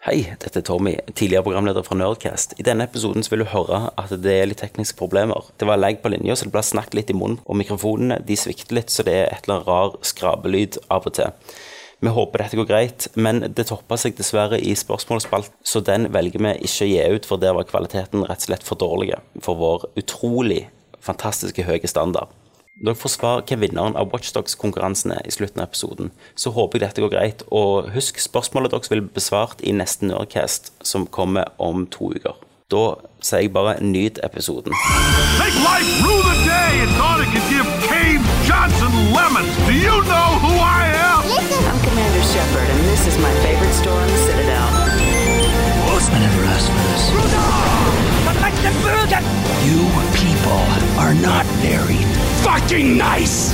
Hei, dette er Tommy, tidligere programleder fra Nerdcast. I denne episoden så vil du høre at det er litt tekniske problemer. Det var lag på linja, så det ble snakket litt i munnen, og mikrofonene de svikter litt, så det er et eller annet rar skrapelyd av og til. Vi håper dette går greit, men det toppa seg dessverre i spørsmålsspalten, så den velger vi ikke å gi ut, for der var kvaliteten rett og slett for dårlig for vår utrolig fantastiske høye standard. Dere får svar hvem vinneren av Watchdogs-konkurransen er i slutten av episoden. Så håper jeg dette går greit, og husk spørsmålet deres vil bli besvart i neste Nerdcast, som kommer om to uker. Da sier jeg bare nyt episoden. Make life rue the day and thought it could give Cave Johnson lemons. Do you know who I am? I'm Commander Shepard, and this is my favorite store in the Citadel. Horsemen never asked for this. You people are not very fucking nice.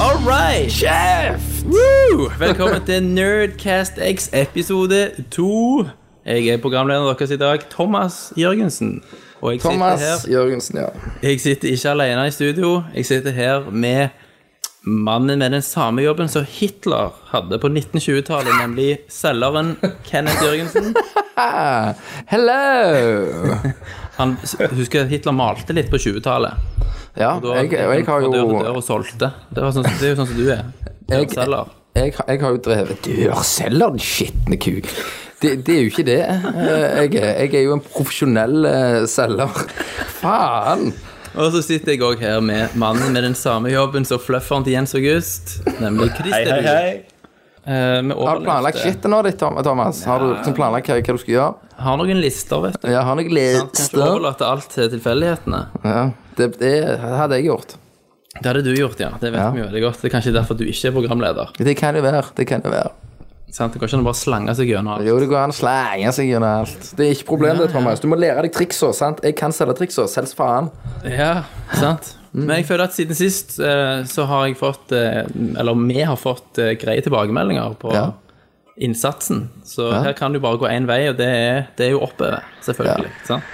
All right! Kjeft! Woo! Velkommen til Nerdcast X episode 2. Jeg er programlederen deres i dag, Thomas Jørgensen. Og jeg Thomas sitter Jørgensen, ja. her Jeg sitter ikke alene i studio. Jeg sitter her med mannen med den samme jobben som Hitler hadde på 1920-tallet, nemlig selgeren Kenneth Jørgensen. Hello! Han, husker jeg, Hitler malte litt på 20-tallet. Ja, Da jeg, gikk og jeg han har fra dør til jo dør og solgte. Det, var sånn, det er jo sånn som du er. Jeg- Dørselger. jeg, har- jeg har jo drevet dørselger, den skitne kuk. Det, det er jo ikke det. Eh, Jeg, er- jeg er jo en profesjonell eh, selger. Faen! Og så sitter jeg òg her med mannen med den samme jobben som flufferen til Jens August, nemlig Christer. Eh, Hei, hei, hei. Har du planlagt shitet nå ditt, Tom- Thomas? Har du liksom planlagt hva, hva du skal gjøre? Har noen lister, vet du. Jeg har noen Kanskje lister. overlate alt til tilfeldighetene. Ja, det, det hadde jeg gjort. Det hadde du gjort, ja. Det vet Ja. vi jo veldig godt. Det er kanskje derfor du ikke er programleder. Det kan det være. Det kan det være. Sant? Det går ikke an å bare slange seg gjennom alt. Jo, det går an å slenge seg gjennom alt. Det er ikke problemet, det, Thomas. Du må lære deg triksa, sant? Jeg kan selge triksa. Selv faen. Ja, sant? Mm. Men jeg føler at siden sist eh, så har jeg fått eh, Eller vi har fått eh, greie tilbakemeldinger på Ja. innsatsen. Så her kan du bare gå én vei, og det er, det er jo oppover, selvfølgelig. Sant?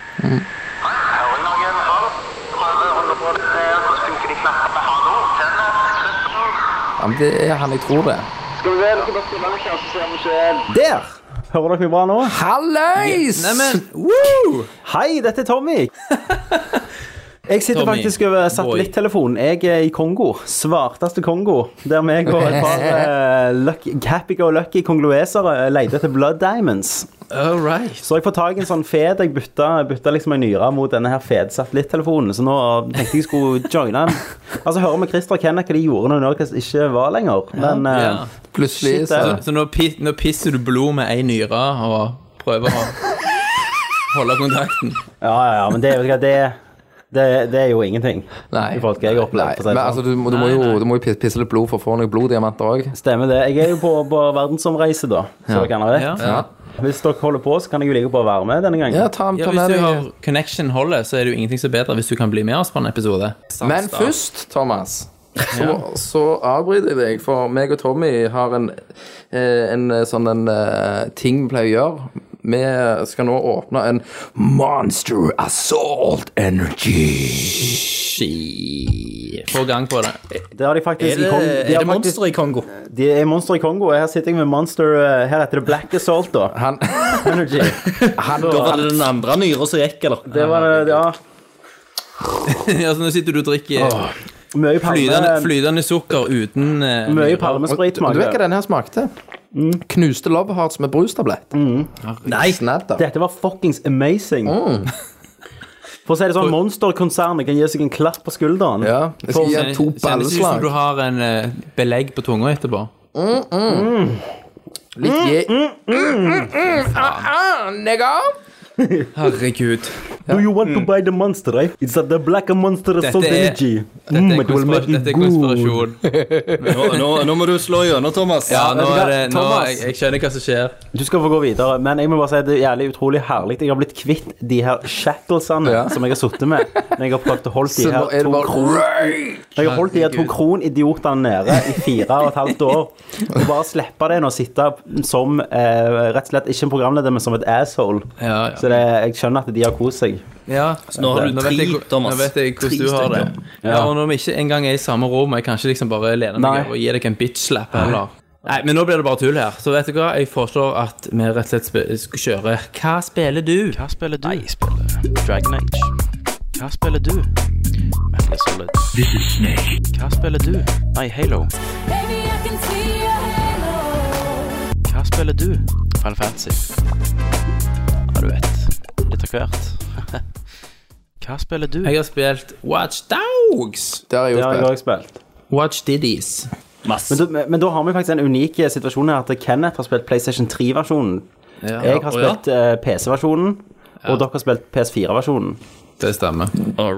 Ja, men det er han jeg tror det. Der! Hører dere meg bra nå? Halløys! Neimen, Woo! Hei, dette er Tommy. Jeg sitter Tommy, faktisk over boy. satellittelefonen. Jeg er i Kongo. Svarteste Kongo. Der meg og et par eh, lucky, happy-go-lucky kongolesere leter etter blood diamonds. All right. Så har jeg fått tak i en sånn fed. Jeg bytta, bytta liksom en nyre mot denne her fede satellittelefonen. Så nå tenkte jeg skulle joine. Altså, hører vi Christer og Kenneth hva de gjorde når Norcas ikke var lenger. Men eh, Ja. Plutselig Shit, så det Så nå, pi- nå pisser du blod med ei nyre og prøver å holde kontakten. ja, ja, ja. Men det, vet du hva, det, det, det er jo ingenting. Nei. I forhold til hva jeg opplevde. Nei, for å si det men sånn. altså, du, må- du må jo, du må jo pisse litt blod for å få noen bloddiamanter òg. Stemmer det. Jeg er jo på, på verdensomreise, da. Så dere kan ha rett. Ja. Ja. Hvis dere holder på, så kan jeg jo like godt bare være med denne gangen. ja, ta, Ja, hvis ta med du har deg connection holder, så er det jo ingenting som er bedre hvis du kan bli med oss på en episode. Men først, Thomas, så, så avbryter jeg deg, for meg og Tommy har en, eh, en eh, sånn en eh, ting vi pleier å gjøre. Vi skal nå åpne en Monster Assault Energy. Shit. Få gang på det. Det har de faktisk Er det, i Kongo. De, er har det faktisk, monstre i Kongo? de er monster i Kongo, og her sitter jeg med monster eh, Her heter det Black Assault, da. Han, Energy. han Da var det den andre nyra som gikk, eller? Det var eh, ja, ja, så nå sitter du og drikker mye flytende, palme, flytende sukker uten eh, mye nyrer. palmesprit. Du vet hva Magne. denne her smakte? Knuste Love Hearts med brustablett. Nei, Snadder. Dette var fuckings amazing. For å si det sånn, Monster-konsernet kan gi seg en klapp på skulderen. Ja, jeg skal gi han to Kjennes ikke ut som balleslag. du har en eh, belegg på tunga etterpå. Litt je... Mm, mm, ah, ah, nigga. Herregud. Do you want to buy the monster, eh? It's a the black monster assault Dette er, energy. dette Mm, er, it will make konspira- you dette er good. konspirasjon. nå, nå, nå må du slå gjennom, Thomas. Ja, nå vet du er det hva, nå, Thomas? jeg, jeg skjønner hva som skjer. Du skal få gå videre, men jeg må bare si at det er jævlig utrolig herlig. Jeg har blitt kvitt de her shacklesene Ja. som jeg har sittet med. Når jeg har prøvd å holde Så de nå her er det to, bare jeg har holdt de her to kronidiotene nede i fire og et halvt år. Og bare slippe det nå å sitte som eh, rett og slett ikke en programleder, men som et asshole. Ja, ja. Så det, jeg skjønner at de har kost seg. Ja, nå har du vet tre, jeg, hvor- Thomas. Nå vet jeg hvordan Tre du har det. stykker. Ja, og når vi ikke engang er i samme rom, jeg kan ikke liksom bare lene meg Nei. over og gi deg en bitch-slap heller. Nei, men nå blir det bare tull her. Så vet du hva, jeg foreslår at vi rett og slett spe- sk- kjører Hva spiller du? Hva spiller du? Jeg spiller Dragon Age. Hva spiller du? Metal Gear Solid. This is Snake. Hva spiller du? Nei, Halo. Baby, I can see your halo. Hva spiller du? Final Fantasy. Ja, du vet. Litt av hvert. Hva spiller du? Jeg har spilt Watch Dogs. Det har jeg Det jo har jeg spilt. også spilt. Watch Diddies. Men, da- men, men da har vi faktisk en unik eh, situasjon her at Kenneth har spilt PlayStation 3-versjonen. Jeg har spilt eh, PC-versjonen, og dere har spilt PS4-versjonen. Det stemmer.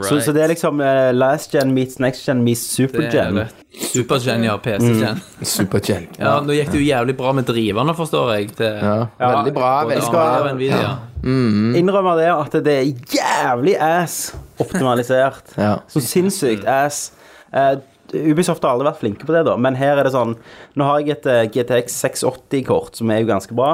Så, så det er liksom eh, last gen meets next gen meets super Det er gen. rett. Supergen, ja. Mm. PC-gen. Superchill. Ja, nå gikk det jo jævlig bra med driverne, forstår jeg. Til, Ja. Veldig bra. Både Veldig bra. AMD og Nvidia. Mm. Innrømmer det at det er jævlig ass optimalisert. Ja. Så sinnssykt ass. Eh, Ubisoft har aldri vært flinke på det, da, men her er det sånn Nå har jeg et eh, GTX 680-kort, som er jo ganske bra.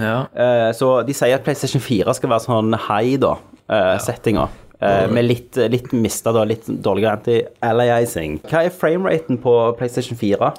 Ja. Eh, så de sier at PlayStation 4 skal være sånn high, da, eh, settinga. Eh, med litt, litt mista, da, litt dårligere anti-aliasing. Hva er frameraten på PlayStation 4?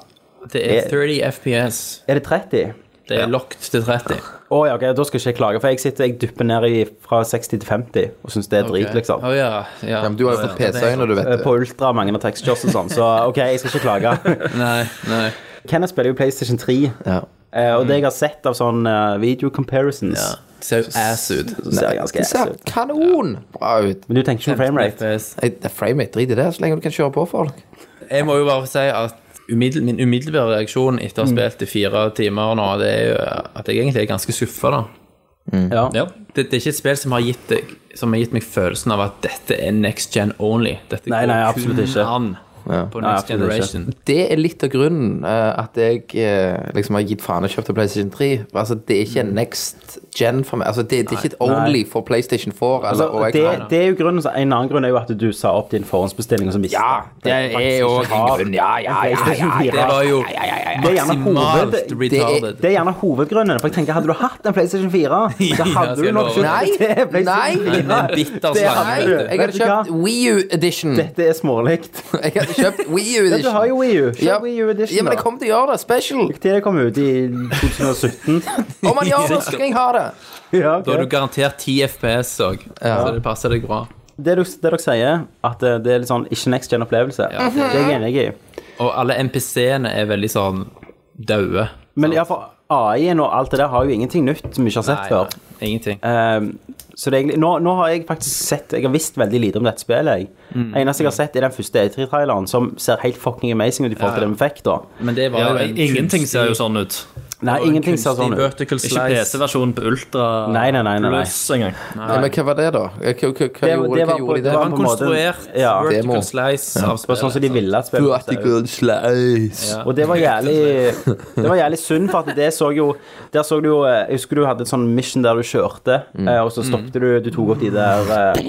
Det er 30 FPS. Er det 30? Det er locked til 30. Å ja, ok, da skal jeg ikke klage, for jeg sitter, jeg dupper ned i, fra 60 til 50 og syns det er drit, liksom. Å ja. ja. Ja, men du har jo fått PC-øyne, du vet. Eh, På ultra mange av textures og sånn, så ok, jeg skal ikke klage. Nei, nei. Kenneth spiller jo PlayStation 3, Ja. eh, og det jeg har sett av sånn eh, video comparisons, Det Ser jo ass ut. så ser det ganske Det ass ser ut. kanon bra ut. Men du tenker ikke på framerate? FPS. Nei, det er Frame 8 drit i det, så lenge du kan kjøre på folk. Jeg må jo bare si at umiddel, min umiddelbare reaksjon etter Mm. å ha spilt i fire timer nå, det er jo at jeg egentlig er ganske skuffa, da. Ja. Ja. Det, det er ikke et spill som har gitt deg som har gitt meg følelsen av at dette er next gen only. Dette Nei, går nei, absolutt kun ikke. an på next absolutt ikke. generation. Det er litt av grunnen eh, at jeg eh, liksom har gitt faen og kjøpt en PlayStation 3. Altså, det er ikke en next gen for meg. Altså, det, det er ikke et only for PlayStation 4. Eller, Altså, og det, jeg, det er jo grunnen, så En annen grunn er jo at du sa opp din forhåndsbestilling. og så mistet ja, det er jo en grunn. Ja, ja, ja. ja, ja, Det var jo Det er gjerne hoved- maksimalt retarded. det er gjerne hovedgrunnen. For jeg tenker, Hadde du hatt en PlayStation 4, så Ja, hadde skal du jeg nok love. Nei, kjøpt det. PlayStation nei. 4. Men en bitter Det slange, Nei, hadde vet du. jeg hadde Vet du hva? kjøpt Wii U Edition. Dette er smålikt. Jeg hadde kjøpt Wii U Ja, Edition. du har jo Wii U. Kjøp Ja. Wii U Edition, Ja, men da. jeg kommer til å gjøre det. Special. Til det kom ut i 2017. Om han gjør det, så skal jeg ha det. Ja, ok. Da er du garantert 10 FPS òg, så det passer deg bra. Det du- det dere sier, at eh, det er litt sånn ikke next gen-opplevelse, det er jeg enig i. Og alle NPC-ene er veldig sånn daue. Men ja, for AI-en og alt det der har jo ingenting nytt som vi ikke har sett Nei, før. nei, Ingenting. Ehm, så det er egentlig, nå, nå har jeg faktisk sett Jeg har visst veldig lite om dette spillet. Jeg. Eneste jeg har sett, er den første E3-traileren, som ser helt fucking amazing ut i forhold til det vi fikk da. Men det var Ja, jo en ingenting kunstig- ser jo sånn ut. Nei, ingenting ser sånn ut. Vertical Ikke slice. PC-versjonen på Ultra Nei, nei, nei, nei, nei. Plus engang. Ja, men hva var det, da? Hva, hva, hva, hva Det- gjorde, det hva var på- gjorde de det der? var Han på en måte- konstruert Ja. vertical Demo. slice av Det var sånn som de ville at spillet skulle se ut. Vertical slice. Og det var jævlig Det var jævlig synd, for at det så jo Der så du jo eh, Jeg husker du hadde et sånn mission der du kjørte, eh, og så stoppet du Du tok opp de der eh,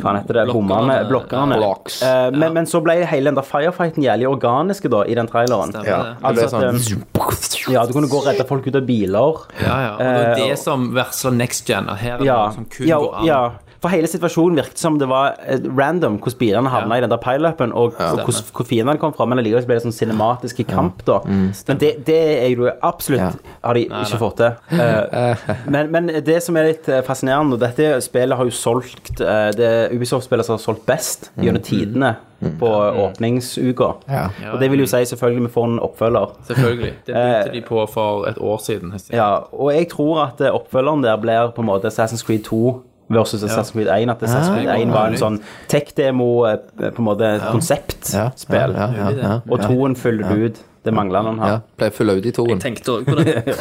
Hva heter det? Bommene? Blokkerne. Blocks. Eh, men, men så ble hele den der firefighten jævlig organiske, da, i den traileren. Stemmer. Ja, det ble Altså at, um, sånn Ja, du kunne gå og redde folk ut av biler. Ja, ja. Og det er Eh, det som versler next gen. at Her er det Ja, noe som kun ja, går an. ja. For hele situasjonen virket som det var eh, random hvordan bilene havna i den der pileupen, og, og hvordan- hvor fiendene kom fra, men allikevel så ble det sånn cinematisk i kamp, da. Men det, det er jo absolutt Ja. har de ikke fått til. Eh, men, men det som er litt eh, fascinerende, og dette spillet har jo solgt eh, Det er Ubisoft-spillet som har solgt best gjennom tidene på åpningsuka. Ja. Og det vil jo si selvfølgelig vi får en oppfølger. Selvfølgelig. Det begynte de på for et år siden. jeg sier. Ja, og jeg tror at eh, oppfølgeren der blir på en måte Assassin's Creed 2 versus Assassin's Creed 1. At Assassin's Creed 1 var en sånn tech-demo, eh, på en måte konseptspill. Ja, ja, ja, ja. Og toen fyller du ut det mangler noen her. Ja, ble full ut i toen. Tenkte også på det.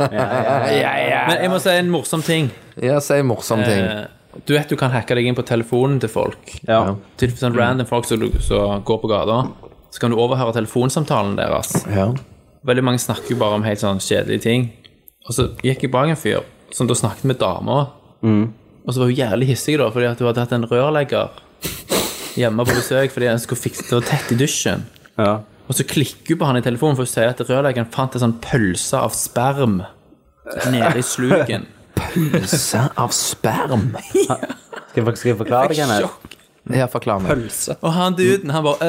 Men jeg må si en morsom ting. Ja, si morsomme ting. Eh, Du vet du kan hacke deg inn på telefonen til folk. Ja. Til sånn random folk som du- som går på gata. Så kan du overhøre telefonsamtalen deres. Ja. Veldig mange snakker jo bare om helt sånn kjedelige ting. Og så gikk jeg bak en fyr som da snakket med dama. Og så var hun jævlig hissig, da, fordi at hun hadde hatt en rørlegger hjemme på besøk fordi hun skulle fikse det var tett i dusjen. Ja. Og så klikker hun på han i telefonen for å si at rørleggeren fant en sånn pølse av sperm nede i sluken. Pølse av sperm. Skal jeg, for- skal jeg forklare det, Kenneth? Sjokk. Her forklarer meg. Pølse. Og han duden, han bare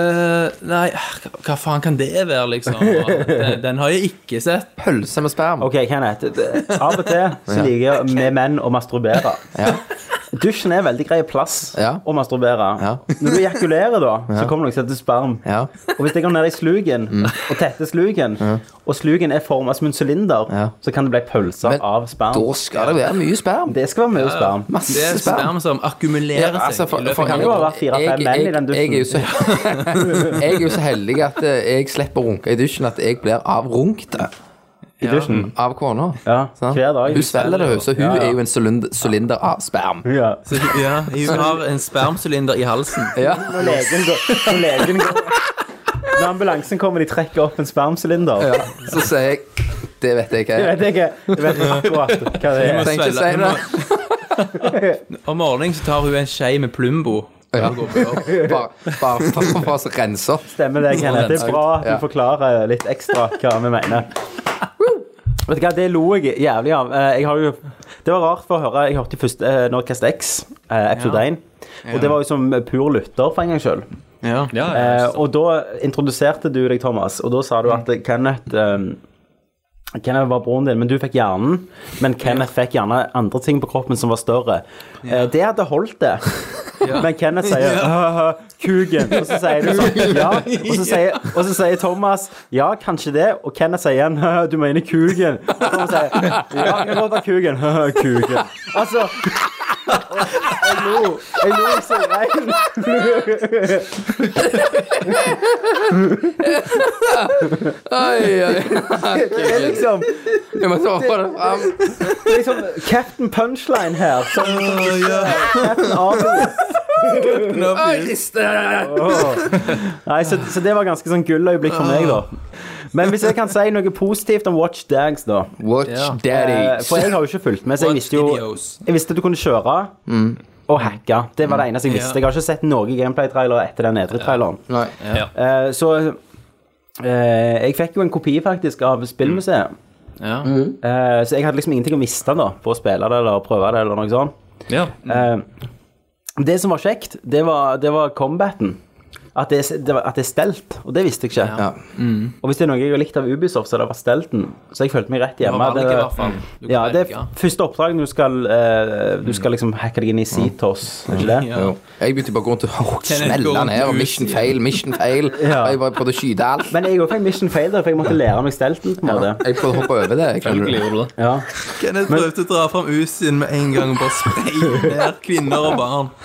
«Øh, Nei, hva, hva faen kan det være, liksom? Og Den, den har jeg ikke sett. Pølse med sperm. Ok, Kenneth. det- Av og til så liker vi menn å masturbere. Ja. Dusjen er en veldig grei plass Ja. å masturbere. Ja. Når du ejakulerer, da, så kommer det noe som heter sperm. Ja. Og hvis jeg går ned i sluken Mm. og tetter sluken, og sluken er forma som en sylinder, Ja. så kan det bli pølser Men av sperm. Da skal det være mye sperm. Det skal være mye sperm. Det Masse er sperm. sperm som akkumulerer Ja, altså, seg. for- i løpet for- av Det kan jo ha vært fire-fem Jeg- menn i den jeg- Jeg er, jo dusjen. så, jeg er jo så heldig at eh, jeg slipper å runke i dusjen, at jeg blir avrunket I dusjen. av kona. Ja, Sant? hver dag. Hun svelger det, hun, så hun Ja, ja. er jo en sylind- sylinder av sperm. Ja. Så- Ja, Hun har en spermsylinder i halsen. Ja. Når legen går, når legen går Når ambulansen kommer, de trekker opp en spermsylinder. ja. Så sier jeg Det vet jeg ikke. Jeg vet ikke jeg vet ikke akkurat hva det er. Jeg trenger ikke si det. Om morgenen så tar hun en skje med Plumbo. Ja. Og går på jobb. Bare, bare for, for å rense opp. Stemmer det, Kenneth. Det er bra at Ja. du forklarer litt ekstra hva vi mener. Vet du hva, Det lo jeg jævlig av. Eh, Jeg har jo, det var rart for å høre. Jeg hørte i første eh, Nordcast X, eh, episode 1. Og det var jo som pur lytter for en gangs skyld. Ja. Eh, og da introduserte du deg, Thomas, og da sa du at Kenneth eh, Kenneth var broren din, men du fikk hjernen. Men Kenneth fikk gjerne andre ting på kroppen som var større. Eh, det hadde holdt, det. Men Kenneth sier «Haha, 'kuken', og så sier du sånn. Ja. Og så sier, og så sier Thomas 'ja, kanskje det', og Kenneth sier igjen «Haha, 'du mener kuken'. Og Thomas sier 'ja, det kan godt være kuken'. «Haha, kuken. Altså Jeg lo. Jeg lo så rein. Oi, oi. Det er liksom Jeg må ta på det fram. Det er liksom Captain Punchline her. Som, Captain Obvious. Oi, Riste! Nei, så, så det var ganske sånn gulløyeblikk for meg, da. Men hvis jeg kan si noe positivt om Watch Dags, da. Watch Eh, daddy. For jeg har jo ikke fulgt med, så jeg visste jo Videos. Jeg visste du kunne kjøre Mm. og hacke. Det var det eneste jeg visste. Jeg har ikke sett noen gameplay-trailere etter den nedre traileren. Nei. Eh, så eh, jeg fikk jo en kopi, faktisk, av spillmuseet. Ja. Eh, så jeg hadde liksom ingenting å miste da på å spille det eller prøve det eller noe sånt. Ja. Eh, det som var kjekt, det var, det var combaten. At det, er- det var, at det er stelt, og det visste jeg ikke. Ja. Mm. Og hvis det er noe jeg har likt av Ubisoft, så har det vært stelten. Så jeg følte meg rett hjemme. Valget, Det- i hvert fall. Du kan ja, det velge. Mm. er første oppdrag du skal eh, Du skal liksom hacke deg inn i Seatos, er ikke det? Ja. Jo. Jeg begynte bare å gå rundt og oh, gå smelle rundt ned og og mission ut- fail, mission fail. Ja. Og jeg bare prøvde å skyte alt. Men jeg òg fikk mission fail der, for jeg måtte lære meg stelten. på en måte Jeg prøvde å hoppe over det. jeg skjønner Selvfølgelig du. gjorde du det. ja. Kenneth prøvde å dra fram Usin med en gang og bare spraye ned kvinner og barn.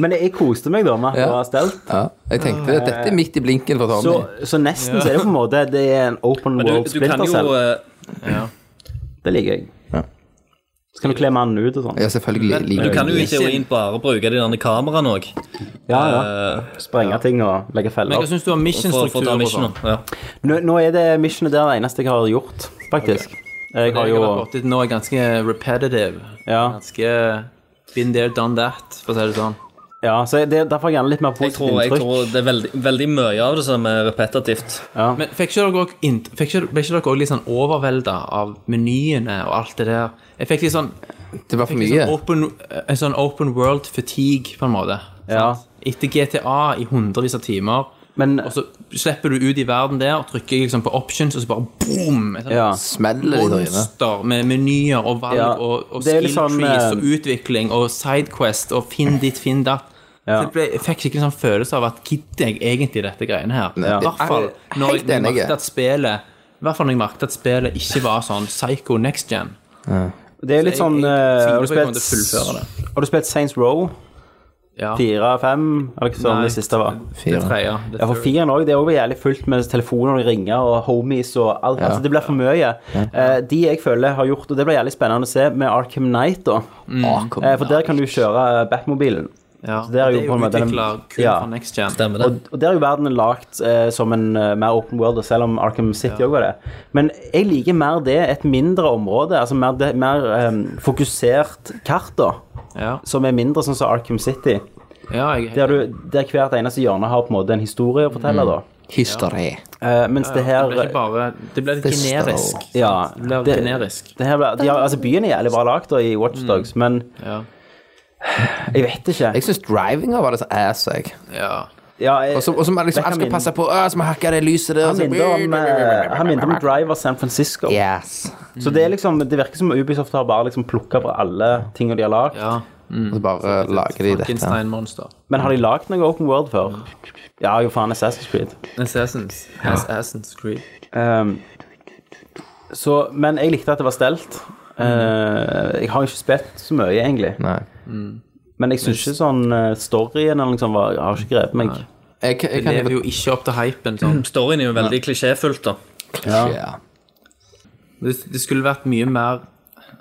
Men jeg koste meg da med at det Ja. var stelt. Ja. Jeg tenkte at dette er midt i blinken for Så, Tommy. så nesten så er det på en måte Det er en open Men world du, du kan splinter jo selv. eh, Det liker jeg. Ja. Så kan du kle mannen ut og sånn. Ja, selvfølgelig Du liker kan jeg jo i teorien bare bruke de derne kameraene òg. Ja, ja. Sprenge ting og legge Men feller. hva syns du om For, for å ta mission-strukturer? og sånn? missioner. Ja. Nå, nå er det missionet der det eneste jeg har gjort, faktisk. Jeg Det har jeg jo har vært borti nå er ganske repetitive. Ja, Ganske been there, done that, for å si det sånn. ja så det, derfor gjerne litt mer Jeg tror, positivt jeg tror inntrykk. det er veldig, veldig mye av det som er repetitivt. Men fikk ikke dere også int- fikk ikke, ble ikke dere også litt sånn overvelda av menyene og alt det der? Jeg fikk litt sånn, Det var for fikk litt mye. sånn open, en sånn open world fatigue, på en måte. Ja. sant? Etter GTA i hundrevis av timer, Men og så slipper du ut i verden der, trykker liksom på options, og så bare boom! Et sånt ja. Smeller det i øynene. monster med menyer og valg Ja, og, og det er skill litt sånn, trees og eh, utvikling og sidequest og finn ditt, finn datt. Ja. Så jeg, ble, jeg fikk skikkelig sånn følelse av at gidder jeg egentlig dette greiene her? I Ja. hvert fall når jeg, Helt når jeg enig. merket at spillet i hvert fall når jeg merket at spillet ikke var sånn psycho next gen. Det er litt jeg- sånn jeg eh, tviler Har du på at jeg kommer til spilt å fullføre Har du spilt Saints Row? Ja, det Fire, fem? Eller hva sånn Nei. det siste var? tredje. det Ja, for third. fireren også, det er også jævlig fullt med telefoner og ringer og homies og alt. Altså, det blir for mye. Eh, de jeg føler har gjort, og det blir jævlig spennende å se, med Arkham Knight, da. Arkham Eh, for der kan du kjøre eh, Batmobilen. ja. så det er jo på en måte den- utviklet kun ja. for next gen. Stemmer det? Og der er jo verdenen lagt eh, som en eh, mer open world, og selv om Arkham City òg var det. Men jeg liker mer det, et mindre område, altså mer, det, mer eh, fokusert kart, da. Ja, Som er mindre sånn som Arkham City. ja jeg, Der, du, der hvert eneste hjørne har på en måte en historie å fortelle, da. Hysteri. Eh, mens Mm. det ble det her ikke bare Det ble litt Fister og- generisk. Ja, Det ble det- generisk. det her, ble- de har, altså Byen er jævlig bra lagd da, i Watch Dogs, men Mm. Ja. Jeg vet ikke. Jeg syns drivinga var det så ass, jeg. Ja. Ja, jeg- Og så og så må jeg liksom Beckham Jeg skal min- passe på «Å, Jeg skal hakke det lyset der. Han så- minner om, eh, han minner om Driver San Francisco. Yes. Så det, er liksom, det virker som Ubisoft har bare liksom plukka fra alle tingene de har lagd. ja. Og så bare lager de dette. Frankenstein-monster. Men har de lagd noe Open World før? Ja, jo faen, Assassin's Creed. Assassins. Assassin's Creed. Ehm, så, men jeg likte at det var stelt. Eh, jeg har ikke spilt så mye, egentlig. Nei. Men jeg syns ikke sånn eh, storyen eller liksom, var, har ikke grepet meg. Jeg, jeg, jeg Det lever kan jo ikke opp til hypen. Sånn. Storyen er jo veldig klisjéfullt, da. ja. Det, det skulle vært mye mer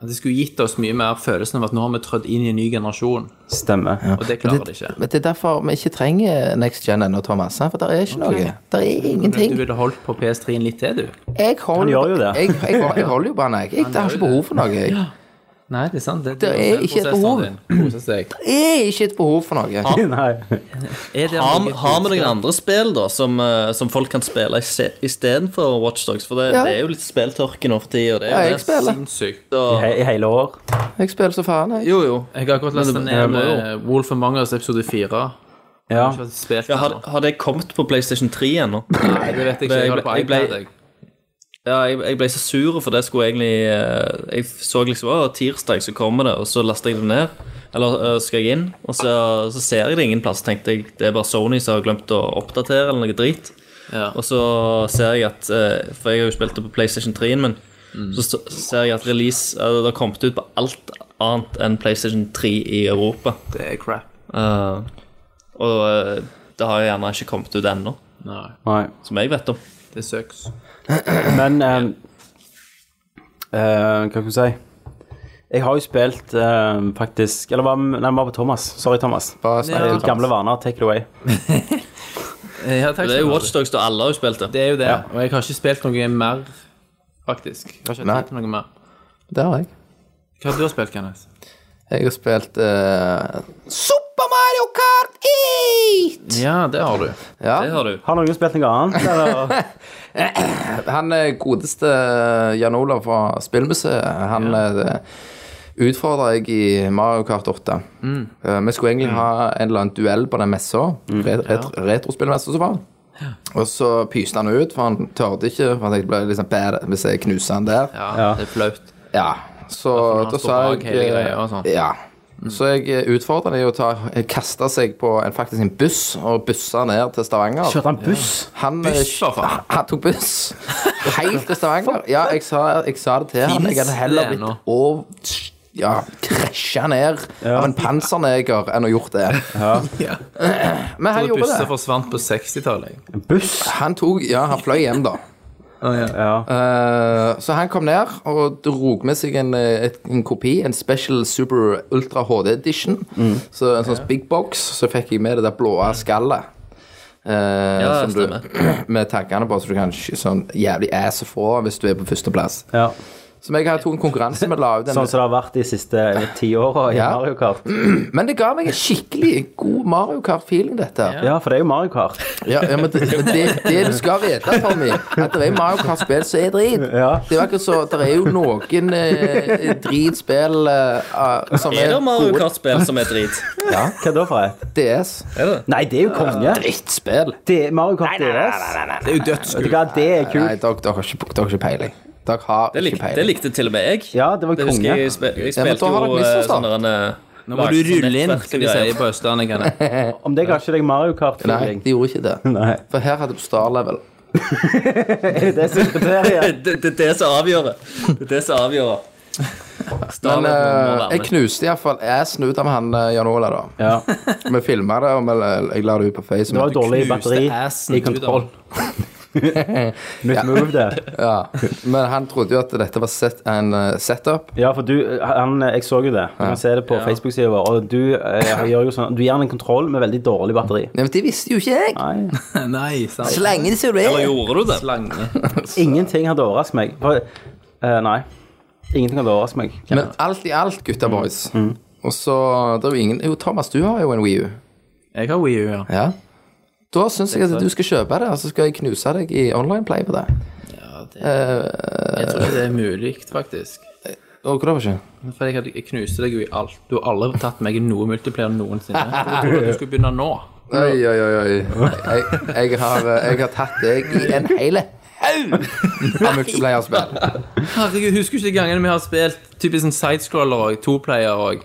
Det skulle gitt oss mye mer følelsen av at nå har vi trådt inn i en ny generasjon, Stemmer. og det klarer det ikke. Men det er derfor vi ikke trenger Next Gen ennå, Thomas. sant? For det er ikke noe. Det er Du ingenting. ville holdt på PS3-en litt til, du. Jeg Han holder, gjør jo det. Jeg, jeg, jeg holder jo på den, jeg. jeg. Jeg har ikke behov for noe. Jeg. Nei, det er sant. Det, Det er ikke et behov. Det er ikke et behov for noe. Nei. Er det Har noe- har vi noen andre spill da som, eh, som folk kan spille istedenfor Watchdogs? For det, Ja. det er jo litt spilltørke nå for tida. Det Ja, er jeg jo det. spiller. Sinnssykt. Så- He- I hele år. Jeg spiller så faen, jeg. Jo, jo. Jeg har akkurat lest Men det- jeg ned må jo. eh, Wolf Among Us episode 4. Ja. Ikke spilt Ja, den har, nå. har det kommet på PlayStation 3 ennå? Nei, det vet jeg ikke. Jeg har det på Jeg ble- iPad. Jeg. Ja, jeg, jeg ble så sur, for det skulle egentlig eh, Jeg så liksom Å, tirsdag så kommer det, og så laster jeg det ned. Eller eh, skal jeg inn, og så, så ser jeg det ingen plass. Tenkte jeg det er bare Sony som har glemt å oppdatere eller noe drit. Ja. Og så ser jeg at eh, For jeg har jo spilt det på PlayStation 3-en min. Mm. Så s- ser jeg at release eh, Det har kommet ut på alt annet enn PlayStation 3 i Europa. Det er crap. Eh, og eh, det har jo gjerne ikke kommet ut ennå, Nei, Nei. som jeg vet om. det søks. Men ehm, eh, Hva skal vi si? Jeg har jo spilt ehm, faktisk Eller var, nei, vi var på Thomas. Sorry, Thomas. Bare snakk Ja. til Eh, Gamle Thomas. vaner, take it away. Ja, takk Det er skal jo du ha. Watch Dogs, da alle har jo spilt det. Det er jo det. Og jeg har ikke spilt noe mer, faktisk. Jeg har ikke Nei. hatt tid til noe mer. Det har jeg. Hva har du spilt, Kenneth? Jeg har spilt eh, Super Mario Kart 8! Ja, det har du. Ja. Det har du. Har noen spilt noe annet? Eller? Han eh, godeste Jan Olav fra Spillmuseet, han eh, utfordra jeg i Mario Kart 8. Eh, Vi skulle egentlig ha en eller annen duell på den messa, ret ret retrospillmessa som var. Og så pyste han ut, for han tørde ikke. For han tenkte det ble liksom bad hvis jeg knuser han der. Ja, det er flaut. Ja, så han da står sa bak jeg eh, hele greia og sånn. Ja. Så jeg eh, utfordra dem til å ta- eh, kaste seg på en, faktisk en buss og busse ned til Stavanger. Kjørte han buss? Han, eh, Buss, for faen. han tok buss helt til Stavanger. Ja, jeg sa, jeg sa det til han. Jeg hadde heller det blitt over ja, krasja ned av en panserneger enn å gjort det. Men han gjorde Busser det. forsvant på 60-tallet. Buss? Han tok Ja, han fløy hjem, da. Ja. Eh, så han kom ned og drog med seg en, eh, et, en kopi, en Special Super Ultra HD Edition. Mm. Så En sånn big box. Så fikk jeg med det der blå skallet. eh, Ja, som du, med taggene på, så du kan sky- sånn jævlig ass få hvis du er på førsteplass. ja. Som jeg har tok en konkurranse med la ut. en- Sånn som det har vært de siste eh, ti åra i Ja. Mario Kart. Men det ga meg en skikkelig god Mario Kart-feeling, dette. her. Ja, for det er jo Mario Kart. Ja, ja, men det, men det, det du skal vite, Tommy, at det er Mario Kart-spill som er drit. Det er jo akkurat så, det er jo noen eh, dritspill eh, ah, som Er er det Mario gode- Kart-spill som er drit? Hva da for et? DS. Nei, det er jo konge. Drittspill. Det er Mario Kart DS. Det er jo Vet du dødskult. hva, det er Nei, kult. dere, dere, har ikke, dere har ikke peiling. Dere har Det, lik, ikke det peiling. likte til og med jeg. Ja, det var Det husker jeg, konge. jeg, spil, jeg Ja, men da spilte har dere jo eh, misforstått. sånne derne- Nå må du rulle inn, skal de si på Østlandet, Kenneth. Om det ga ikke deg Mario Nei, Kart-feeling? de gjorde ikke det. Nei. For her hadde du Star Level. Er det det som er Det kriteriet? det- det er det som avgjør det. Det er det som avgjør det. Star Men Wars må eh, være jeg med. knuste iallfall assen ut av han eh, Jan Ola, da. Ja. Vi filma det, og vi- jeg la det ut på Facebook. Det var dårlig batteri i kontroll. Nytt move, det. Ja. Men han trodde jo at dette var set, en eh, setup. Ja, for du, eh, han, jeg så jo det. Du kan se det på Facebook-sida vår. Og du, eh, gjør jo sånn, du gir han en kontroll med veldig dårlig batteri. Nei, men Det visste jo ikke jeg! Nei. Nei, sant. Slenge det som det Eller gjorde du det? Slange. Ingenting hadde overrasket meg. For, eh, nei. Ingenting hadde overrasket meg. Men alt i alt, Mm. gutta boys. Og så det er jo ingen Jo, Thomas, du har jo en Wii U. Jeg har Wii U, ja. Ja. Da syns jeg at du skal kjøpe det, og så skal jeg knuse deg i online play på det. Jeg tror ikke det er mulig, faktisk. Og hvorfor ikke? For jeg, hadde- jeg knuste deg jo i alt. Du har aldri tatt meg i noe multiplayer noensinne. Jeg trodde at du skulle begynne nå. Oi, oi, oi. oi. Jeg, jeg, har, eh, jeg har tatt deg i en hel haug av multiplayerspill. Herregud, husker du ikke gangene vi har spilt typisk en sidescroller og toplayer og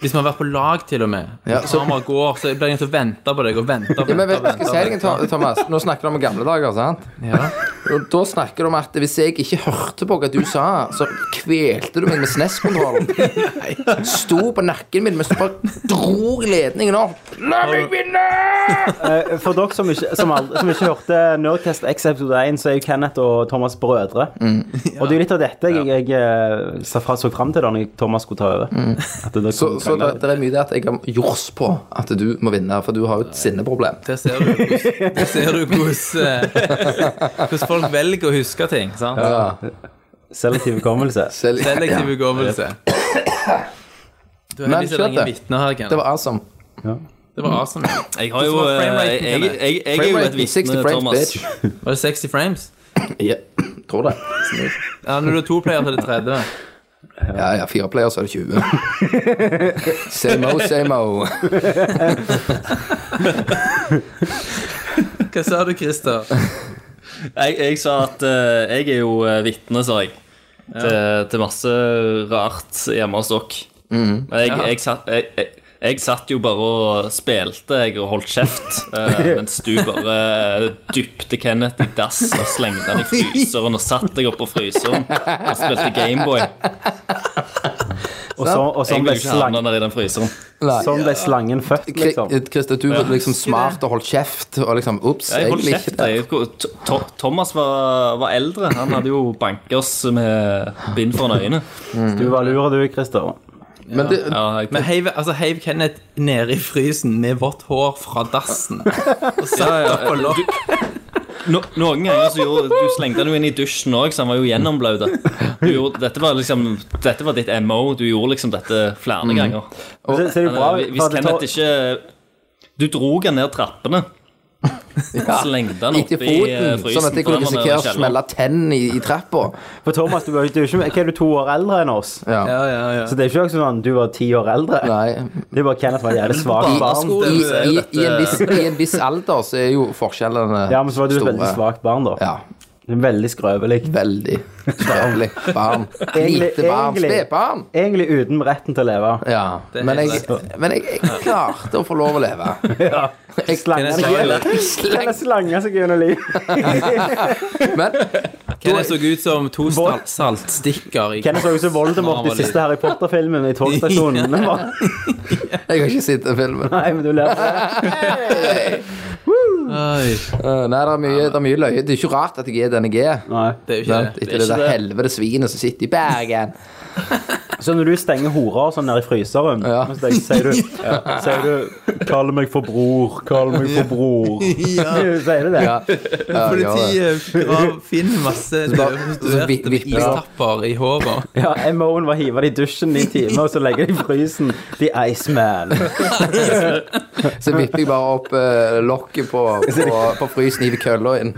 Hvis vi har vært på lag, til og med. Ja, så- så... går, så jeg blir nødt til å vente på deg og vente og Ja, men vente. vet du hva jeg skal si deg, Tho- Thomas? Nå snakker du om gamle dager, sant? Ja. Og da snakker du om at hvis jeg ikke hørte på hva du sa, så kvelte du meg med SNES-kontrollen. Sto på nakken min mens du bare dro ledningen opp. La meg vinne! Eh, For dere som ikke, som aldri, som ikke hørte Nerdcast X episode 1, så er jo Kenneth og Thomas brødre. Og det er jo litt av dette jeg, jeg, eh, sa fra- så fram til da når Thomas skulle ta over. At det, Så, så det, det er mye det at jeg har jors på at du må vinne, for du har jo et sinneproblem. Der ser du hvordan- der ser du hvordan eh, hvordan folk velger å huske ting. sant? Selektiv hukommelse. Sel- Selektiv ja. hukommelse. Du er Men heldigvis skjønt ingen det. vitner her, Det Kenneth. var awesome. Det var awesome. Jeg har jo Hvordan var eh, frameraten, Jeg, jeg, Kenneth? jeg, jeg er jo et Framerate, 60 vitne, frames, Thomas. bitch. Var det 60 frames? Ja, tror det. Ja, Når du har to player til det 30. Ja, ja, fire player, så er det 20. Same-o, same-o. Hva sa du, Christer? Jeg, jeg sa at eh, jeg er jo eh, vitne, sa jeg, til, til masse rart hjemme hos dere. Mhm. Men jeg, jeg, satt, jeg, jeg, jeg satt jo bare og spilte, jeg, og holdt kjeft, eh, mens du bare eh, dypte Kenneth i dass og slengte han i fryseren, og satt deg opp på fryseren og spilte Gameboy. Og så, og sånn Jeg ble, ville ikke slang, havne der i den fryseren. Nei. sånn ble slangen født, sånn. liksom. Kri- Christer, du var liksom smart og holdt kjeft og liksom Ops, Jeg holdt egentlig ikke kjeft. det. Jeg, To- To- Thomas var, var eldre. Han hadde jo banket oss med bind foran øynene. Du var lur, du, Christer. Men det, Ja, jeg, Men heiv, altså, heiv Kenneth nede i frysen med vått hår fra dassen. Ja, ja, ja. Du- No, noen ganger så gjorde, du slengte han jo inn i dusjen òg, så han var jo gjennombløt. Du gjorde- Dette, var liksom, dette var ditt MO. Du gjorde liksom dette flere Mhm. ganger. eh, Så, så er det jo bra, Hvis for at det Kenneth tar- ikke Du drog han ned trappene. Slengte han gikk til oppi eh, foten, frysen. sånn at jeg for kunne den var nede i risikere å kjelleren. smelle tenn i, i trappa. For Thomas, du, var jo- du er jo ikke, hva er du to år eldre enn oss? Ja. Ja, ja, ja. Så det er ikke også sånn at du var ti år eldre. Nei. Det er bare Kenneth var et jævlig I, svakt barn. i, i, i, en viss, I en viss alder så er jo forskjellene Ja, men så var du et veldig svakt barn, da. Ja, Veldig skrøpelig. veldig skrøpelig. Barn. Egentlig- Lite barn. egentlig- Spedbarn. Egentlig uten retten til å leve. Ja. Men, jeg, men jeg, jeg klarte å få lov å leve. Jeg Slanger seg gjennom- slanger seg gjennom livet. Men Kenneth så ut som to sal saltstikker. i- Kenneth så jo så Voldemort i siste Harry Potter-filmen i togstasjonen. Det var- jeg har ikke sett den filmen. Nei, men du ler på det. Oi, Eh, Nei, det er mye, det er mye løye. Det er ikke rart at jeg er den jeg er. Nei. det er jo ikke Sant? det. Etter det, der helvete svinet som sitter i Bergen. Så når du stenger horer og sånn nede i fryseren, Ja. så tenker- sier du, sier du 'Kall meg for bror, kall meg for bror'. Sier du det? Ja. Ja, ja, ja. Politiet grav- finner masse bare- så vi- prostituerte med vipper- ja. istapper i håret. Ja, MO-en var å hive det i dusjen i en time, og så legge det i frysen. The Iceman. Så vipper jeg bare opp eh, lokket på, på, på frysen i kølla inn.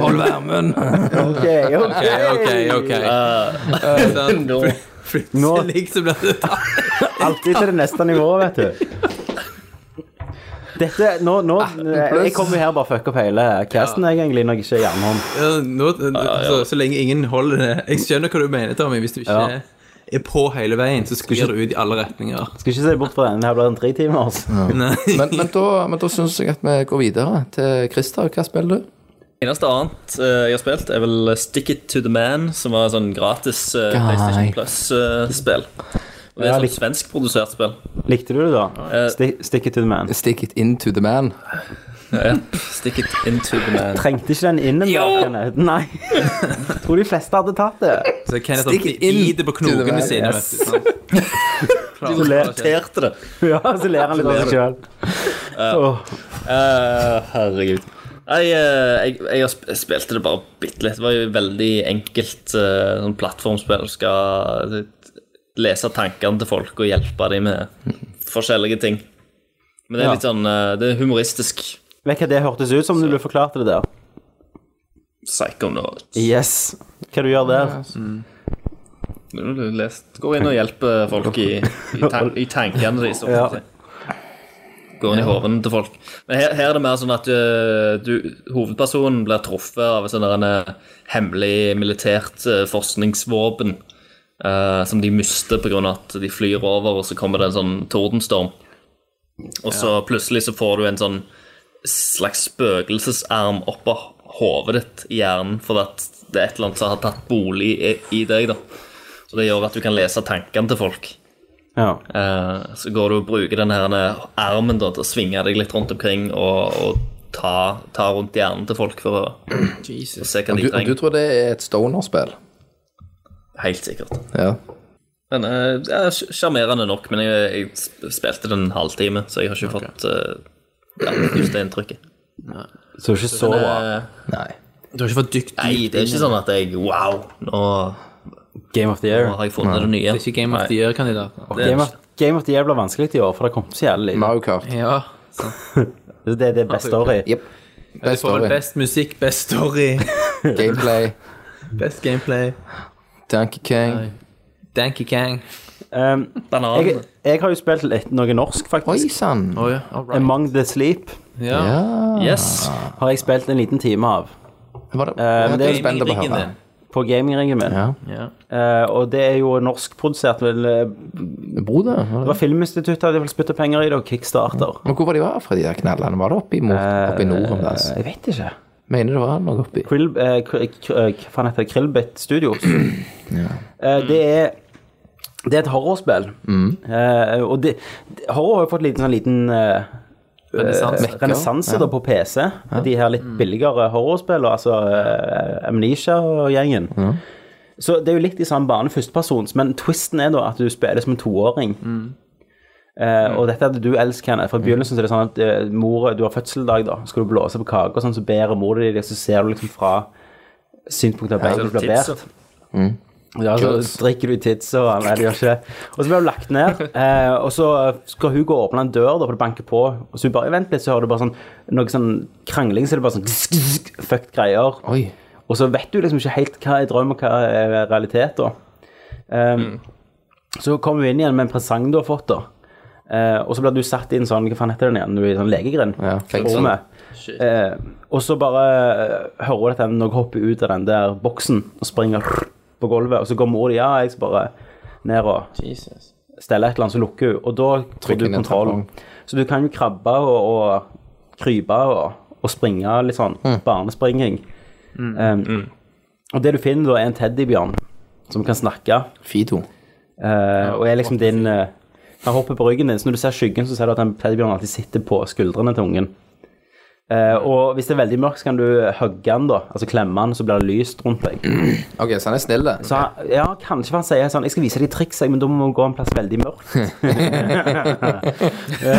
Hold varmen! Ok, ok. Ok, ok. Sånn. Plutselig så blir det tatt. Alltid til det neste nivået, vet du. Dette, nå, nå Ah, Jeg kommer jo her og bare fucker opp hele casten, jeg, egentlig, når jeg ikke er jernhånd. Ja, nå, så, så lenge ingen holder det Jeg skjønner hva du mener, Tommy. Hvis du ikke Ja. er på hele veien, så sklir du ut i alle retninger. Skal ikke se bort fra den. Her blir det en altså. tretimers. Nei. Men, men da, men da syns jeg at vi går videre til Christer. Hva spiller du? Eneste annet eh, jeg har spilt, er vel Stick It To The Man, som var et sånn gratis eh, PlayStation Plus-spill. Og det Ja, er litt- sånn svenskprodusert spill. Likte du det, da? Eh, Sti stick it to the man. Stick it into the man. Ja, Stick It Into The Man. Trengte ikke den innen der? Nei. Tror de fleste hadde tatt det. Så Kenneth Stikk har it in biter på to the knokene man, sine. yes. vet du, sant? Klarer ler. ikke. Irriterte det. Ja, så ler han litt av seg sjøl. Eh, herregud. Nei, eh, jeg, jeg, har sp- jeg spilte det bare bitte litt. Det var jo veldig enkelt eh, sånn plattformspill. Du skal eh, lese tankene til folk og hjelpe dem med forskjellige ting. Men det er Ja. litt sånn eh, Det er humoristisk. Vet du hva det hørtes ut som når du forklarte det der? Psychonauts. Yes. Hva du gjør der? Du har lest. Går inn og hjelper folk i, i, tan i tankene deres. om Ja. man sier. Går inn i hovene til folk. Men her, her er det mer sånn at øh, du, hovedpersonen blir truffet av et sånn der en eh, hemmelig militært eh, forskningsvåpen eh, som de mister pga. at de flyr over, og så kommer det en sånn tordenstorm. Og så plutselig så får du en sånn slags spøkelsesarm oppå hodet ditt i hjernen fordi at det er et eller annet som har tatt bolig i, i deg. da. Så det gjør at du kan lese tankene til folk. Ja. Eh, så går du og bruker den her armen da, til å svinge deg litt rundt omkring og, og ta, ta rundt hjernen til folk for å, å se hva Og du, og du de trenger. tror det er et stoner-spill? Helt sikkert. Ja. Men eh, det er sj- sjarmerende nok, men jeg, jeg sp- spilte den en halvtime, så jeg har ikke fått eh, ja, just det inntrykket. Så det er ikke så Men, bra. eh, Nei. Du har ikke fått dykt nei, det er ikke sånn at jeg Wow, nå, Game of the nå Year. har jeg funnet det nye. Det er ikke Game of the Year-kandidat. Game of, Game of the Year blir vanskelig i år, for det kom så jævlig lite. Mario Kart. Ja. Det det er det beste året. i. Best Får story. vel best musikk, best story, Gameplay. best gameplay. Donkey Kong. Danky Kang. Um, jeg, Bananen. jeg har jo spilt litt noe norsk, Oi faktisk. sann. Å Oh, ja, all right. Among the Sleep Ja. Ja. Yes. har jeg spilt en liten time av Var det, men det det er er spennende å ringen høre. din. på gamingringen min. Ja. Eh, og det er jo norskprodusert. vel, eh, Broder, Det var det? var Filminstituttet hadde vel spytta penger i det, og Kickstarter. Men hvor var de var fra, de der knallene? Var det oppi, mot, oppi nord en plass? Eh, jeg vet ikke. Mener det var noe oppi? Krill, eh, kr- kr- eh, hva faen heter det? Krillbit Studios. Eh, det er det er et horrorspill. Eh, og det, det- horror har jo fått liten, sånn liten eh, Renessanse. renessanse da på PC. De her litt billigere horrorspillene, altså eh, Amnesia-gjengen. Så det er jo litt i samme bane førstepersons, men twisten er da at du spiller som en toåring. Eh, og dette hadde du elsket, Kenneth. Fra begynnelsen så er det sånn at eh, mor, du har fødselsdag, da. Skal du blåse på kake, og sånn, så ber mor di deg, og så ser du liksom fra synspunktet av Ja, babyen du blir tipset. båret. Ja, så drikker du i tids og Nei, det gjør ikke det. Og så blir hun lagt ned, eh, og så skal hun gå og åpne en dør, da, for det banker på. Og så hun bare Vent litt, så hører du bare sånn noe sånn krangling, så er det bare sånn sk- sk- sk- fucked greier. Oi. Og så vet du liksom ikke helt hva er drøm og hva er realitet, da. Um, Mm. Så kommer hun inn igjen med en presang du har fått, da. Eh, og så blir du satt i en sånn Hva faen heter den igjen? Du er i sånn legegrind. Ja, fengsel. Rommet. Eh, og så bare eh, hører du at den- noen hopper ut av den der boksen og springer på gulvet, og så går mor di ja, jeg skal bare ned og Jesus. stelle et eller annet, så lukker hun, og da Trykker tror du inn en kontrollen. Så du kan jo krabbe og, og krype og, og springe litt sånn barnespringing. Um, Og det du finner da, er en teddybjørn som kan snakke, Fido. eh, og er liksom din eh, Han hopper på ryggen din, så når du ser skyggen, så ser du at den teddybjørnen alltid sitter på skuldrene til ungen. Eh, og hvis det er veldig mørkt, så kan du hugge den, da. Altså klemme den, så blir det lyst rundt deg. Ok, så han er snill, Så han, ja, kanskje han sier sånn Jeg skal vise deg triks, jeg, men da må vi gå en plass veldig mørkt.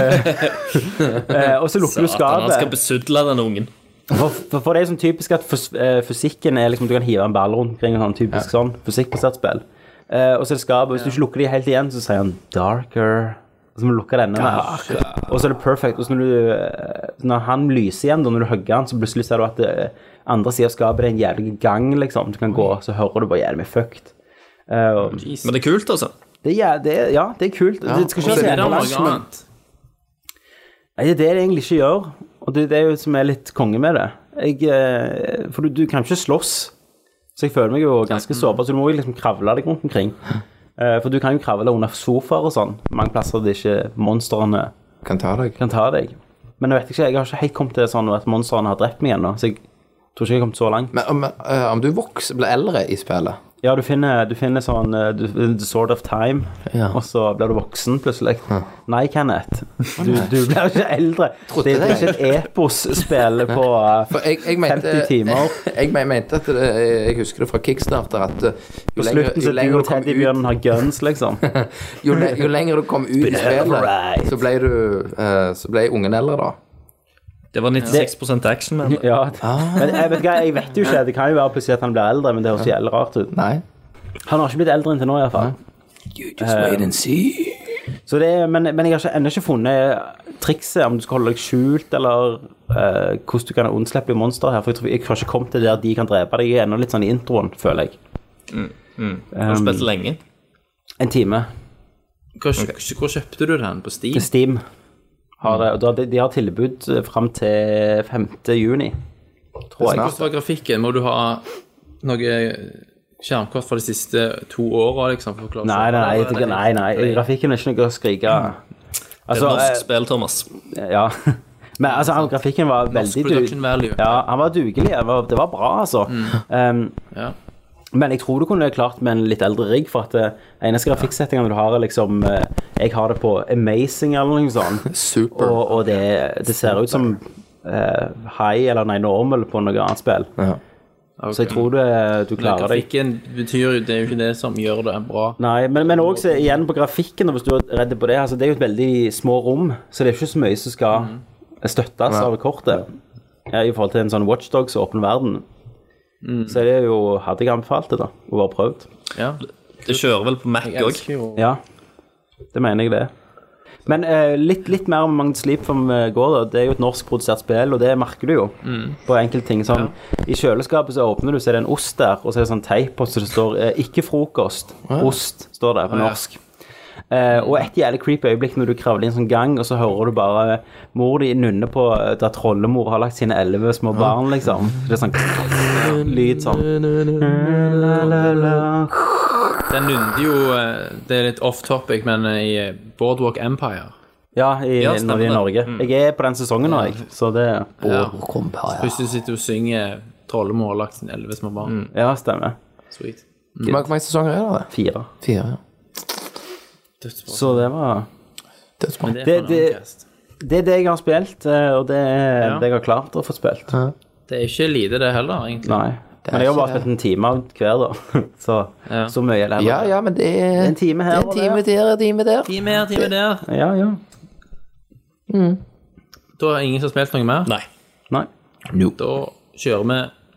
Eh, eh, og så lukker du Satan, han skal skapet. besudle den ungen. For, for, for det er sånn typisk at fys eh, fysikken er liksom Du kan hive en ball rundt omkring. og Sånn, typisk sånn fysikkbasert spill. Eh, og så er det skapet. og Hvis du ikke lukker det helt igjen, så sier han 'darker'. Og så må du lukke denne. Med. Og så er det perfect. Og så når, du, eh, når han lyser igjen, da, når du hugger han, så plutselig ser du at det, andre sida av skapet er en jævlig gang, liksom. Du kan gå, så hører du bare jævlig mye fucked. Eh, og- Men det er kult, altså. det er, jæ- det er, ja, det er kult. Det skal ikke Så være så er det jævla langt, noe men- annet. Nei, Det er det det egentlig ikke gjør. Og det, det er jo som er litt konge med det. Jeg, eh, for du, du kan ikke slåss. Så jeg føler meg jo ganske sårbar, så du må jo liksom kravle deg rundt omkring. Eh, For du kan jo kravle under sofaer og sånn. Mange plasser det ikke monstrene Kan ta deg. kan ta deg. Men jeg vet ikke, jeg har ikke helt kommet til sånn at monstrene har drept meg ennå. Så jeg tror ikke jeg har kommet så langt. Men om, eh, om du vokser, blir eldre i spillet Ja, du finner, du finner sånn eh, du, The Sword of Time, Ja. og så blir du voksen plutselig. Nei, Kenneth. Du, du blir ikke eldre. Trodde Det er det. ikke et epos-spill på eh, For jeg, jeg mente 50 timer. Jeg men- mente at det, Jeg husker det fra Kickstarter at eh, jo På lenger, slutten jo så du lenger du og kom ut teddybjørnen har guns, liksom. jo, le, jo lenger du kom ut i Right. spillet, så ble du eh, Så ble ungen eldre, da. Det var 96 action, men Ja. Ah. Men jeg vet, ikke, jeg vet jo ikke. Det kan jo være plutselig at han blir eldre, men det høres jævlig rart ut. Nei. Han har ikke blitt eldre inntil nå, iallfall. Just Eh, wait and see. Men, men jeg har ikke- ennå ikke funnet trikset, om du skal holde deg skjult, eller eh, hvordan du kan unnslippe monster her. For jeg, tror, jeg har ikke kommet til der de kan drepe deg. Jeg er ennå litt sånn i introen, føler jeg. Har du spilt lenge? En time. Hvor, hvor kjøpte du den? På Steam? På Steam har det. Og da- de- de har tilbud fram til 5. juni, tror jeg. Hvordan var grafikken? Må du ha noe skjermkort fra de siste to åra? Liksom, for å klare Nei, seg? nei, jeg tenker- nei, nei. Grafikken er ikke noe å skrike Det er Altså, et norsk eh, spill, Thomas. ja. Men altså, han, grafikken var veldig du, production value. Ja, han var dugelig. Det var, det var bra, altså. Um, Ja. Men jeg tror du kunne klart med en litt eldre rigg, for at eh, eneste grafikksettingene du har, er liksom eh, Jeg har det på Amazing eller noe sånt, Super. og, og det, det ser ut som eh, High eller Nei Normal på noe annet spill. Ja. Så jeg tror du, eh, du Men klarer deg. Grafikken betyr jo Det er jo ikke det som gjør det bra. Nei, men, men også eh, igjen på grafikken, og hvis du er redd på det altså Det er jo et veldig små rom, så det er ikke så mye som skal støttes av kortet. eh, I forhold til en sånn Watchdogs åpen verden. Så det er jo Hadde jeg anbefalt det, da, og bare prøvd. Ja. Det kjører vel på Mac òg. elsker jo- Ja, det mener jeg det. Men eh, litt, litt mer om Magnus Liv som eh, går. Da. Det er jo et norskprodusert spill, og det merker du jo. Mm. På enkelte ting sånn, I kjøleskapet så åpner du, så er det en ost der, og så er det sånn teip på, så det står eh, 'ikke frokost'. Ost står det på norsk. Eh, og et jævlig creepy øyeblikk når du kravler i en sånn gang, og så hører du bare eh, mor di nunne på eh, der trollemor har lagt sine elleve små barn, liksom. Det er sånn lyd sånn. Den nunner jo eh, Det er litt off topic, men eh, i eh, Boardwalk Empire Ja, i, Ja, stemmer når vi er i det. Mm. Norge. Jeg er på den sesongen nå, jeg, så det ja. Vampire. Plutselig sitter du og synger 'Trollemor har lagt sine elleve små barn'. Ja, stemmer. Sweet. Hvor mange- hvor mange sesonger er det? Fire. Fire. ja. Dødsbra. Så det var Dødsbra. Men det er Det- for en det- annen cast. Det er det jeg har spilt, eh, og det er det jeg har klart å få spilt. Det er ikke lite, det heller, egentlig. Nei. er Men jeg har bare ikke det. spilt en time av hver, da. Så, så mye er det Ja, ja, men det er En time her det er en og time der, en time der. Time her, time der. Ja, ja. Da er ingen som har spilt noe mer. Nei. Nei. Da kjører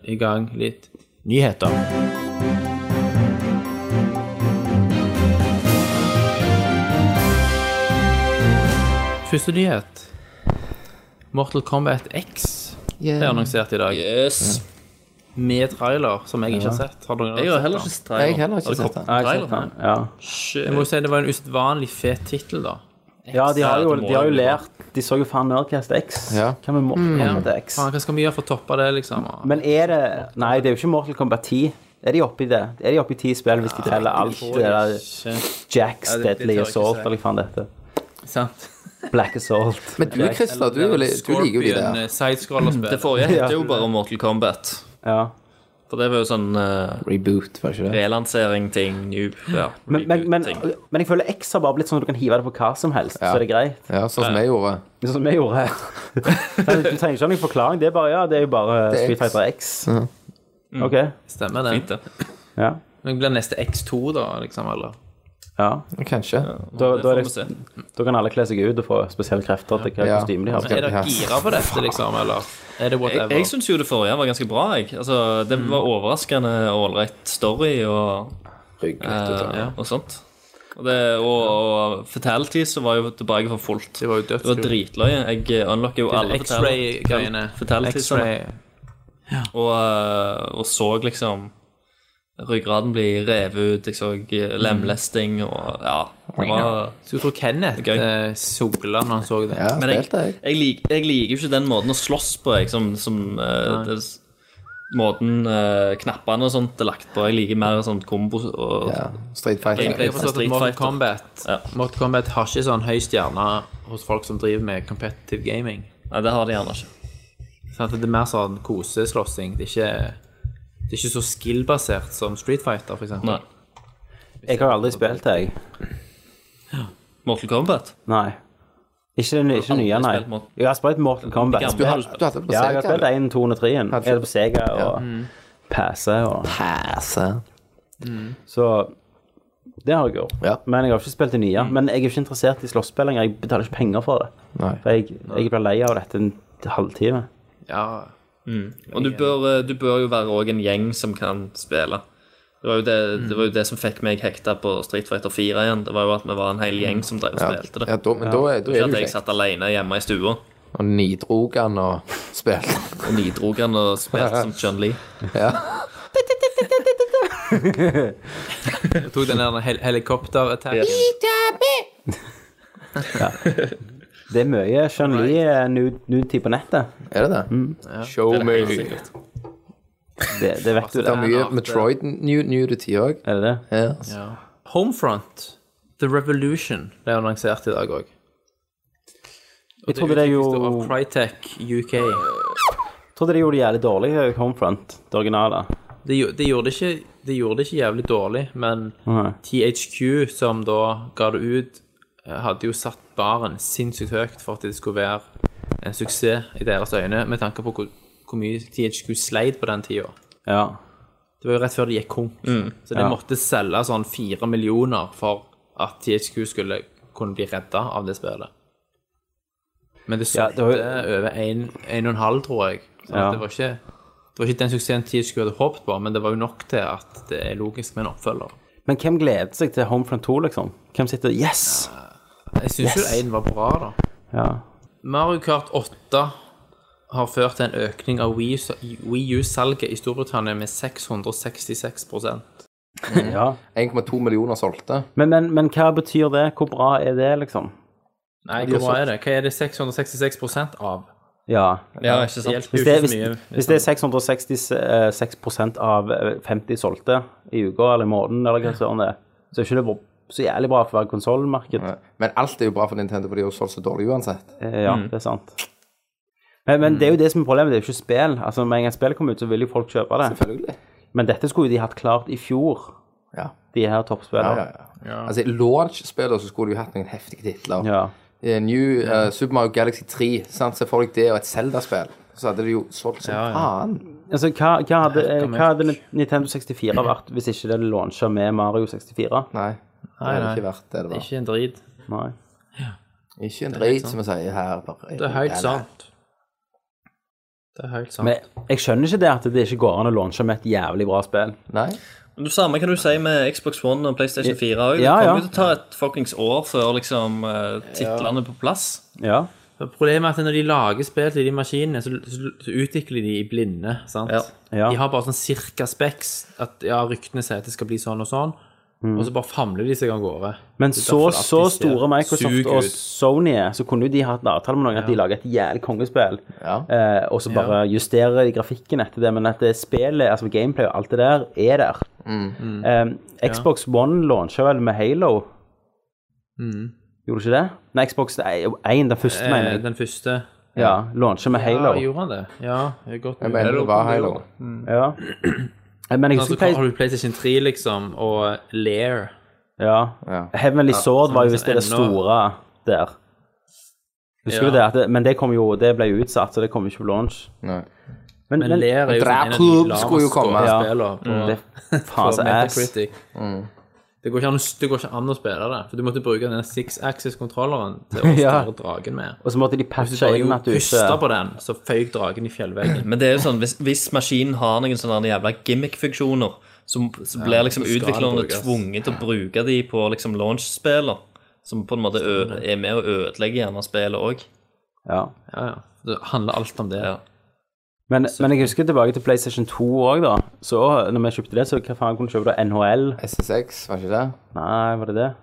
vi i gang litt nyheter. Første nyhet. Mortal Kombat X er annonsert i dag. Yes. Med trailer, som jeg ikke har sett. Har noen Jeg har sett heller den? ikke sett Nei, trailer. jeg har heller ikke Har det sett kommet Ja, jeg trailer? har sett den. Ja. Jeg må jo si det var en usedvanlig fet tittel, da. ja, de har jo, det må de har jo jeg. lært De så jo faen Nerdcast X. Ja. Mm. Hva med Mortal Kombat X? Faen, hva skal vi gjøre for å toppe det, liksom? Men er det Nei, det er jo ikke Mortal Kombat 10. Er de oppi det? Er de oppi ti spill hvis Ah, de teller alt det der Jacks, Ja, det- det Deadly tør jeg ikke Assault, si. eller hva faen det heter? Sant? Black Assault. Men du, Christer, du, er jo li- du liker jo de der. Scorpion, eh, sidescroller-spill. Det forrige heter jo bare Mortal Kombat. Ja. For det var jo sånn eh, Reboot, var det ikke det? relansering-ting. New ja, Men, men, men, reboot-ting. men jeg føler X har bare blitt sånn at du kan hive det på hva som helst, så er det greit. Ja, sånn som jeg gjorde. Det er sånn vi gjorde her. Du trenger ikke ha noen forklaring. Det er bare, ja, det er jo bare Det er Street X. Fighter X. Ja. Ok. Stemmer det. Fint, det. Ja. Men blir neste X2, da, liksom? Eller? ja. Kanskje. Da, Det da, får er vi det, se. da kan alle kle seg ut og få spesielle krefter til hva Ja. kostyme de har. Er dere gira på dette, liksom? Eller er det Jeg, whatever? jeg syns jo det forrige var ganske bra. Jeg. Altså, Mm. det var overraskende og ålreit story og, eh, og sånt. Og, det, og, og Fatalities var jo tilbake for fullt. det var jo Det var dødskult. dritløye. Jeg unlocka jo alle X-ray-greiene. Fatalities-ene. X-ray. sånn, Og, eh, og så liksom ryggraden bli revet ut. Jeg så eh, lemlesting og ja. det var- Skulle tro Kenneth Gøy. eh, sola når han så det. Ja, Men jeg, spilte jeg. jeg, lik, jeg liker jo ikke den måten å slåss på, jeg, som, som eh, det, s- Måten eh, knappene og sånt er lagt på. Jeg liker mer sånn kombo og Ja. Street Fighter. Egentlig. Jeg har forstått Street at Mortal Fighter. Kombat, Ja. Mortal Kombat har ikke sånn høy stjerne hos folk som driver med competitive gaming. Nei, det har de gjerne ikke. Sånn at det er mer sånn koseslåssing. Det er ikke, det er ikke så skill-basert som Street Fighter, for eksempel. Nei. Jeg har aldri spilt det, jeg. Mortal Kombat? Nei. Ikke den ikke den nye, nei. spilt Mortal- Jeg har spilt Mortal Kombat. gamle. Du har- du hadde det på Ja, jeg har spilt Sega. 1, 2 og 3. Jeg Hadde er på Sega og Passe og Passe. Så det har jeg gjort. Ja. Men jeg har ikke spilt det nye. Men jeg er ikke interessert i slåsspill lenger. Jeg betaler ikke penger for det. Nei. For jeg, jeg blir lei av dette en halvtime. Ja, Og du bør, eh, du bør jo være òg en gjeng som kan spille. Det var, jo det, det var jo det som fikk meg hekta på Street Fighter 4 igjen. Det var jo at vi var en hel gjeng som drev og Mm. Ja, spilte det. ja da, men da er, da Ikke er at du jeg kjekk. satt alene hjemme i stua Og nidrog han og spilte. og nidrog han og spilte som Chun-Li. Ja. Jeg tok den der hel helikopterattacken. Det er mye Sean Lee eh, nude-tid på nettet. Er det det? Show Det er me. helt sikkert. Det, det vet du, Altså, Det det. er mye Metroid nu- nudity òg. Er det det? Yes. Homefront, The Revolution, ble annonsert i dag òg. Jeg trodde det, jo, Av Crytek UK. trodde det gjorde det jævlig dårlig, eh, Homefront, det originale. Det, gjo- det, gjorde det ikke, det gjorde det ikke jævlig dårlig, men Nei. THQ, som da ga det ut, eh, hadde jo satt baren sinnssykt høyt for at det skulle være en suksess i deres øyne, med tanke på hvor, hvor mye THQ sleit på den tida. Ja. Det var jo rett før det gikk konk. Så det Mm. Ja. måtte selge sånn fire millioner for at THQ skulle kunne bli redda av det spillet. Men det Ja, solgte det var jo- over en- en og en halv, tror jeg. Så Ja. det, var ikke, det var ikke den suksessen THQ hadde håpet på, men det var jo nok til at det er logisk med en oppfølger. Men hvem gleder seg til Homefront 2, liksom? Hvem sitter Yes! Jeg syns jo Yes. én var bra, da. Ja. Mario Kart 8 har ført til en økning av Wii U- Wii U-salget i Storbritannia med 666 ja. 1,2 millioner solgte. Men, men, men hva betyr det? Hvor bra er det, liksom? Nei, hvor bra er det? Hva er det 666 av? Ja. Ja, ikke sant? Hvis det, hvis, hvis det er 666 eh, av eh, 50 solgte i uka eller i måneden, eller hva søren det er, så er ikke det bra- så jævlig bra for å være konsollmarked. Men alt er jo bra for Nintendo, for de har jo solgt så dårlig uansett. Eh, Ja, det er sant. Men, men det er jo det som er problemet, det er jo ikke spill. Altså, Med en gang spillet kom ut, så vil jo folk kjøpe det. Selvfølgelig. Men dette skulle jo de hatt klart i fjor, Ja. de her Ja, ja, toppspillene. ja. Altså, i launch-spillet så skulle de jo hatt noen heftige titler. Ja. Eh, New eh, Super Mario Galaxy 3, sant? se for deg det, og et Zelda-spill. Så hadde de jo solgt som faen. Altså, hva, hva, hadde, eh, hva hadde Nintendo 64 vært hvis ikke det hadde launchet med Mario 64? Nei. Det hadde ikke vært det det var. Ikke en drit. Nei. Ikke en drit, som vi sier her. Bare, Det er helt sant. Det er helt sant. Men jeg skjønner ikke det at det ikke går an å launche med et jævlig bra spill. Nei. Men Det samme kan du si med Xbox One og PlayStation 4 òg. Ja, Det ja. kommer jo til å ta et fuckings år før liksom, eh, titlene er på plass. Ja. Problemet er at når de lager spill til de maskinene, så, så, så utvikler de i blinde. sant? Ja. Ja. De har bare sånn cirka speks. At ja, ryktene sier at det skal bli sånn og sånn. Mm. Og så bare famler de seg av gårde. Men Det er så, derfor det alltid så ser store Microsoft sug og ut. Sony er, så kunne jo de hatt en avtale med noen at de lager et jævlig kongespill, eh, og så bare justerer de grafikken etter det, men at det spillet, altså gameplay og alt det der, er der. Mm. Eh, Xbox One launcha vel med Halo? Gjorde ikke det? Nei, Xbox 1, den første, mener Eh, jeg. Den første Ja, launcha med Halo. Ja, gjorde han det? Ja, det er godt Jeg mener det var Halo. Ja. Eh, Men jeg Altså, husker hva- Play- har du PlayStation 3, liksom, og Lair ja. Heavenly Sword var jo visst det ennå- store der. Husker Ja. du det? At det? Men det, kom jo, det ble jo utsatt, så det kom ikke på launch. Nei. Men, Men Lair er jo sånn en av de Dracula lavest skulle jo komme. skårende Ja. spillene på Mm. det faen så på ass. Mm. Metacritic. mm. Det går, ikke an, å- det går ikke an å spille det, for du måtte bruke den six-axis-kontrolleren til å styre Ja. dragen med. Og så måtte de Hvis du patche bare inn jo at du pusta ikke på den, så føyk dragen i fjellveggen. Men det er jo sånn, hvis, hvis maskinen har noen sånne jævla gimmick-funksjoner, så, så blir liksom så skal utviklerne den brukes. tvunget til å bruke de på liksom, launch-spiller. Som på en måte ø Mm. er med å ødelegge gjerne spillet òg. ja. Ja, ja. Det handler alt om det. Ja. men, men jeg husker tilbake til PlayStation 2 òg, da. Så når vi kjøpte det, så hva faen kunne vi kjøpe da? NHL? SSX, var ikke det? Nei, var det det?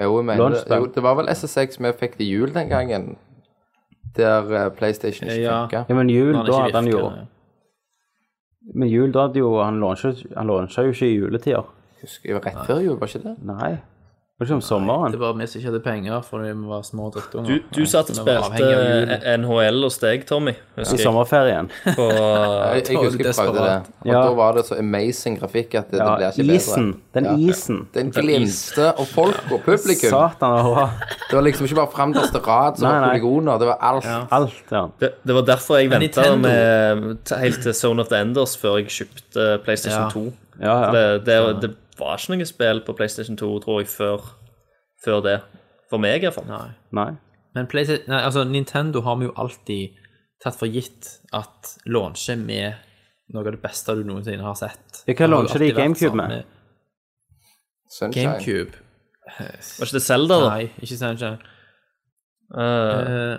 Jo, jeg mener det. Launchpad. Jo, det var vel SSX vi fikk til jul den gangen. Der eh, PlayStation ikke Ja. funka. Ja, men jul, Når den da ikke hadde han jo virker, ja. Men jul, da hadde jo Han launchet- han launchet jo ikke i juletider. Husker jeg var rett før jul, var ikke det? Nei. Var ikke om Det sommeren. var vi som ikke hadde penger fordi vi var små drittunger. Du, du satt og Vi var spilte avhengig av julen. eh, NHL og steg, Tommy, I husker jeg. sommerferien. På, eh, Jeg, jeg var husker jeg prøvde det. desperat. Og Ja. da var det så amazing grafikk at det, det Ja, blir ikke isen. bedre. Den Ja. isen. Den glinste, og folk og publikum. Satan, det var Det var liksom ikke bare fremderste rad som Nei, var nei. polygoner, det var alt. alt, ja. det, det var derfor jeg venta Nintendo- med t- helt til Zone of the Enders før jeg kjøpte eh, PlayStation Ja. 2. Ja, ja. Det, det, det var ikke noe spill på PlayStation 2, tror jeg, før, før det. For meg, iallfall. Nei. Men PlayStation, nei, altså Nintendo har vi jo alltid tatt for gitt at launcher med noe av det beste du noensinne har sett. Ja, hva Det har jo launcher de alltid vært GameCube sånn med? Sunshine. GameCube. Var ikke det Zelda, da? Nei, ikke Sunshine. Eh, Eh,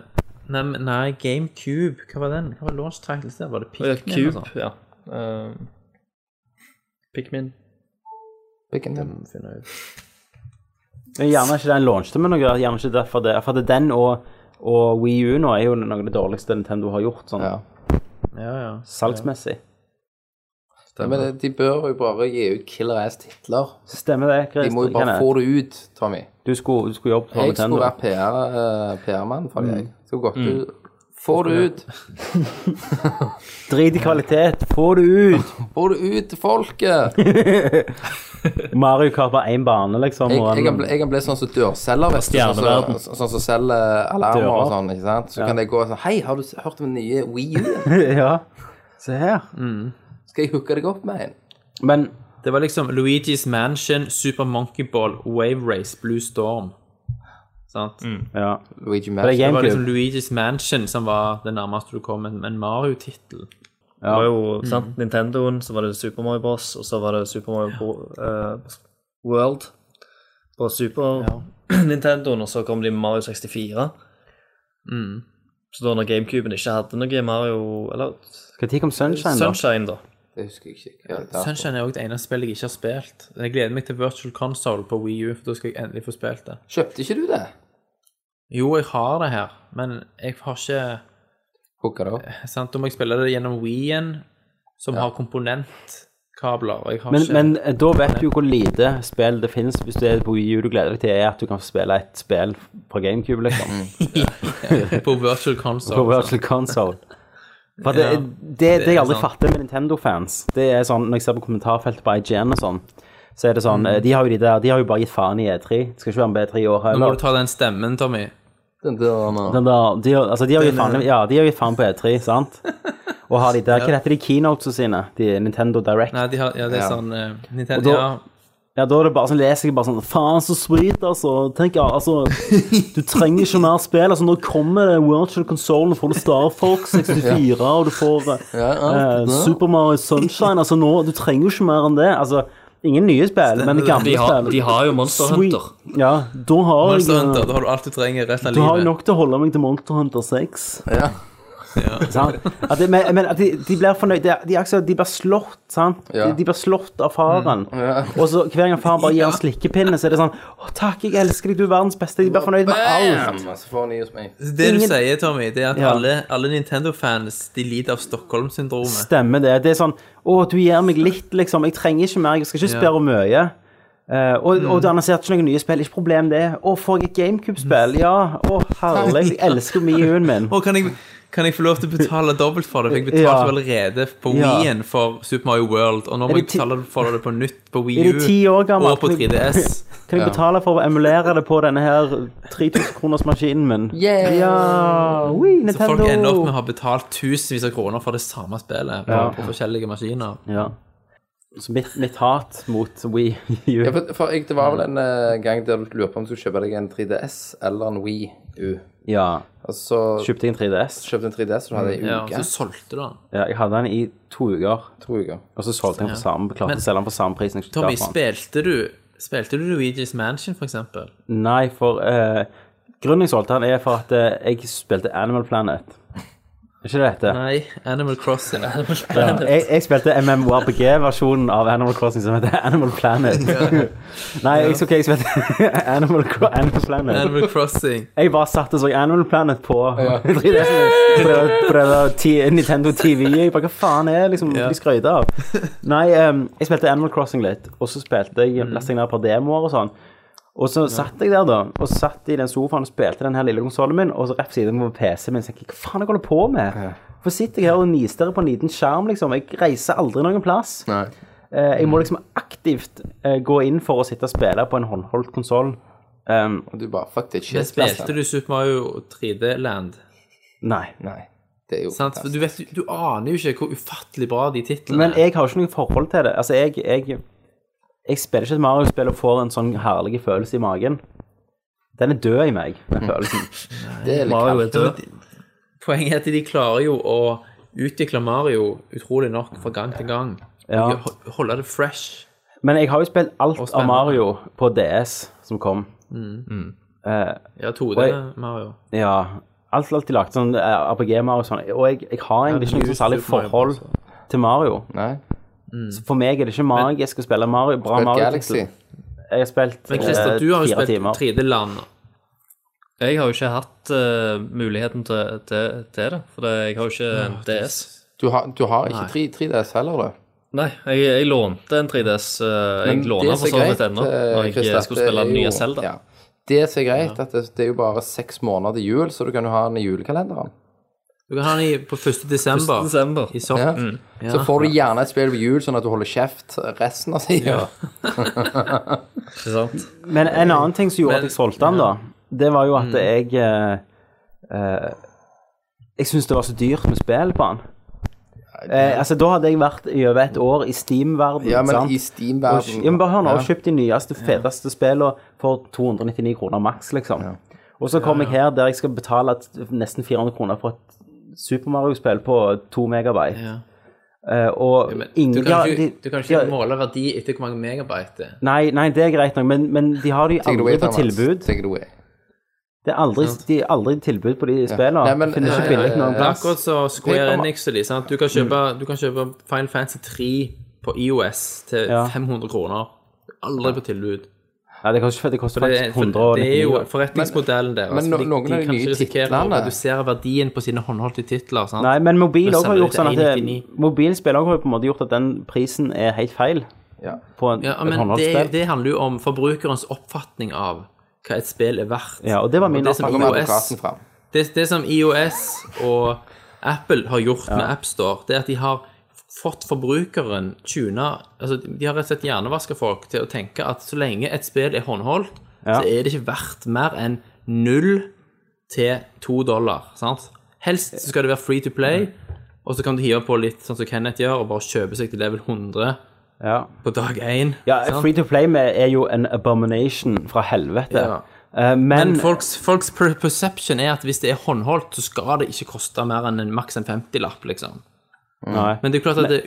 nei, men- nei, GameCube. Hva var den? Hva var launch titles der? Var det ja, Pikmin? Cube, og sånn? ja. Eh, Pikmin. Pikken din. Mm, Finner ut. Men Gjerne ikke den launchet med noe, gjerne ikke derfor det. For det er den og, og Wii U nå er jo noe av det dårligste Nintendo har gjort, sånn Ja, ja. salgsmessig. Men det- de bør jo bare gi ut killer ass-titler. Stemmer det, Chris? De må jo bare få det ut, Tommy. Du skulle, du skulle jobbe på Jeg skulle Nintendo. være eh, PR-mann for deg. jeg. Mm. Skulle gått ut. Få det ut! Drit i kvalitet, få det ut! Få det ut til folket! Mario Kart var én bane, liksom. Jeg, og en- jeg, kan bli, jeg kan bli sånn som dørselger, vet du. Sånn som Stjerneverden. så, sånn som selger alarmer og Dører. sånn. ikke sant? Så kan jeg gå og sånn Hei, har du s- hørt om den nye Wii U? ja. Se her. Skal jeg hooke deg opp med en? Men Det var liksom Luigi's Mansion, Super Monkey Ball, Wave Race, Blue Storm. Sant? Ja. Luigi For det Match. er Det var liksom GameCube. Luigi's Mansion som var det nærmeste du kom en, en Mario-tittel. Det var jo sant, Nintendoen, så var det Super Mario Bros, og så var det Super Mario Bro- eh, World på Super Nintendoen, og så kom de med Mario 64. Så da når GameCuben ikke hadde noe Mario Eller Når kom Sunshine, da? Sunshine, da. Det husker jeg ikke. Ja, det er derfor. Sunshine er også det eneste spillet jeg ikke har spilt. Jeg gleder meg til Virtual Console på Wii U, for da skal jeg endelig få spilt det. Kjøpte ikke du det? Jo, jeg har det her, men jeg har ikke Hooka det opp? Eh, sant? Da må jeg spille det gjennom Wii-en, som har komponentkabler. og Jeg har Men, ikke men eh, da vet du jo hvor lite spill det finnes hvis du er på Wii U du gleder deg til, er at du kan spille et spill fra GameCube, liksom. på Virtual På Console. sant? Virtual Console. For det, det, det, jeg aldri fatter med Nintendo-fans, det er sånn når jeg ser på kommentarfeltet på IGN og sånn, så er det sånn eh, De har jo de der, de har jo bare gitt faen i E3. Det skal ikke være med på E3 i Nå år må heller. du ta den stemmen, Tommy. Den der nå. Den der, de, har- altså, de har gitt faen, ja, de har gitt faen på E3, sant? Og har de der Hva heter de keynotes sine? De Nintendo Direct? Nei, de har, ja, det er Ja. sånn eh, Nintendo, Og da- ja. Ja, da er det bare sånn, leser jeg bare sånn Faen, så sweet, altså. Tenk, ja, altså Du trenger ikke mer spill. Altså, nå kommer det Virtual Console, nå får du Star Fox 64, og du får eh, Ja, alt eh, det der. Super Mario Sunshine. Altså, nå Du trenger jo ikke mer enn det. Altså, ingen nye spill, men gamle De har, spill. de har jo Monster Sweet. Hunter. Ja, da har Monster jeg Hunter, eh, da har du alt du trenger resten av da har jeg livet. nok til å holde meg til Monster Hunter 6. Ja. Sant? At det, men men at de, de blir fornøyd. De, de, er ikke så- de blir slått, sant? Ja. De, de blir slått av faren. Og så hver gang faren bare gir en slikkepinne, så er det sånn Å, takk, jeg elsker deg, du er verdens beste. De blir fornøyd med alt. Bam! Så får han i hos meg. Det du Ingen- sier, Tommy, det er at Ja. alle, alle Nintendo-fans de lider av Stockholm-syndromet. Stemmer det. Det er sånn Å, du gir meg litt, liksom. Jeg trenger ikke mer. Jeg skal ikke spørre om mye. Eh, og, Mm. og du annonserte ikke noen nye spill. Ikke problem, det. Å, får jeg et GameCube-spill? Ja. Å, herlig. Jeg elsker Miuen min. Å, kan jeg, kan jeg få lov til å betale dobbelt for det? For jeg betalte Ja. jo allerede på Ja. Wii-en for Super Mario World, og nå Er må det jeg ti- betale for det på nytt på Er Wii det U ti år gammel? og på 3DS. Kan jeg betale for å emulere det på denne her 3000-kronersmaskinen min? Ja! Ui, Så folk Nintendo! ender opp med å ha betalt tusenvis av kroner for det samme spillet på, Ja. på forskjellige maskiner. Ja. Så mitt, mitt hat mot Wii U Ja, for, for jeg, det var vel en eh, gang der du lurte på om du skulle kjøpe deg en 3DS eller en Wii U. Altså, Ja. Og så Kjøpte jeg en 3DS. kjøpte en 3DS, og du Mm, hadde en Ja, og uke. så solgte du den. Ja, jeg hadde den i to uker, To uker. og så solgte jeg den for samme, klarte Men- å selge den for samme pris. som jeg Tommy, kjøpte den for. spilte du, spilte du Luigi's Mansion, for eksempel? Nei, for eh, grunnen jeg solgte den, er for at eh, jeg spilte Animal Planet. Er ikke det dette? Nei, Animal Crossing. Ja. Jeg, jeg spilte MMORPG-versjonen av Animal Crossing som heter Animal Planet. Nei, jeg, ok, jeg spilte Animal, Cro- Animal Planet. Animal Crossing. Jeg bare satt og så Animal Planet på 3DS. På det, på det der ti- Nintendo TV. Jeg bare, Hva faen er liksom, de skrøyter av? Nei, em, jeg spilte Animal Crossing litt, og så spilte jeg lastet jeg ned et par demoer og sånn. Og så satt jeg der, da, og satt i den sofaen og spilte den her lille konsollen min, og så rett siden på PC-en min, så tenkte jeg, hva faen jeg holder på med? Hvorfor sitter jeg her og nistirrer på en liten skjerm, liksom? Jeg reiser aldri noen plass. Nei. Eh, jeg må liksom aktivt eh, gå inn for å sitte og spille på en håndholdt konsoll. Em, Og du bare Fuck, det er Men shit. spilte nesten. du Super Mario 3D Land? nei. Nei. Det er jo Sant? For du, vet, du aner jo ikke hvor ufattelig bra de titlene Men jeg har jo ikke noe forhold til det. Altså, jeg, jeg, jeg spiller ikke et Mario-spill og får en sånn herlig følelse i magen. Den er død i meg, Mm. den følelsen. Det er litt Mario kaldt. er død. Poenget er at de klarer jo å utvikle Mario utrolig nok fra gang til gang. Ja. Og ho- Holde det fresh. Men jeg har jo spilt alt Og av spennende. Mario på DS som kom. Ja, Og 2D jeg- Mario. Ja, alt, alt de lagde, sånn eh, RPG-Mario og sånn. Og jeg, jeg har egentlig ikke noe særlig forhold til Mario. Nei. Så for meg er det ikke magisk å spille Mario. Bra Spilt Mario. Galaxy. Jeg har spilt Men Christer, du har jo fire spilt timer. 3D-land. Jeg har jo ikke hatt eh, muligheten til, til, til det, for det, jeg har jo ikke en DS. Du har, du har ikke 3, 3DS heller, du. Nei, jeg, jeg lånte en 3DS. eh, Men jeg låner det som er for så vidt greit, ennå, eh, når jeg Christer, skulle det spille er den nye jo- Zelda. ja. Det som er greit, at det, det er jo bare seks måneder til jul, så du kan jo ha den i julekalenderen. Du kan ha den i- på 1. desember. 1. desember. I sopp. Ja. Mm, Så Ja. får du gjerne et spill på jul, sånn at du holder kjeft resten av tida. Ikke sant? Men en annen ting som gjorde at jeg solgte den, da, det var Mm. jo at jeg eh, eh, Jeg syntes det var så dyrt med spill på den. Eh, altså, da hadde jeg vært i over et år i Steam-verden. Ja, men sant? Og kj- ja, i men Steam-verdenen bare hør nå, Ja. og kjøpt de nyeste, feteste spillene for 299 kroner maks, liksom. Og så kom jeg her der jeg skal betale t- nesten 400 kroner for et Super Mario-spill på 2 megabyte. Eh, og Men ingen du kan ikke, de- du kan de ikke har- måle verdi etter hvor mange megabyte det er. Nei, nei, det er greit nok, men, men de har de Take it away, aldri på Thomas. tilbud. Take it away. Det er aldri, de er aldri tilbud på de spillene. Nei, men- eh, Finner nei, ikke billig nei, noen nei, Det er plass. akkurat som Square Det kommer- Enix og de. Sant? Du, kan kjøpe, du kan kjøpe Final Fantasy 3 på IOS til Ja. 500 kroner. Aldri på tilbud. Nei, det koster, det koster For det, er- faktisk for 199 det er jo kroner. forretningsmodellen deres. men for no- de- noen av de de kan nye ikke risikere å titlene- redusere verdien på sine håndholdte titler. Sant? Nei, men mobil Men også har selger gjort det til sånn at det, 199. mobilspill også har jo på en måte gjort at den prisen er helt feil Ja. på en, Ja, et men det, håndholdsspill. det handler jo om forbrukerens oppfatning av hva et spill er verdt. Ja, og det var min det som Nå kommer iOS advokaten fram. det, det som IOS og Apple har gjort med AppStore, det er at de har fått forbrukeren tuna altså De har rett og slett hjernevaska folk til å tenke at så lenge et spill er håndholdt, Ja. så er det ikke verdt mer enn null til to dollar. sant? Helst så skal det være free to play, og så kan du hive på litt sånn som Kenneth gjør, og bare kjøpe seg til level 100 Ja. på dag én. ja, sant? Free to play med er jo en abomination fra helvete. Ja. Eh, men, Men folks, folks per- perception er at hvis det er håndholdt, så skal det ikke koste mer enn en, maks en 50-lapp, liksom. Nei. Men det er klart at det-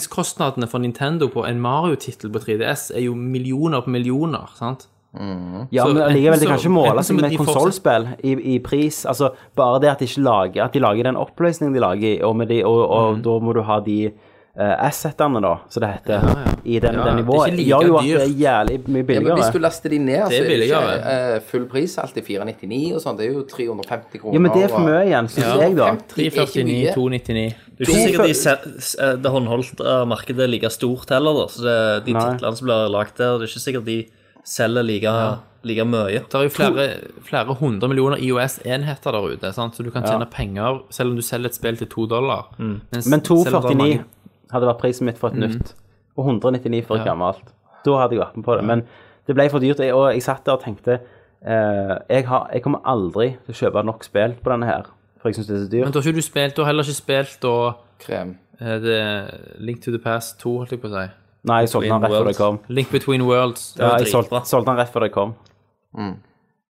utviklingskostnadene for Nintendo på en Mario-tittel på 3DS er jo millioner på millioner, sant? Mm. ja, så men enten allikevel, det kan så- ikke måle enten så seg må med de et fortsette- konsollspill i, i pris. Altså, bare det at de, ikke lager, at de lager den oppløsningen de lager, og, med de, og, Mm. og da må du ha de eh, assetene, da, som det heter, i den, Ja, den ja. nivået, Det er ikke like gjør jo at det er dyrt. jævlig mye Ja, men billigere. hvis du laster de ned, så er det ikke billigere. eh, full pris alltid 499 og sånn. Det er jo 350 kroner. Ja, men det er for og- mye igjen, syns jeg, da. 50 er ikke mye. 299. Det er ikke sikkert de se- s- eh, det håndholdte markedet er like stort heller, da. Så det, de Nei. titlene som blir lagd der, det er ikke sikkert de selger like, like mye. Det er jo flere, flere hundre millioner IOS-enheter der ute, sant? så du kan tjene penger selv om du selger et spill til to dollar. Mens Mm. Men selv om det er 249 mange- Mm. hadde vært prisen mitt for et nytt. Og 199 for et gammelt. Da hadde jeg vært med på det. Men det ble for dyrt. jeg- Og jeg satt der og tenkte eh, jeg, har, jeg kommer aldri til å kjøpe nok spill på denne her, for jeg syns det er så Men dyrt. da har ikke du spilt, du har heller ikke spilt da Krem. eh, det- Link to the Past 2, holdt jeg på å si. Nei, jeg solgte den rett før det kom. Link Between Worlds. Mm. Det Ja, var jeg solgte, dritbra. solgte den rett før det kom.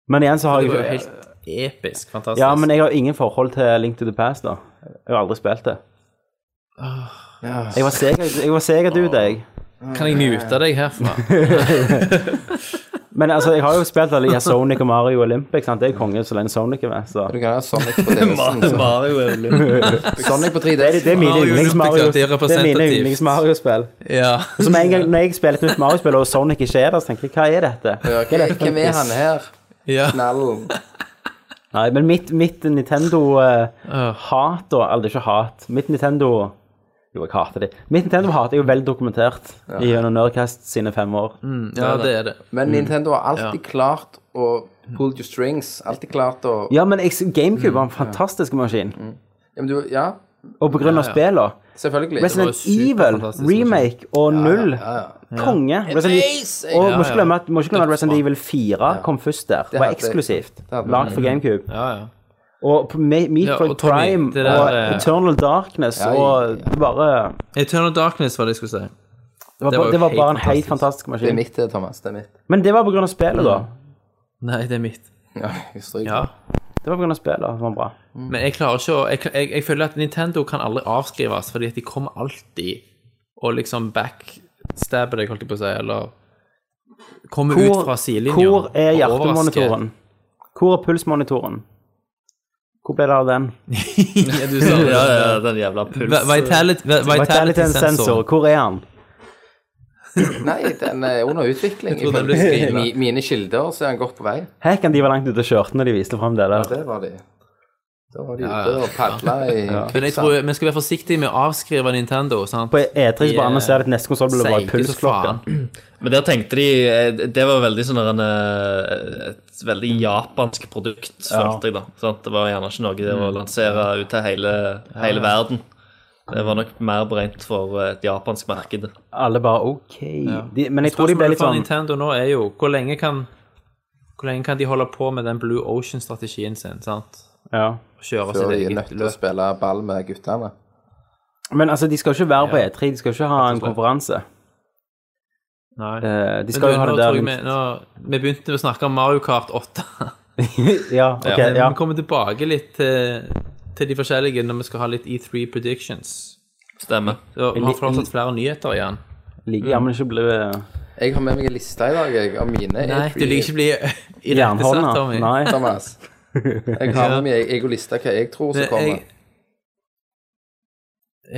Men igjen så har jo jeg helt episk. Fantastisk. Ja, men jeg har ingen forhold til Link to the Past, da. Jeg har aldri spilt det. Ah, Jeg var sega- jeg var Sega-dude, jeg. Kan jeg mute deg herfra? Men altså, jeg har jo spilt alle de her Sonic og Mario Olympic, sant? Det er konge så lenge Sonic er med, så Du kan ha Sonic på DS-en. så- Mario er jo litt- Sonic på Det er, 3DS. det er mine Mario Olympic, yndlings-Mario ja, det Det er er mine representativt. yndlings-Mario-spill. ja. Så med en gang når jeg spiller et nytt Mario-spill, og Sonic ikke er der, så tenker jeg, hva er dette? Ja, ok, Hvem er han her? ja. Knallen. Nei, men mitt, mitt Ah. Nintendo-hat, da, eller ikke hat, mitt Nintendo... Jo, jeg hater det. Mitt Nintendo-hat er jo vel dokumentert i gjennom Nerdcast sine fem år. Mm. ja, det er det. Men Nintendo har alltid klart å pull your strings. Alltid klart å Ja, men jeg- Mm. Gamecube var en fantastisk maskin. Ja, men du, ja Og på grunn av spillene. selvfølgelig. Resident jo Sånn Evil, superfantastisk altså. remake og null. Konge. Resident, E- og må ikke glemme at, må ikke glemme at Resident Evil 4 kom først der. Det var hadde- eksklusivt. hadde- Lagd for GameCube. Ja, ja. Og på Me- Meat Ja, for og Tommy, Prime det der, og eh, Eternal Darkness Ja, ja, og det bare Eternal Darkness var det jeg skulle si. det var, Det bare- var jo det var helt bare en helt fantastisk. fantastisk Det er maskin. mitt, det, Thomas. Det er mitt. Men det var på grunn av spillet, da. Mm. Nei, det er mitt. Ja, jeg stryker. Ja. Det var på grunn av spillet. Det var bra. Men jeg klarer ikke å jeg, jeg, jeg føler at Nintendo kan aldri avskrives, fordi at de kommer alltid og liksom backstabber deg, holdt jeg på å si, eller kommer ut fra sidelinja. hvor er og overrasker. hjertemonitoren? Hvor er pulsmonitoren? Hvor ble det av den? ja, du sa det. Ja, ja, den jævla puls... Vitality- vi- Vitality-sensor. Hvor er han? Nei, den er under utvikling. tror den ble Ifølge screena. mi- mine kilder så er han godt på vei. Hekken, de var langt ute og kjørte når de viste frem det der. Det var de. Da var de Ja, ute ja. og padla i Men jeg tror vi skal være forsiktige med å avskrive Nintendo. sant? På E3 E- så bare annonserer de at neste konsoll blir bare Seige som pulsklokka. faen. Men der tenkte de eh, Det var veldig sånn der en, eh, et veldig japansk produkt, følte jeg, da. Sant? Det var gjerne ikke noe det å lansere ut til hele, hele verden. Det var nok mer beregnet for eh, et japansk marked. Alle bare OK. De, men jeg tror de ble Spørsmålet litt for sånn Nintendo nå er jo hvor lenge kan hvor lenge kan de holde på med den Blue Ocean-strategien sin? sant? ja. Og Kjøre Så sitt de er nødt eget til å løp. spille ball med guttene. Men altså, de skal jo ikke være på E3, de skal jo ikke ha en konferanse. Nei. Eh, De Men skal du, jo ha nå det tror jeg vi, der nå, vi begynte å snakke om Mario Kart 8. Ja, ok, ja. Vi kommer tilbake litt til, til de forskjellige når vi skal ha litt E3 predictions. Stemmer. Så, vi En har liten- fortsatt flere nyheter igjen. Liker jammen ikke å bli eh, Jeg har med meg en liste i dag jeg, av mine Nei, du liker ikke å bli irettesatt, jernhånda. Tommy. Nei. Thomas. Jeg har med meg jeg, jeg og lista hva jeg tror som Men kommer. jeg-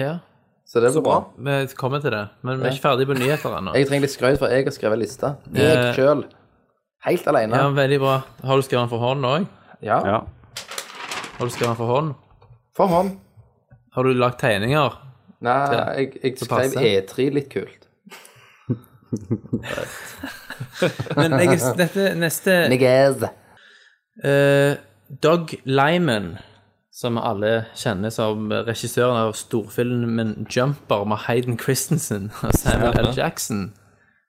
Ja, Så det blir bra. vi kommer til det. Men vi er ikke ferdig på nyheter ennå. Jeg trenger litt skrøyt, for jeg har skrevet liste. Jeg Eh. sjøl. Helt alene. Ja, veldig bra. Har du skrevet den for hånd òg? Ja. Ja. Har du skrevet den for hånd? For hånd. Har du lagt tegninger? Nei, jeg, jeg skrev passer. E3 litt kult. Men jeg, dette neste Niggas. eh, Doug Lyman, som vi alle kjenner som regissøren av storfilmen 'Jumper' med Hayden Christensen og Samuel L. Jackson,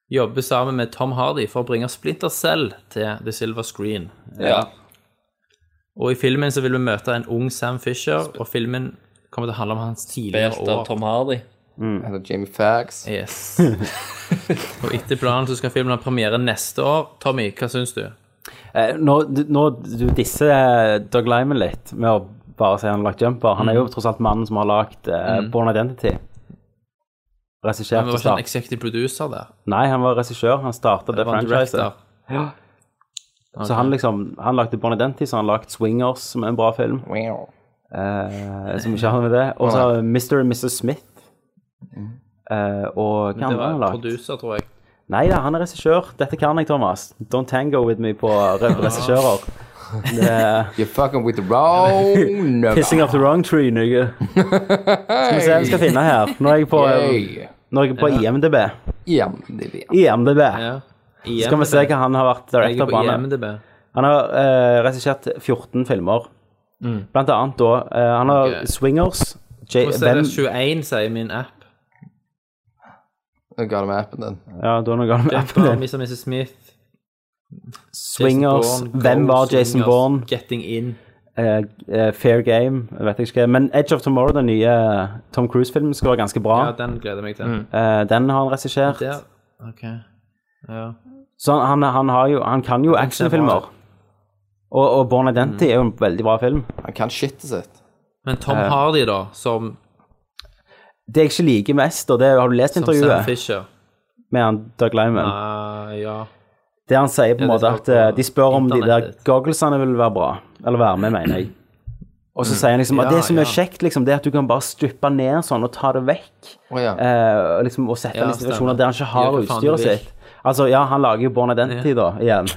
jobber sammen med Tom Hardy for å bringe Splinter Cell til The Silver Screen. Ja. Og i filmen så vil vi møte en ung Sam Fisher, og filmen kommer til å handle om hans tidligere Spilt av år. Tom Hardy. Eller Jamie Fax. Yes. og etter planen så skal filmen ha premiere neste år. Tommy, hva syns du? Eh, Nå, du- nå du disser eh, Doug Lyman litt med å bare si han har lagt jumper. Han er Mm. jo tross alt mannen som har lagd eh, Born Identity. Regissert Han og var ikke en startet executive producer der. Nei, han var regissør. Han startet det Han var en director. franchiset. Så han liksom, han lagde Born Identity, så han har lagd Swingers, som er en bra film. Wow. Eh, som ikke har noe med det. Og så har Mr. og Mrs. Smith. Eh, og hva Mm. Det andre har var han lagd? producer, tror jeg. Nei da, han er regissør. Dette kan jeg, Thomas. Don't tango with me på re- regissører. Det er You're fucking with the wrong number. Pissing up the wrong tree, nigga. Skal vi se hva vi skal finne her. Nå er jeg um, på, eh, Yay. nå er jeg på IMDb. Ja, det er det. IMDb. Ja. Skal vi se hva han har vært Jeg er director på på. Han, IMDb. han har eh, regissert 14 filmer. Blant annet da eh, Han har Mm. Ok. Swingers. J Og så er ben, det 21, sier min app. Nå ga det med appen din. ja, da er noe galt med appen Jumper, din. Mr. Mrs. Smith, Swingers. Jason Bourne, Hvem Go, var Jason Swingers, Bourne? Getting In. Eh, eh, Fair Game. jeg Vet ikke hva. Men Edge of Tomorrow, den nye eh, Tom Cruise-filmen, skal være ganske bra. Ja, den gleder jeg meg til. Eh, den har han regissert. Der. Ok. Ja. Så han, han, han, har jo, han kan jo actionfilmer. Og, og Born Identity er jo en veldig bra film. Han kan shitet sitt. Men Tom Eh. Hardy, da, som, Det jeg ikke liker mest, og det har du lest som Sam intervjuet Fisher med han Doug Lyman, Ah, Ja. det han sier på en Ja, det måte skal at eh, på de spør om de der internettet. gogglesene vil være bra, eller være med, mener jeg. Og så sier han liksom at Mm. Ja, det som ja. er kjekt, liksom, det er at du kan bare strippe ned sånn og ta det vekk. Å ja. eh, og liksom, og sette Ja, han i situasjoner stemmer. der han ikke har Gjør hva faen du utstyret vil. sitt. Altså, ja, han lager jo Born Identity, da, igjen.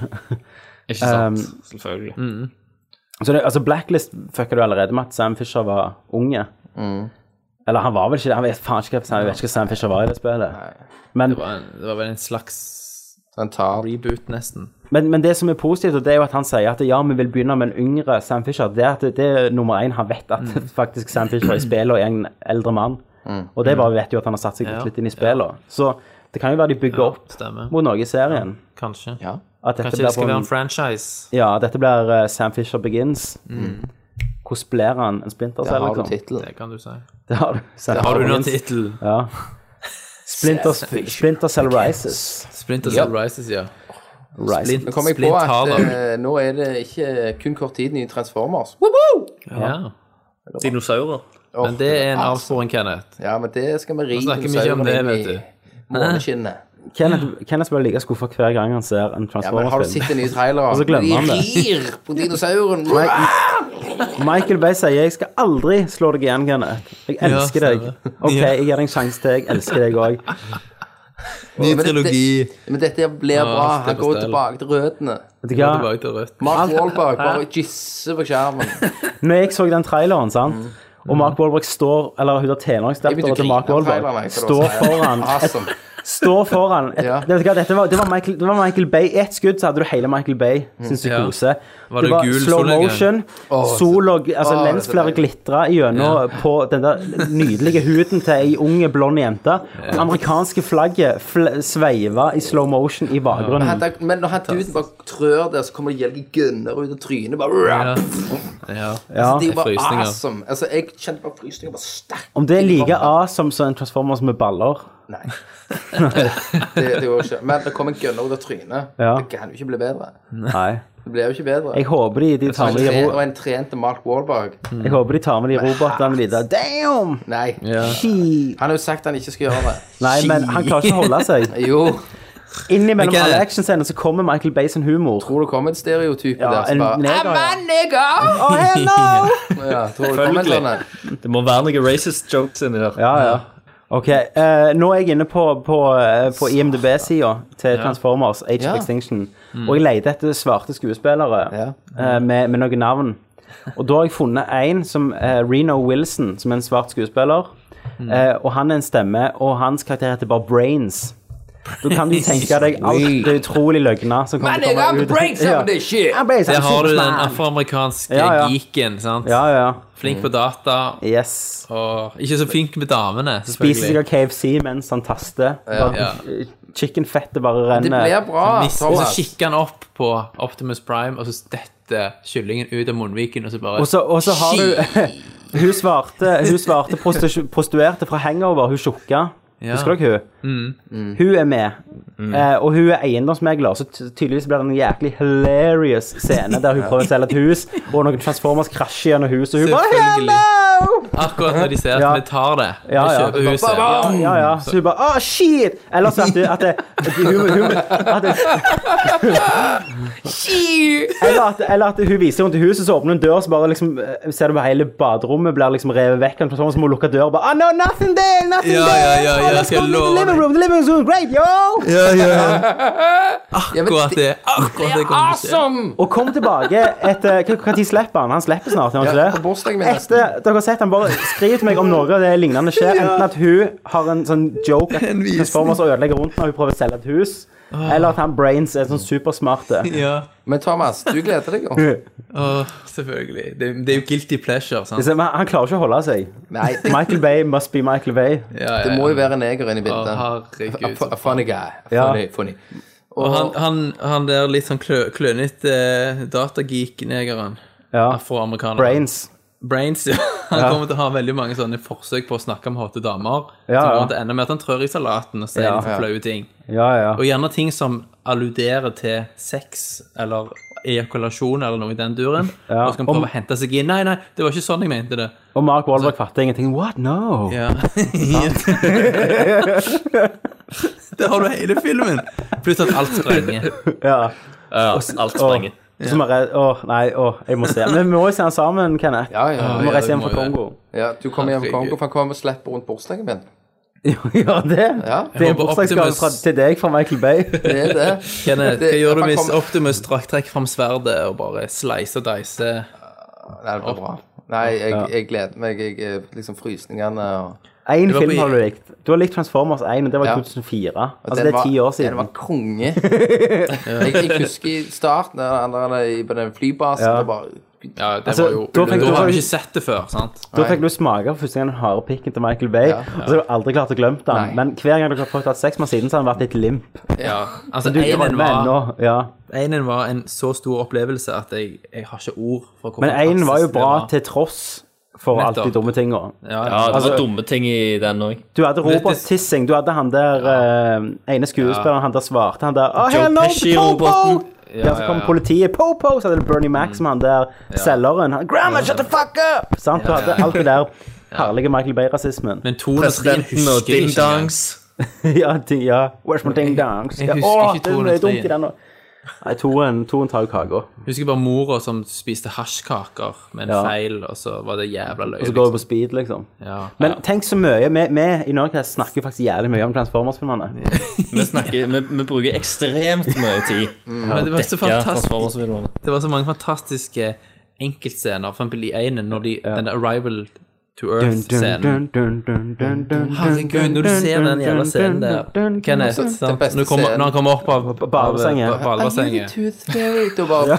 Ikke Um, sant? Selvfølgelig. Så det, altså Blacklist fucka du allerede med at Sam Fisher var unge. Mm. Eller han var vel ikke det, han vet faen ikke hva Sam, jeg vet ikke hva Sam Fisher var i det spillet. Men, Det var, en, det var vel en slags Så han tar reboot, nesten. men, men det som er positivt, og det er jo at han sier at ja, vi vil begynne med en yngre Sam Fisher, det er at det, det er nummer én. Han vet at faktisk Sam Fisher i spillet er en eldre mann. Og det bare vet jo at han har satt seg Ja. litt inn i spillet. Så det kan jo være de bygger opp Stemmer. mot noe i serien. Kanskje. Ja. At dette Kanskje det skal blir på være en en, franchise. ja, dette blir eh, Sam Fisher Begins. Hvordan blir han en splinter Der Cell, har du liksom? tittelen. Det kan Mm. du si. Det har du. Sam Har du Fisher noen Begins. tittel? Ja. Splinter, Splinter Cell Rises. Splinter Cell Rises, ja. Rise. Nå kom jeg på Splint at Harder. eh, nå er det ikke kun kort tid i Transformers. Woo! ja. Dinosaurer. Men det er en Åh, avsporing, Kenneth. Ja, men det skal vi ri Nå snakker vi ikke om det, dinosaurene vet inn du. i Måneskinnet. Kenneth, Kenneth blir like skuffa hver gang han ser en Ja, men har du Transformers-film. sett den nye traileren? Og så glemmer han det. De rir på dinosauren. Michael Bay sier 'jeg skal aldri slå deg igjen, Kenneth'. Jeg Ja, elsker deg. stemmer. Ok, Ja. jeg gir deg en sjanse til. Jeg elsker deg òg. Men det- Men dette blir Ja, bra. Han stille går stille. tilbake til røttene. Vet du hva? Går tilbake til røttene. Mark Wahlberg bare Hæ? gisser på skjermen. Når jeg så den traileren, sant og Mark Wahlberg står Eller hun der Mm. Jeg begynte tenåringsdattera å til Mark grine av Wahlberg traileren, jeg, for det står var så- foran Awesome. et, Står foran et, det, vet du hva, dette var, det, var Michael, det var Michael Bay. I ett skudd så hadde du hele Michael Bay sin Ja. psykose. Var det, det var gul slow solnedgang? motion, Åh, så- sol og altså, Åh, lensflare glitra gjennom på den der nydelige huden til ei ung, blond jente. Det amerikanske flagget fl sveiva i slow motion i Men, bakgrunnen. han- men når han duden bare trør der, så kommer det gjeldige gunner ut av trynet. Bare, Ja. Ja. Altså, det er jo bare Frysninger. awesome. Altså, jeg kjente bare frysninger. Bare sterkt. Om det er like A som som en Transformers med baller? Nei. Det, det går ikke. Men det kommer en gunner ut av trynet. Ja. Det kan jo ikke bli bedre. Nei. Det blir jo ikke bedre. Jeg håper de- de tar Og en med de tre- ro- Og en trente Mark Wahlberg. Jeg håper de tar med de robotene videre. Damn! Nei. Ja. Han har jo sagt han ikke skal gjøre det. Nei, men han klarer ikke å holde seg. jo. Innimellom Men hva er alle det? actionscener så kommer Michael Bay sin humor. Tror du det kommer en stereotype der som en bare, neger, ja. Oh, hello! ja, tror du det kommer en sånn en? Det må være noen racist jokes inni der. Ja, ja. Ok, eh, nå er jeg inne på, på, eh, på IMDb-sida til Ja. Transformers, Age Ja. of Extinction, Mm. og jeg leter etter svarte skuespillere eh, med, med noen navn. Og da har jeg funnet en som eh, Reno Wilson, som er en svart skuespiller, eh, og han er en stemme, og hans karakter heter bare Brains. Da kan du tenke deg alt det utrolig løgna som kommer til å komme ut. Ja. I'm brains, I'm Der har du den Superman. afroamerikanske Ja, ja. geeken, sant? Ja, ja. Flink på data. Yes. Og ikke så flink med damene, Spiser selvfølgelig. seg Eh, av KFC mens han taster. Ja. Bare- Chickenfettet bare renner. Han mister- Så kikker han opp på Optimus Prime, og så detter kyllingen ut av munnviken, og så bare Og så, og så har Shit! du Hun svarte, hun svarte prostitu- prostituerte fra Hangover, hun tjukka. Ja. Husker dere hun? Mm. Hun er med, eh, og hun er eiendomsmegler, så ty- tydeligvis blir det en jæklig hilarious scene der hun prøver å selge et hus, og noen transformers krasjer gjennom huset, og hun bare Selvfølgelig. Hello! Akkurat når de ser at Ja. vi tar det. Vi Ja, ja. kjøper huset. Ja, ja, ja. Så hun bare Å, shit! Eller så at, du, at, det, at hun, hun, at det, eller, at, eller at hun viser rundt i huset, så åpner hun dør, så bare liksom eh, ser du bare hele baderommet blir liksom revet vekk. Og så må hun lukke døra og bare Ah, no, nothing there! Nothing Ja, ja, ja, there! ja, oh, let's skal go to the love living room! The living room's great, yo! Ja, ja, Akkurat det. Akkurat det kommer til å skje. Og kom tilbake etter Når slipper han? Han slipper snart, gjør han Ja, ikke det? på bursdagen min nesten. Etter, dere har sett han bare skriver til meg om noe av det lignende skjer. Ja. Enten at hun har en sånn joke at En visning. Ah. Transformers ødelegger rundt når hun prøver å selge et hus, eller at han Brains er sånn supersmarte. Men Thomas, du gleder deg jo. Åh, selvfølgelig. Det, det er jo guilty pleasure, sant? Liksom, han han klarer ikke å holde seg. Nei. Michael Bay must be Michael Bay. Det må jo være en neger inne i bildet. Å, herregud, A- a- a funny guy. A Ja. Funny, funny. Og han, han, han der litt sånn klø, klønete eh, datageek-negeren. Ja. Afroamerikaneren. Brains. Brains, ja. Han Ja. kommer til å ha veldig mange sånne forsøk på å snakke om hotte damer. Ja, som ja. kommer til å ende med at han trør i salaten og sier Ja. litt flaue ting. Ja, ja. Og gjerne ting som alluderer til sex eller ejakulasjon eller noe i den duren. Ja. Og så kan han prøve å hente seg inn. Nei, nei, det var ikke sånn jeg mente det. Og Mark Wahlberg fatter ingenting. What? No! Ja. Der har du hele filmen. Pluss at alt sprenger. Ja. Ja, alt sprenger. Og så må jeg- Åh, nei, åh, jeg må se. Men vi må jo se han sammen, Kenneth. Ja, ja, vi må ja, reise det hjem må fra jo det. Kongo. Ja, du kommer hjem fra Kongo, for han kommer og slipper rundt bursdagen min. Ja, det. Det er en håper bursdagsgave Optimus- fra- til deg fra Michael Bay. Det er det. Kenneth, Eh, Det- hva gjør du han hvis kommer- Optimus trakk trekk fram sverdet og bare slice og dice? Nei, det blir bra. Nei, jeg, jeg gleder meg. Jeg, eh, liksom Frysningene og Én Det var på film har du likt. Du har likt Transformers 1, og det var i Ja. 2004. Og Altså, den det er ti var- år siden. den var konge. Jeg, jeg husker i starten, da han var på den flybasen, Ja. det bare Ja, det Altså, var jo Da da fikk du- har vi ikke sett det før, sant? Da fikk du smake for første gang den harde pikken til Michael Bay. Og så har du aldri klart å glemme den. Men hver gang dere har prøvd å ha sex med siden, så har den vært litt limp. Ja, altså Men du Einen drømmer ennå. var, Ja. Einen var en så stor opplevelse at jeg, jeg har ikke ord for hvor Men én fantastisk var jo det bra var. til tross for alt de Nettopp. dumme tinga. Ja, Ja, det var Altså- dumme ting i den òg. Du hadde Robert Tissing, du hadde han der eh, ene skuespilleren, han der svarte, han der oh, Joe hello, Pesci, Popo! roboten. Ja, så kom politiet, Popo, så hadde du Bernie Mac som han der selgeren. Han, Grandma, shut the fuck up! Sant, du Ja, hadde ja. alt det der herlige Michael Bay-rasismen. Men to og tre Presidenten husker og jeg ikke engang. ja, ting, ja. Where's my ding dongs? Jeg husker Åh, ikke den er 203. dunk i den nå. Nei, toen, toen tar jo kaka. Jeg husker bare mora som spiste hasjkaker med en Ja. feil, og så var det jævla løye. Og så går vi på speed, liksom. Ja. Men tenk så mye. Vi, vi i Nerdcast snakker jo faktisk jævlig mye om Transformers-filmene. Vi, snakker, vi, vi bruker ekstremt mye tid på Men det var så fantastisk. Transformers-filmene. Det var så mange fantastiske enkeltscener, for eksempel i Einen, når de, den der Arrival to Earth-scenen. Herregud, når du ser den jævla scenen der, Kenneth, Den sant? beste Når, du kommer, scenen. når han kommer opp av av- badebassenget. av badebassenget. Tooth Fairy. Da bare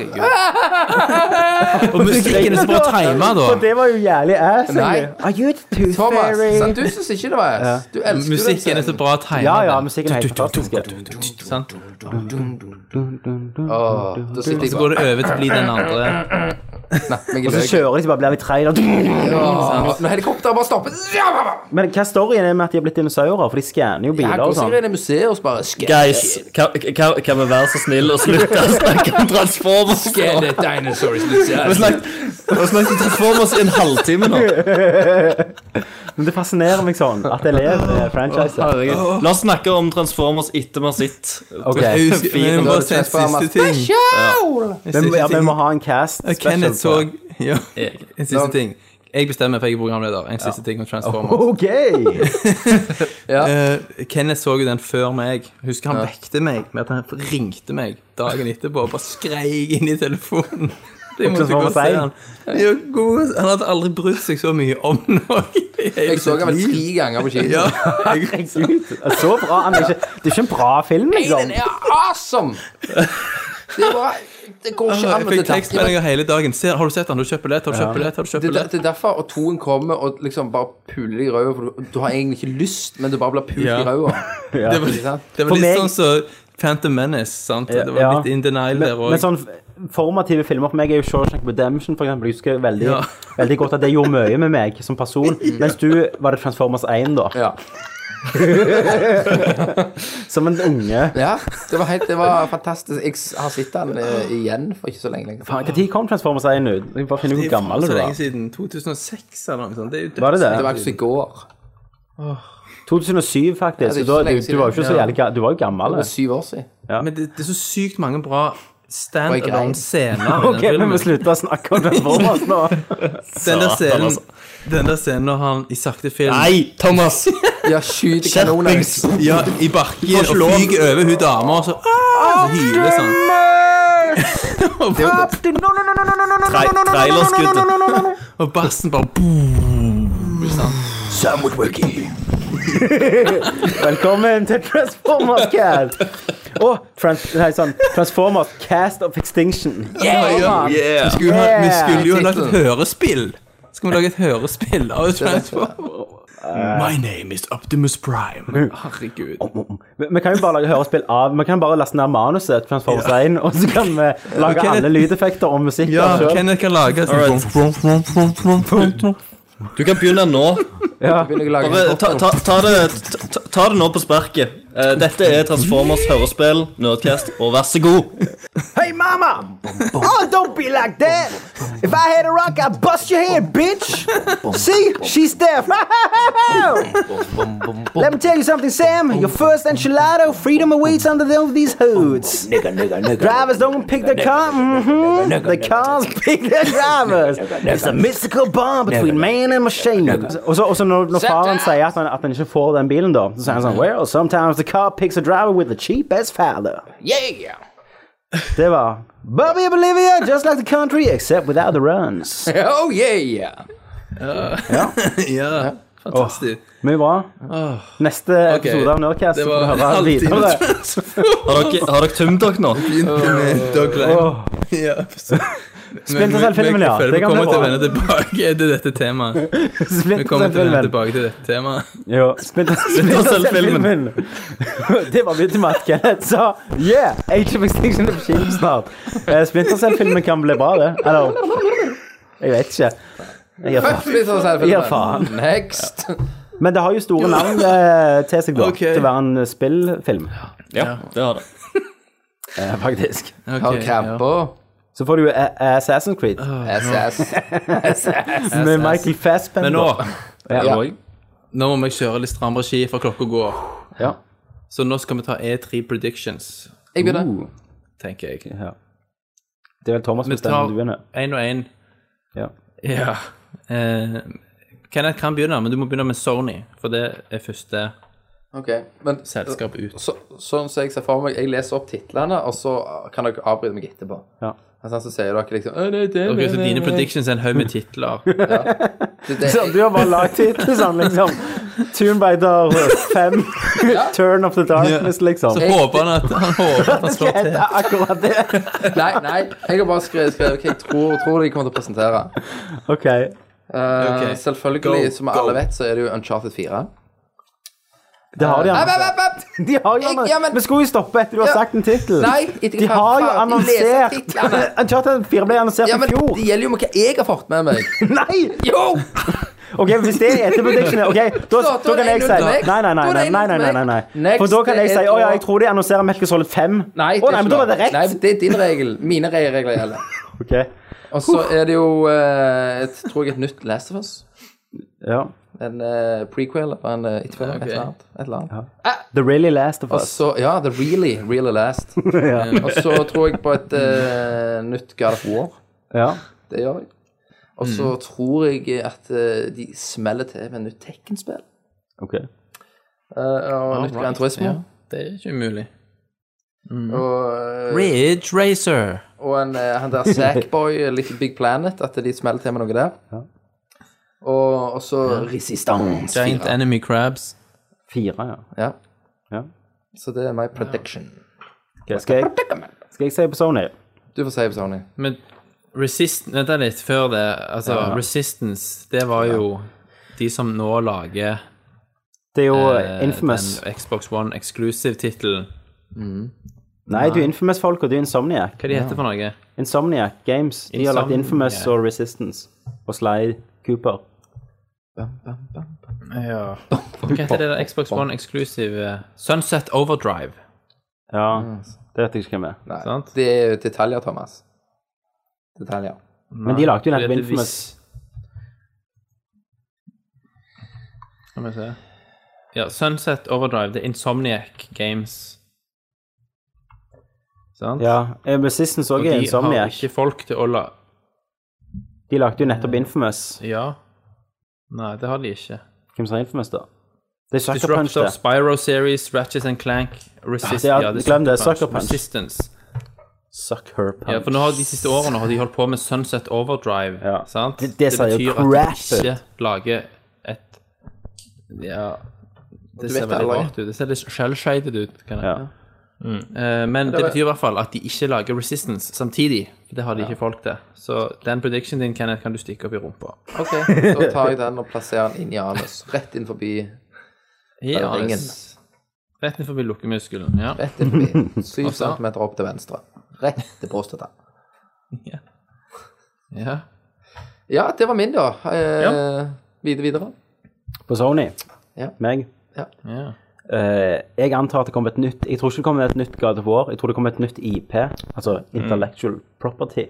Og musikken er så bra tima, da. For det var jo jævlig ass, Nei. egentlig. Are you the tooth Thomas, fairy? sant? du syns ikke det var ass. Du elsker jo den Musikken er så scenen. bra tima. Ja, ja, da. musikken er helt fantastisk. Sant? Åh, Da sitter jeg Så går bare det over til å bli den andre. meg i Og så løken. kjører de så bare blir vi trailer. Åh, Når helikopteret bare stopper Ja, ja, ja. Men hva er storyen er med at de har blitt dinosaurer? For de skanner jo Jeg biler går og sikkert sånn. inn i museet og så bare Sk- Guys, kan, kan, kan vi være så snille og slutte å snakke om Transformers? nå? Scan the dinosaurs, Lucia. Vi har snakket vi har snakket om Transformers i en halvtime nå. Men det fascinerer meg sånn at jeg lever i franchiset. Herregud. La oss snakke om Transformers etter vi har sett Okay. Vi må Da er bare det se siste Transformers. ting. Men, ja, vi må ha en cast Ja, Kenneth så special. ja, Jeg- En siste ting. Jeg bestemmer, for jeg er programleder. En siste ting om Transformers. OK! Eh, Kenneth så jo den før meg. Husker han vekte meg med at han ringte meg dagen etterpå og bare skreik inn i telefonen. Det måtte jeg gå og se han. Ja, god- Han hadde aldri brydd seg så mye om noe. i hele Jeg så sitt den vel liv. tre ganger på kino. Ja, Herregud. Så bra. Han er ikke, det er ikke en bra film, Den liksom. er awesome! Det, er bare, det går ikke an jeg å fikk ta tak i det. tekstmeldinger hele dagen. Ser, har du sett den? Har du kjøpt billett? Har du kjøpt billett? Har du kjøpt Det, det, billett? det er derfor at toen kommer og liksom bare puler deg i røven. For du, du har egentlig ikke lyst, men du bare blir pult Ja. i røven. Det var, Ikke sant? det var For litt meg- sånn som Phantom Menace, sant? Det var Ja. litt in denial Men, der òg. men sånn formative filmer for meg er jo Shawshank Redemption, for eksempel. Jeg husker veldig, Ja. veldig godt at det gjorde mye med meg som person. Mens du var det Transformers 1, da. Ja. Som en unge. ja. Det var helt Det var fantastisk. Jeg s- har sett den eh, igjen for ikke så lenge lenger. Faen, Når kom Transformers 1 ut? Jeg bare finner ut hvor gammel du Så lenge var. siden 2006 eller noe sånt. Det er jo dødt. Var det Det det? var ikke så i går. 2007, faktisk. det er ikke Så da, så du, lenge du var jo ikke så siden. jævlig gammel. Du var jo gammel. Det var syv år siden. Men det, det er så sykt mange bra Og jeg grein. stand-alone-scener. Ok, men vi slutter å snakke om Transformers nå. Den der Satan, scenen altså. Den der scenen når han i sakte film Nei, Thomas! Ja, skyt kanoner. Skjerpings! ja, i bakken og flyger over hun dama, og så, ah, så hyler sånn. Tre, trailerskuddet. Og bassen bare boom. Velkommen til Transformers Cast. Og trans, nei, sånn, Transformers Cast of Extinction. Ja, Vi skulle, jo ha, vi skulle jo ha lagd et hørespill. Skal vi lage et hørespill av Transformers? My name is Optimus Prime. Herregud. Vi, vi kan jo bare lage hørespill av Vi kan bare laste ned manuset til Transformers 1, og så kan vi lage Ok. alle lydeffekter og musikk. Ja, av selv. Kenneth kan lage sånn Du kan begynne nå. Begynner jeg å lage Bare ta, ta, ta, det, ta, ta det nå på sparket. Eh, dette er Transformers hørespill, Nerdcast, og vær så god. Hey, mama! Oh, don't be like that! If I had a rock, I'd bust your head, bitch! See? She's deaf. Let me tell you something, Sam. Your first enchilada, freedom awaits under the- these hoods. Drivers don't pick their car. mhm. The cars pick their drivers. It's a mystical bond between man and machine. Og så, og så når, når faren sier at han, at han ikke får den bilen, da, så sier han sånn Well, sometimes the car picks a driver with the cheapest father. Yeah! Det var Bobby Bolivia, just like the country, except without the runs. Oh yeah! Ja, fantastisk. Mye bra. Neste episode av Nerdcast Det så var får du høre alltid videre. Har dere, har dere tømt dere nå? Douglas. Ja, Splinter Cell-filmen, ja. Vi Det kan bli kommer til å bra. vende tilbake til dette temaet. Vi Splinter kommer til å vende Cell-filmen. tilbake til dette temaet. Jo, Splinter Splinter Cell-filmen. Det var mye til Matt Kenneth sa. Yeah! Age of Extinction er på kino snart. Eh, Splinter Cell-filmen kan bli bra, det. Eller Jeg vet ikke. Jeg gir faen. Litt sånn selvfølgelig. Ja, faen. Next. Men det har jo store navn eh, til seg, da. Ok. Til å være en spillfilm, Ja, det har det. eh, faktisk. Har kramper. Så får du jo A- Assassin's Creed Ah, SS. med Michael Fassbender. Men nå, Ja. nå må vi kjøre litt stram regi, for klokka går. Ja. Så nå skal vi ta E3 E predictions. Jeg begynner. tenker jeg. Det er vel Thomas som Vi tar bestemmer duene. én og én. Ja. Ja. Eh, Kenneth kan begynne, men du må begynne med Sony, for det er første Ok, men selskap ut. så, sånn som jeg ser for meg, jeg leser opp titlene, og så kan dere avbryte meg etterpå. Ja. Altså, så sier dere liksom «Å, nei, det, Ok, nei, så nei, Dine nei». predictions er en haug med titler. Det- det- Sånn, du har bare lagd titler sånn, liksom. Tunebiter 5, Turn of the Darkness, liksom. Så håper han at han håper at han slår Det til. er akkurat det. Nei, nei, jeg har bare skrevet, skrevet hva jeg tror, tror de kommer til å presentere. OK. Eh, Ok. Selvfølgelig, Go, som go. alle vet, så er det jo Uncharted 4. Det har de Nei, nei, annonsert. nei, nei. De har jo Jeg- ja, men- annonsert. Vi skulle jo stoppe etter du har Ja. sagt en tittel. Nei, etter- De har jo faen, de leser annonsert. titlene. Uncharted 4 ble annonsert Ja, i men fjor. det gjelder jo hva jeg har fått med meg. Nei! Jo! Ok, Hvis det er etter predictionet, ok, da, da, Da- da er kan det jeg si en til Nei, meg. nei, nei. Da er det nei, en nei, til nei, nei, meg. nei. Next For da kan jeg er si et å ja, år. jeg tror de annonserer Metal Solid 5. Nei, Å, nei, men da var det lov. rett. Nei, det er din regel. Mine re- regler gjelder. Ok, Og så er det jo, eh, et, tror jeg, et nytt Last of Us. ja. En eh, prequel eller en eh, etterfølger. Et eller annet. Et eller annet. The Really Last of Og Us. så, ja, The Really, Really Last. Eh, Og så tror jeg på et eh, nytt God of War. Ja. Det gjør jeg. Og så tror jeg at eh, de smeller til med et nytt Tekken-spill. ok. eh, og nytt Gran Turismo. Det er ikke umulig. Mm. Og, eh, Ridge Racer. og en, eh, han der Sackboy, Little Big Planet, at de smeller til med noe der. Og, og så Resistance. Giant Enemy Crabs. Fire, ja. Ja. Ja. Så det er my prediction. Ok, skal, jeg, skal jeg si på Sony? Du får si på Sony. Men Resist... Vent da litt, før det. Altså, Resistance, det var jo de som nå lager Det er jo eh, Infamous. den Xbox One Exclusive-tittelen. Nei, du er Infamous-folk, og du er Insomniac. Hva de heter for noe? Insomniac Games. De har lagt Infamous Insomniac. og Resistance. Og Sly Cooper. Hva heter det der Xbox One Exclusive eh, Sunset Overdrive? Ja, det vet jeg ikke hvem er. Nei, Sant. det er jo detaljer, Thomas. Detaljer. Men de lagde jo det nettopp er Infamous. Skal vi se. Ja, Sunset Overdrive. Det er Insomniac Games. Sant? Ja, eh, Resistance Og òg de er har Insomniac. ikke folk til å la De lagde jo nettopp Infamous. Ja. Nei, det har de ikke. Hvem sa Infamous, da? Det er Sucker Punch, Disruptor, det. Spyro Series, Ratchet and Clank, Resist Ja, ja, det er- glem det, Sucker Sucker Punch. Resistance. Sucker Punch. Ja, for nå har de siste årene har de holdt på med Sunset Overdrive. Ja. Sant? Det- det sier jo betyr crap at de ikke lager et Ja Det ser vet veldig aldri. rart ut. Det ser litt shell-shaded ut. Kan jeg. Ja. Eh, men det betyr i hvert fall at de ikke lager Resistance samtidig. For det har de ikke folk til. Så den predictionen din Kenneth, kan du stikke opp i rumpa. Ok, da tar jeg den og plasserer den inn i anus. Rett inn forbi. Ja, ringen. det- Rett ned forbi lukkemuskelen. Ja. Rett inn forbi. Syv Og så- centimeter opp til venstre. Rett til prostata. ja. Ja, det var min, da. Eh, Videre, videre. På Sony. Ja. Meg. Ja. Ja. Eh, jeg antar at det kommer et nytt Jeg tror ikke det kommer et nytt God of War. Jeg tror det kommer et nytt IP, altså Mm. Intellectual Property,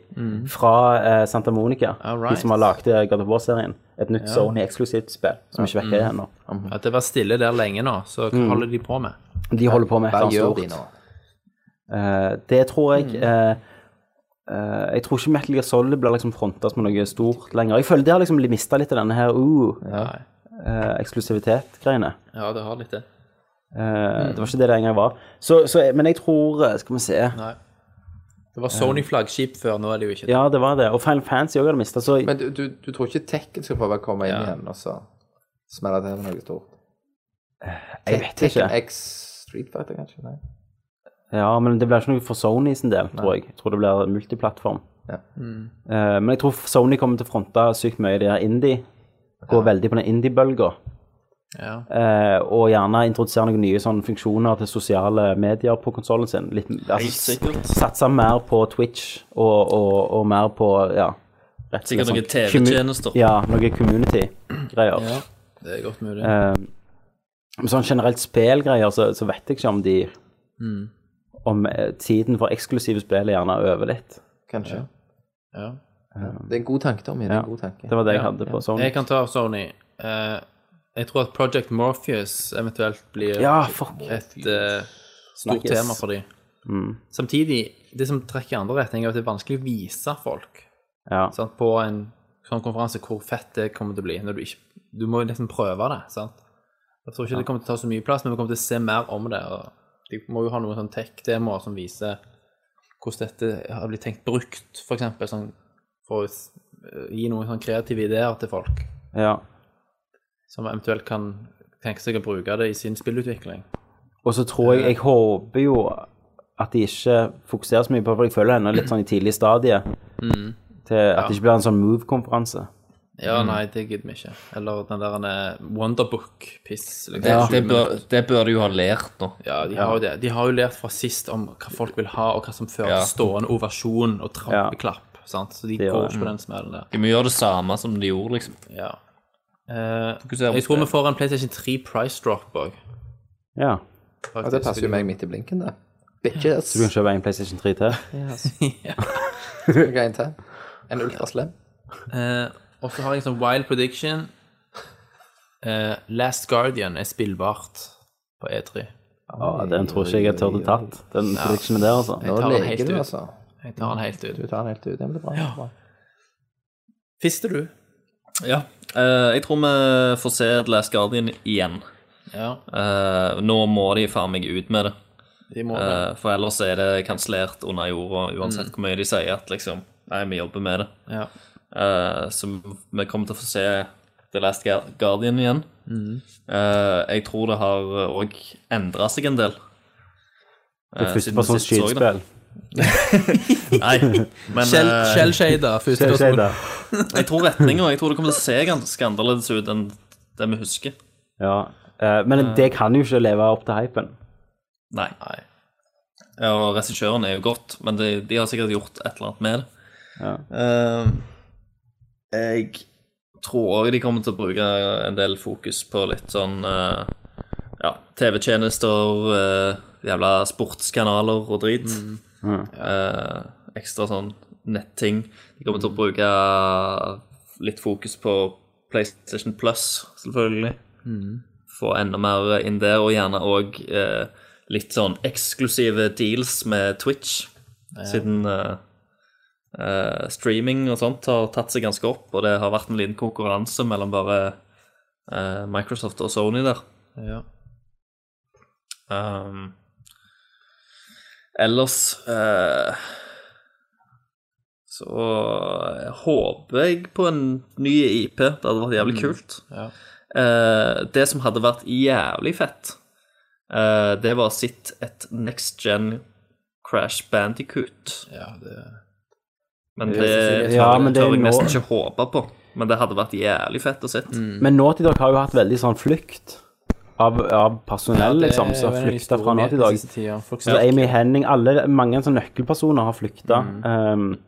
fra eh, Santa Monica. Alright. De som har lagd eh, God of War-serien. Et nytt Sony-eksklusivt spill som ikke Mm. vekker ennå. At det var stille der lenge nå, så Mm. hva holder de på med? De holder på med et Hva eller gjør Mm. annet de nå? stort. Eh, det tror jeg eh, eh, Jeg tror ikke Metal Gear Solid blir liksom fronta som noe stort lenger. Jeg føler det har liksom mista litt av denne her uh, Nei. eh, eksklusivitet-greiene. Ja, det har litt det. Mm. Eh, Det var ikke det det engang var. Så, så, men jeg tror eh, Skal vi se. Det var Sony-flaggskip før, nå er det jo ikke det. Ja, det var det. Og Final Fantasy òg hadde mista, så Men du, du, du tror ikke Tekken skal prøve å komme inn igjen og så smelle til med noe stort? jeg vet ikke. Tekken X Street Fighter, kanskje? Nei. Ja, men det blir ikke noe for Sony sin del, tror jeg. Jeg tror det blir multiplattform. Ja. Mm. Eh, men jeg tror Sony kommer til å fronte sykt mye i det der indie. Gå veldig på den indie-bølga. Ja. Eh, og gjerne introdusere noen nye sånne funksjoner til sosiale medier på konsollen sin. Litt, altså, sikkert. satse mer på Twitch og, og, og mer på ja, rett og slett Sikkert sånn noen TV-tjenester. commu- Ja, noen community-greier. Det er godt mulig. Eh, Men sånn generelt spillgreier, så, så vet jeg ikke om de Om eh, tiden for eksklusive spill er gjerne over litt. Kanskje. Ja. Det er en god tanke, Tommy. Det er en god tanke. Det var det jeg hadde på sånn. Jeg kan ta Sony. Eh, jeg tror at Project Morpheus eventuelt blir Ja, fuck. et eh, stort Snakkes. Mm. tema for dem. Samtidig det som trekker i andre retning, er at det er vanskelig å vise folk Ja. sant, på en sånn konferanse hvor fett det kommer til å bli. Når du, ikke, du må jo nesten prøve det. sant? Jeg tror ikke det kommer til å ta så mye plass, men vi kommer til å se mer om det. og De må jo ha noen sånn tech-demoer som viser hvordan dette har blitt tenkt brukt, for eksempel, sånn, for å s- gi noen sånn kreative ideer til folk ja. som eventuelt kan tenke seg å bruke det i sin spillutvikling. Og så tror jeg Jeg håper jo at de ikke fokuserer så mye på For jeg føler henne litt sånn i tidlig stadie. Til at det ikke blir en sånn move-konferanse. Ja, nei, det gidder vi ikke. Eller den der eh, Wonderbook-piss. liksom. Det, Ja. det, bør, det bør du jo ha lært nå. Ja, de har jo det. De har jo lært fra sist om hva folk vil ha, og hva som fører Ja. til stående ovasjon og trappeklapp. Sant? Så de Det gjør går det. ikke på den smellen der. De må gjøre det samme som de gjorde, liksom. Ja. Eh, Fokuser på jeg tror det. vi får en PlayStation 3 price drop òg. Ja. Ja, det passer jo meg midt i blinken, det. Bitches. Så du kan kjøpe en PlayStation 3 til? Skal jeg en til? En ultraslem? Eh, og så har jeg en sånn wild prediction. Eh, Last Guardian er spillbart på E E3. Ja, den tror ikke jeg jeg turde tatt. Den predictionen der, altså. Nå tar den Mm. helt leker du, ut. altså. Jeg tar den helt ut. Du tar den helt ut. Den blir bra. bra. Fister du? Ja. eh, jeg tror vi får se The Last Guardian igjen. Ja, Eh, nå må de faen meg ut med det. de må det. Mm. Eh, for ellers er det kansellert under jorda, uansett hvor mye de sier at liksom Nei, vi jobber med det. Ja. Eh, så vi kommer til å få se The Last Guar- Guardian igjen. Mm. Eh, jeg tror det har òg endra seg en del. Det Eh, er sånn siden første persons sist så jeg det. skytespill. Nei, men Shell, eh, shell shader, første Det person. skjer da. jeg tror retninga Jeg tror det kommer til å se ganske annerledes ut enn det vi husker. Ja. Eh, Men det kan jo ikke leve opp til hypen. Mm. Nei. Ja, Og regissøren er jo godt, men de, de har sikkert gjort et eller annet med det. Eh, jeg tror òg de kommer til å bruke en del fokus på litt sånn eh, ja, TV-tjenester, eh, jævla sportskanaler og drit. Eh, ekstra sånn netting. De kommer til å bruke litt fokus på PlayStation Plus, selvfølgelig få enda mer inn der, og gjerne òg eh, litt sånn eksklusive deals med Twitch, siden eh, eh, streaming og sånt har tatt seg ganske opp, og det har vært en liten konkurranse mellom bare eh, Microsoft og Sony der. Ja. Um, ellers eh, så eh, håper jeg på en ny IP. Det hadde vært jævlig kult. Eh, det som hadde vært jævlig fett, eh, det var sitt et next gen Crash Bandicoot. Ja, det, Men det, Ja, tør- men det er tør jeg nå- nesten ikke håpe på. Mm. Men det hadde vært jævlig fett å sitte. Men Naughty Dog har jo hatt veldig sånn flukt av, av personell, liksom, som har flykta fra Naughty Dog. Så Altså, Amy Henning, alle, mange sånne nøkkelpersoner har flykta. Mm. Um,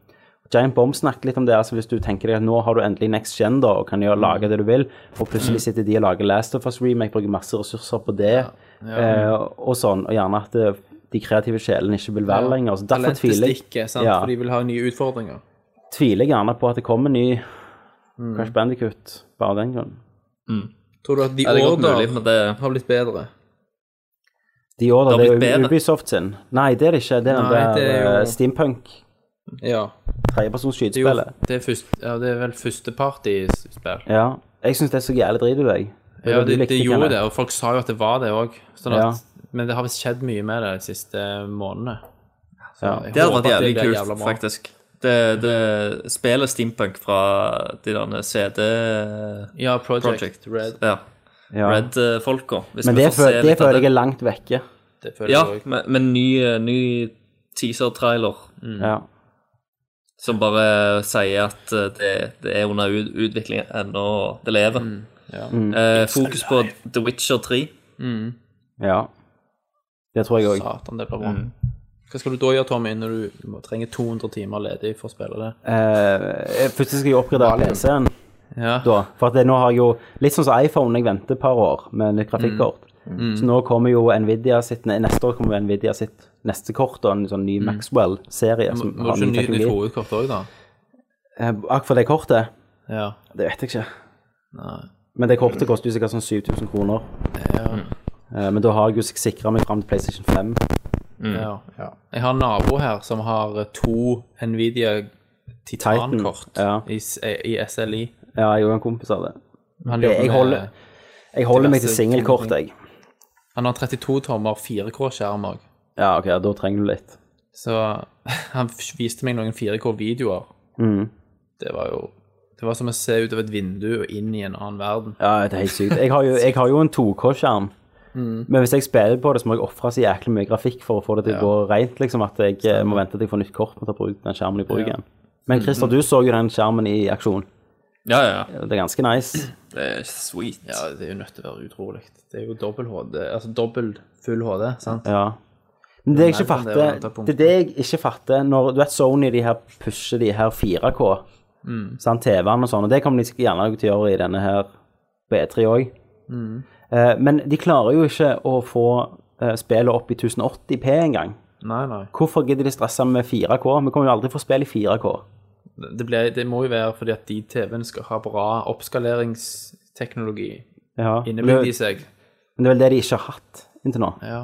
Giant Bomb snakket litt om det. altså Hvis du tenker deg at nå har du endelig next gen da, og kan gjøre, Mm. lage det du vil, og plutselig sitter de og lager Last of Us Remake, bruker masse ressurser på det, eh, og sånn, og gjerne at det, de kreative sjelene ikke vil være lenger. så Derfor tviler jeg, Talentet eh, sant, Ja. for de vil ha nye utfordringer. tviler jeg gjerne på at det kommer en ny Mm. Crash Bandicoot, bare av den grunn. Tror du at de Det er godt mulig, Order men det har blitt bedre? De år, da, Det det har er blitt jo bedre. Ubisoft sin. Nei, det er det ikke. Det er den Nei, det er der jo- eh, steampunk, Ja. tredjepersons Det er, jo, skytespill. det er, først, ja, det er vel første partyspill. Ja. Jeg syns det er så jævlig drit ut, jeg. Det er Ja, du det, likte, det gjorde Kenneth. det, og folk sa jo at det var det òg. Sånn at- Ja. Men det har visst skjedd mye med det de siste månedene. Så Ja. jeg Det hadde håper vært at jævlig blir kult, jævla bra. faktisk. Det, det spillet steampunk fra de der CD Ja, Project, Project. Red. ja, eh, Ja. Red-folka. Men det, fø det føler jeg er langt vekke. Det føler Ja, jeg òg. med, med ny, eh, ny teaser-trailer Mm. Ja. som bare sier at eh, det, det er under ut, utvikling ennå, og det lever. Mm. Mm. Eh, fokus på The Witcher 3. ja. Det tror jeg òg. Satan, det blir bra. Mm. Hva skal du da gjøre, Tommy, når du må- trenger 200 timer ledig for å spille det? Eh, først skal jeg jo oppgradere PC-en, Ja. da. For at det, nå har jeg jo Litt sånn som iPhone, jeg venter et par år med nytt grafikkort. Så nå kommer jo Nvidia sitt nei, Neste år kommer Nvidia sitt neste kort, og en sånn ny Maxwell-serie som Må har du ny ikke ny- nytt teknologi. hovedkort òg, da? Eh, Akkurat for det kortet? Ja. Det vet jeg ikke. Nei. Men det kortet koster jo sikkert sånn 7000 kroner. Eh, Men da har jeg jo sikra meg fram til PlayStation 5. Ja. Mm. Jeg har en nabo her som har eh, to Nvidia Titan-kort Titan, i, s- eh, i SLI. Ja, jeg og en kompis av det. Han Det- jobber jeg med- holder- Jeg holder meg til diverse singelkort, ting. jeg. Han har 32 tommer 4K-skjerm òg. Ja, ok, da trenger du litt. Så han f- viste meg noen 4K-videoer. Mhm. Det var jo Det var som å se ut av et vindu og inn i en annen verden. Ja, det er helt sykt. Jeg har jo, jeg har jo en 2K-skjerm. Men hvis jeg spiller på det, så må jeg ofre så jæklig mye grafikk for å få det til å gå rent. Liksom, at jeg eh, må vente til jeg får nytt kort med å bruke den skjermen i bruken. Men Christer, du så jo den skjermen i aksjon. Ja, ja. Det er ganske nice. Det er sweet. Ja, det er jo nødt til å være utrolig. Det er jo dobbel HD, altså dobbel full HD, sant? Ja. Men det jeg ikke Mer enn det, men fatter, antall det er det jeg ikke fatter når Du vet Sony de her pusher de her 4K, sant, TV-en og sånn, og det kommer de sikkert gjerne til å gjøre i denne her B3 òg. Mm. Eh, Men de klarer jo ikke å få eh, spillet opp i 1080P engang. Nei, nei. Hvorfor gidder de stresse med 4K? Vi kommer jo aldri få spill i 4K. Det, ble, det må jo være fordi at de TV-ene skal ha bra oppskaleringsteknologi Ja. Men det, innebygd i seg. men det er vel det de ikke har hatt inntil nå. Ja.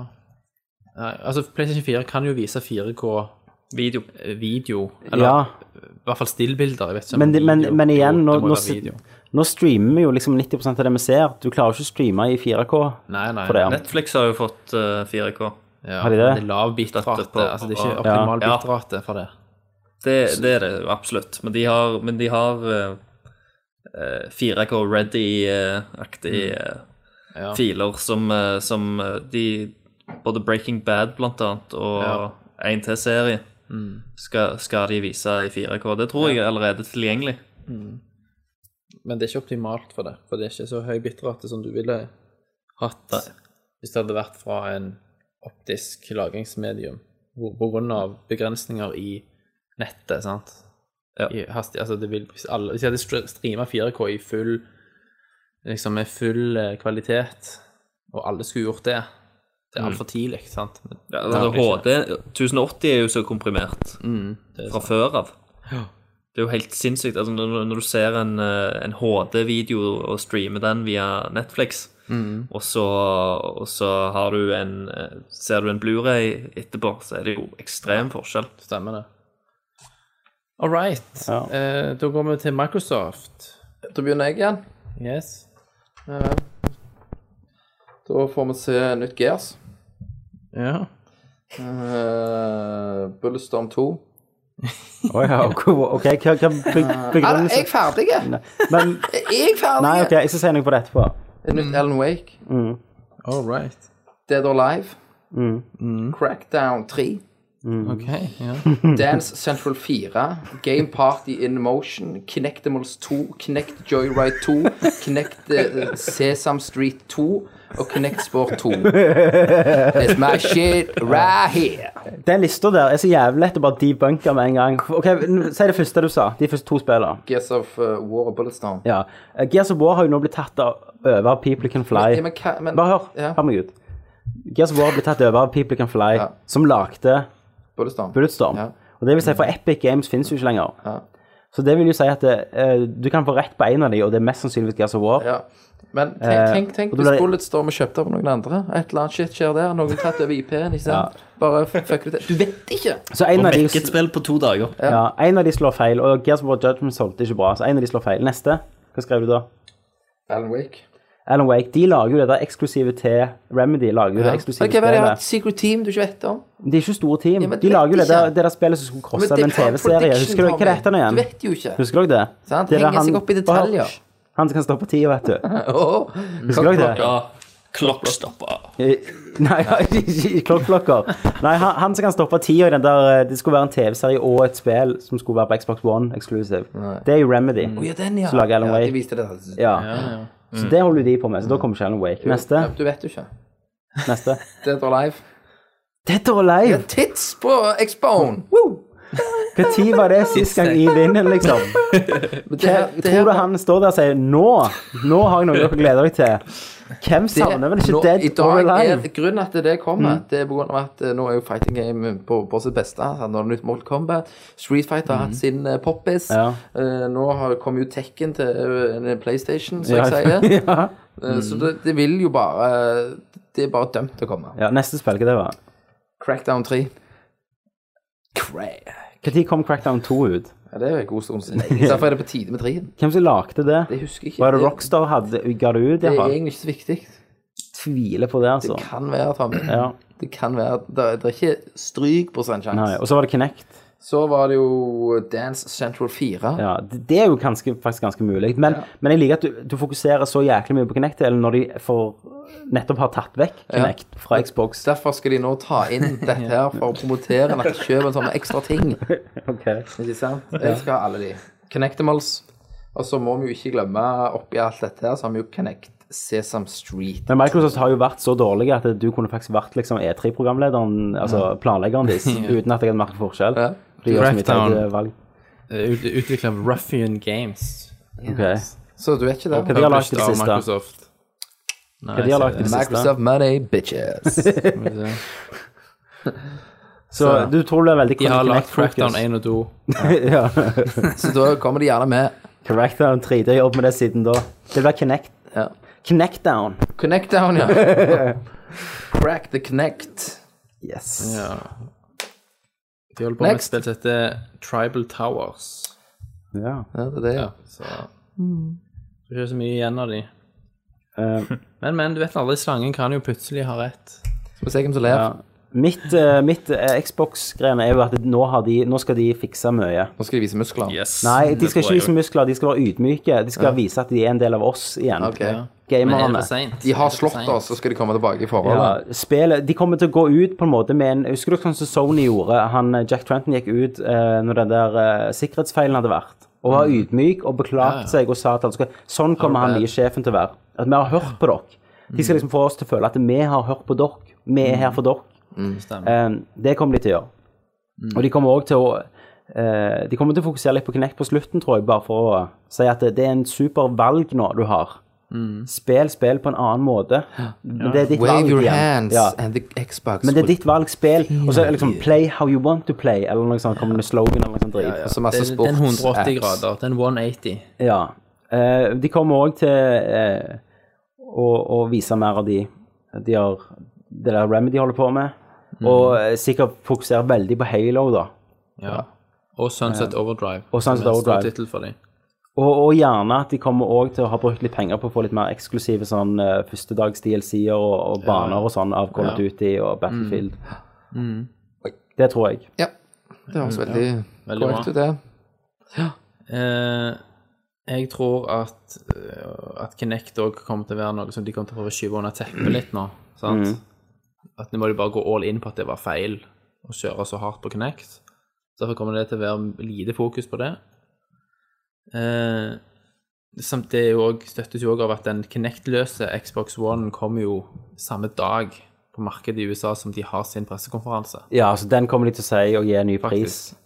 Nei, altså, PlayStation 4 kan jo vise 4K-video, Video. eh, eller Ja, i hvert fall stillbilder. Jeg vet ikke om men, det- men, video- men igjen, Jo, nå, det må nå, være sit- video. nå streamer vi jo liksom 90 av det vi ser. Du klarer jo ikke å streame i 4K. Nei, nei. for det, ja. Netflix har jo fått eh, 4K. ja, har de det? men er lav bitrate. Støtte på- Altså, det er ikke på- optimal Ja. bitrate for det. Det, det er det jo absolutt. Men de har, men de har eh, eh, 4K ready-aktige Mm. Ja. eh, filer som, eh, som eh, de Både Breaking Bad blant annet og Ja. Mm. en til serie skal, skal de vise i 4K. Det tror jeg er allerede tilgjengelig. Men det er ikke optimalt for det, for det er ikke så høy bitterrate som du ville hatt hvis det hadde vært fra en optisk lagringsmedium, hvor- på grunn av begrensninger i nettet, sant? Ja. I hastig, altså det vil, hvis, alle, hvis jeg hadde streama 4K i full, liksom med full eh, kvalitet, og alle skulle gjort det, det er altfor tidlig, sant? Men, Ja, altså, HD 1080 er jo så komprimert fra før av. Det er jo helt sinnssykt. Altså, når, når du ser en, eh, en HD-video og streamer den via Netflix, og, så, og så har du en, eh, ser du en Blu-ray etterpå, så er det jo ekstrem forskjell. Stemmer det. All right. Ja. Eh, da går vi til Microsoft. Da begynner jeg igjen. Yes. Da får vi se nytt Gears. Ja. Uh, Bullstorm 2. Å ja, ok, hva, hva be- Er det, jeg begrunnelse er ferdig? Jeg Men er ferdig! nei, ok, jeg skal si noe på det etterpå. Et nytt Ellen Wake. All right. Dead or Alive. Mm. Mm. Crackdown 3. Ok, ja. Dance Central 4, Game Party in Motion, Kinectimals 2, Kinect Joyride 2, Kinect eh, Sesam Street 2 og Kinect Sport 2. It's my shit right here. Den lista der er så jævlig lett å bare debunke med en gang. Ok, Eh, n- Si det første du sa. De første to spillene. Gears of eh, War og Bulletstorm. Ja. Eh, Gears of War har jo nå blitt tatt av- over av People Can Fly. Ja, men hva- men- Bare hør. Ja. Hør meg ut. Gears of War ble tatt over av People Can Fly, Ja. som lagde Bulletstorm. Bulletstorm. Ja. Og det vil si, for Epic Games finnes jo ikke lenger. Så det vil jo si at eh, du kan få rett på en av de, og det er mest sannsynligvis Gears of War. Ja. Men tenk, Eh, tenk, tenk og da ble hvis det- Bulletstorm er kjøpt av noen andre. Et eller annet shit skjer der. Noen tatt over IP-en, ikke sant. Bare fucker det til. Du vet ikke! Så en av de Ikke et spill på to dager. Ja, en av de slår feil, og Gears of War Judgment solgte ikke bra, så en av de slår feil. Neste, hva skrev du da? Alan Wake. Alan Wake, de lager jo det der eksklusive til Remedy, lager jo det eksklusive Ok, hva er det? spillet. Et secret team du ikke vet om? Det er ikke store team, Ja, men de det lager jo vet det der, ikke. det der spillet som skulle Men koste det av en er bare TV-serie. prediction, Husker du hva er dette Tommy. nå igjen? Du vet jo ikke. Husker dere det? Sant? Det er der Henger seg han- opp i detaljer. Hysj. Han som kan stå på tida, vet du. Åh, Husker dere det? Ja, klokkstopper. Nei, ikke klokkeklokker. Nei, han, han som kan stoppe tida i den der eh, Det skulle være en TV-serie og et spill som skulle være på Xbox One eksklusiv. Det er jo Remedy. Å ja, den, ja. Så lager Alan Ja, Wake. de viste det. Mm. Ja. Mm. Ja. Så det holder jo de på med, så da kommer ikke Alan Wake. Neste. Du vet jo ikke. Neste. Dead or Alive. Dead or Alive! Tits på Expone! Når var det sist gang i vinden, liksom? Men det her- Hvem, det her- tror du han står der og sier Nå! Nå har jeg noe dere gleder dere til. Hvem det- savner vel ikke nå- i Dead dag or Er, Alive? Mm. grunnen at det kommer, det er på grunn av at eh, nå er jo fighting game på, på sitt beste. Altså, nå er det nytt Mortal Kombat. Street Fighter har hatt sin eh, poppis. Mm. Ja. Eh, nå har, kom jo Tekken til eh, en PlayStation, som Ja. jeg sier. ja. Eh, Så eh, det, det vil jo bare Det er bare dømt til å komme. ja, neste spill, hva det var. Crackdown 3. Når kom Crackdown 2 ut? Ja, det er en god stund siden. Derfor er det på tide med 3. Hvem som lagde det? Det husker jeg ikke. Var det Rockstar hadde, ga det ut? Det Jeg er har egentlig ikke så viktig. tviler på det, altså. Det kan være, Tommy. Ja. Det kan være. Det er, det er ikke strykprosentsjanse. Nei, og så var det Kinect. Så var det jo Dance Central 4. Ja, det, det er jo ganske, faktisk ganske mulig. Men, men jeg liker at du, du fokuserer så jæklig mye på Kinect-delen når de for, nettopp har tatt vekk Kinect fra Xbox. Derfor skal de nå ta inn dette her for å promotere at de kjøper en sånn ekstra ting. Ikke sant? Jeg skal ha alle de. Connectimals. Og så må vi jo ikke glemme, oppi alt dette her, så har vi jo Connect Sesam Street. Men Microsoft har jo vært så dårlig at du kunne faktisk vært liksom E3-programlederen, altså planleggeren deres, uten at jeg hadde merket forskjell. Ja. De gjør så mye Crackdown. teite valg. Utvikla av Eh, Ruffian Games. Ok. Så du vet ikke det? Hva de har lagd i Published det av siste? Microsoft. Nei, Hva de har lagd i det siste? Microsoft Money Bitches. Så du tror det er veldig De har lagd Kinect-fokus? Crackdown 1 og 2. ja. Så da kommer de gjerne med Crackdown 3, de har jobbet med det siden da. Det blir Kinect. Ja. Kinectdown. Connect down, ja. Crack the connect. Yes. Ja. De holder på med et Next. spill som heter Tribal Towers. Ja. Ja, det er det. Ja. Så Det er ikke så mye igjen av de. Hmm. Eh, Men, men, du vet aldri. Slangen kan jo plutselig ha rett. Skal vi se hvem som ler. Ja. Mitt, eh, mitt eh, Xbox-greiene er jo at nå, har de, nå skal de fikse mye. Nå skal de vise muskler. Yes. Nei, de det skal tror ikke jeg vise muskler, de skal være ydmyke. De skal vise at de er en del av oss igjen. Ok. Men er det Gamerne. for seint? De har slått oss, så skal de komme tilbake i Ja, forholdet. spillet, de kommer til å gå ut på en måte med en Husker du sånn som Sony gjorde? Han, eh, Jack Trenton gikk ut eh, når den der eh, sikkerhetsfeilen hadde vært, og var ydmyk og beklagte seg og sa at han skulle Sånn kommer han nye sjefen til å være. At vi har hørt på dere. De skal liksom få oss til å føle at vi har hørt på dere. Vi er her for dere. Eh, Mm. det Mm. kommer de til å gjøre. Og de kommer også til å eh, De kommer til å fokusere litt på Kinect på slutten, tror jeg, bare for å si at det, det er en super valg nå du har. Spill spill på en annen måte. Men det er ditt Wave valg your igjen. hands Ja. and the Xbox. Men det er ditt valg, spill. Og så er det liksom play how you want to play, eller noe sånt. Kommer det slogan eller noe sånt drit. Så masse Den, den sports 180 grader. Den 180. Ja. Eh, de kommer òg til eh, å, å vise mer av de de har Det der Remedy holder på med. Og eh, sikkert fokusere veldig på Halo, da. Ja. Og Sunset Overdrive. Og som er en Sunset stor Overdrive. tittel for dem. Og, og gjerne at de kommer òg til å ha brukt litt penger på å få litt mer eksklusive sånn eh, førstedags-DLC-er og, og baner og sånn av Call of Duty og Battlefield. Mm. Det tror jeg. Ja. Det høres veldig Veldig korrekt bra. ut, det. Eh, jeg tror at, eh, at Kinect òg kommer til å være noe som de kommer til å prøve å skyve under teppet litt nå. Sant? Mhm. At nå må de bare gå all in på at det var feil å kjøre så hardt på Kinect. Så Derfor kommer det til å være lite fokus på det. Eh, samt det er jo også, støttes jo òg av at den Kinect-løse Xbox One kommer jo samme dag på markedet i USA som de har sin pressekonferanse. Ja, altså Den kommer de til å si og gi en ny pris. Faktisk.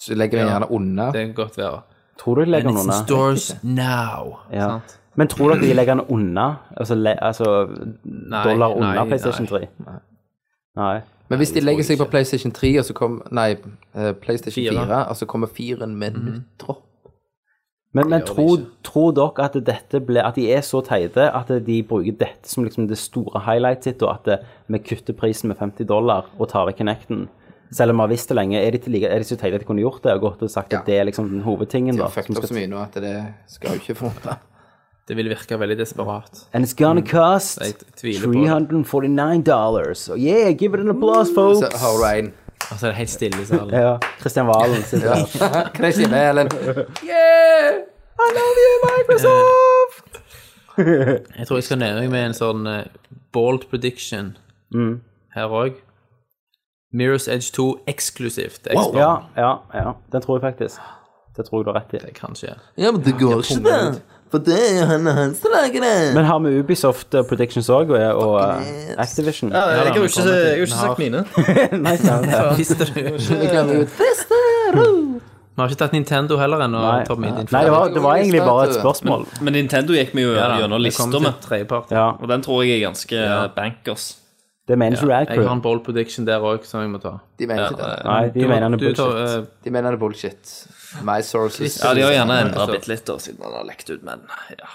Så legger vi den gjerne under. Det kan godt være. Tror du de legger And den it's in unna? stores now. Ja. Sant? Men tror dere de legger den unna? Altså, le, altså dollar unna nei, PlayStation nei. 3? Nei. nei. Men hvis de legger seg på PlayStation 3, og så kommer Nei, eh, PlayStation Fire. Mhm. 4, og så kommer 4-en med nulltropp. Men, men tror, tror dere at, dette ble, at de er så teite at de bruker dette som liksom det store highlightet sitt, og at det, vi kutter prisen med 50 dollar og tar vekk Connecten? Selv om vi har visst det lenge, er de, til like, er de så teite at de kunne gjort det og gått og sagt Ja. at det er liksom den hovedtingen? De da? har fucket som opp skal- så mye nå at det skal jo ikke forundre. Det vil virke veldig desperat. And it's Mm. gonna cost Jeg tviler på det. 349 dollars. Oh yeah, give it an applause, Så folks! har Ryan Og så er det helt stille i salen. Mm. Ja, Kristian Valen sitter der. Kan jeg si det, Ellen? Jeg tror jeg skal nøye meg med en sånn eh, bold prediction Mm. her òg. Mirrors Edge 2 eksklusivt. Det Ja, ja, ja. Den tror jeg faktisk. Det tror jeg du har rett i. kan skje. Ja, men det går ikke, det. For det er jo han og han som lager det. Men har vi Ubisoft eh, Predictions òg, og, og eh, Activision? Ja, jeg har jo ikke, jeg har jo Vi ikke har- sagt mine. Nei, sant, ja. Visste du? Vi Vi glemmer jo Beste! har ikke tatt Nintendo heller ennå, Nei. Tommy. Din Nei, det var, det var egentlig bare et Men- spørsmål. Men Nintendo gikk vi jo da, vi gjennom lista kommer til med, tredjepart. Ja, og den tror jeg er ganske eh, bankers. det mener ikke Rad Jeg har Crew. en bold prediction der òg som jeg må ta. De mener ikke det. Nei, de Du- mener han er du tar, bullshit. eh, De mener det er bullshit. My sources. Ja, de har gjerne endra bitte litt da, siden den har lekt ut, men ja.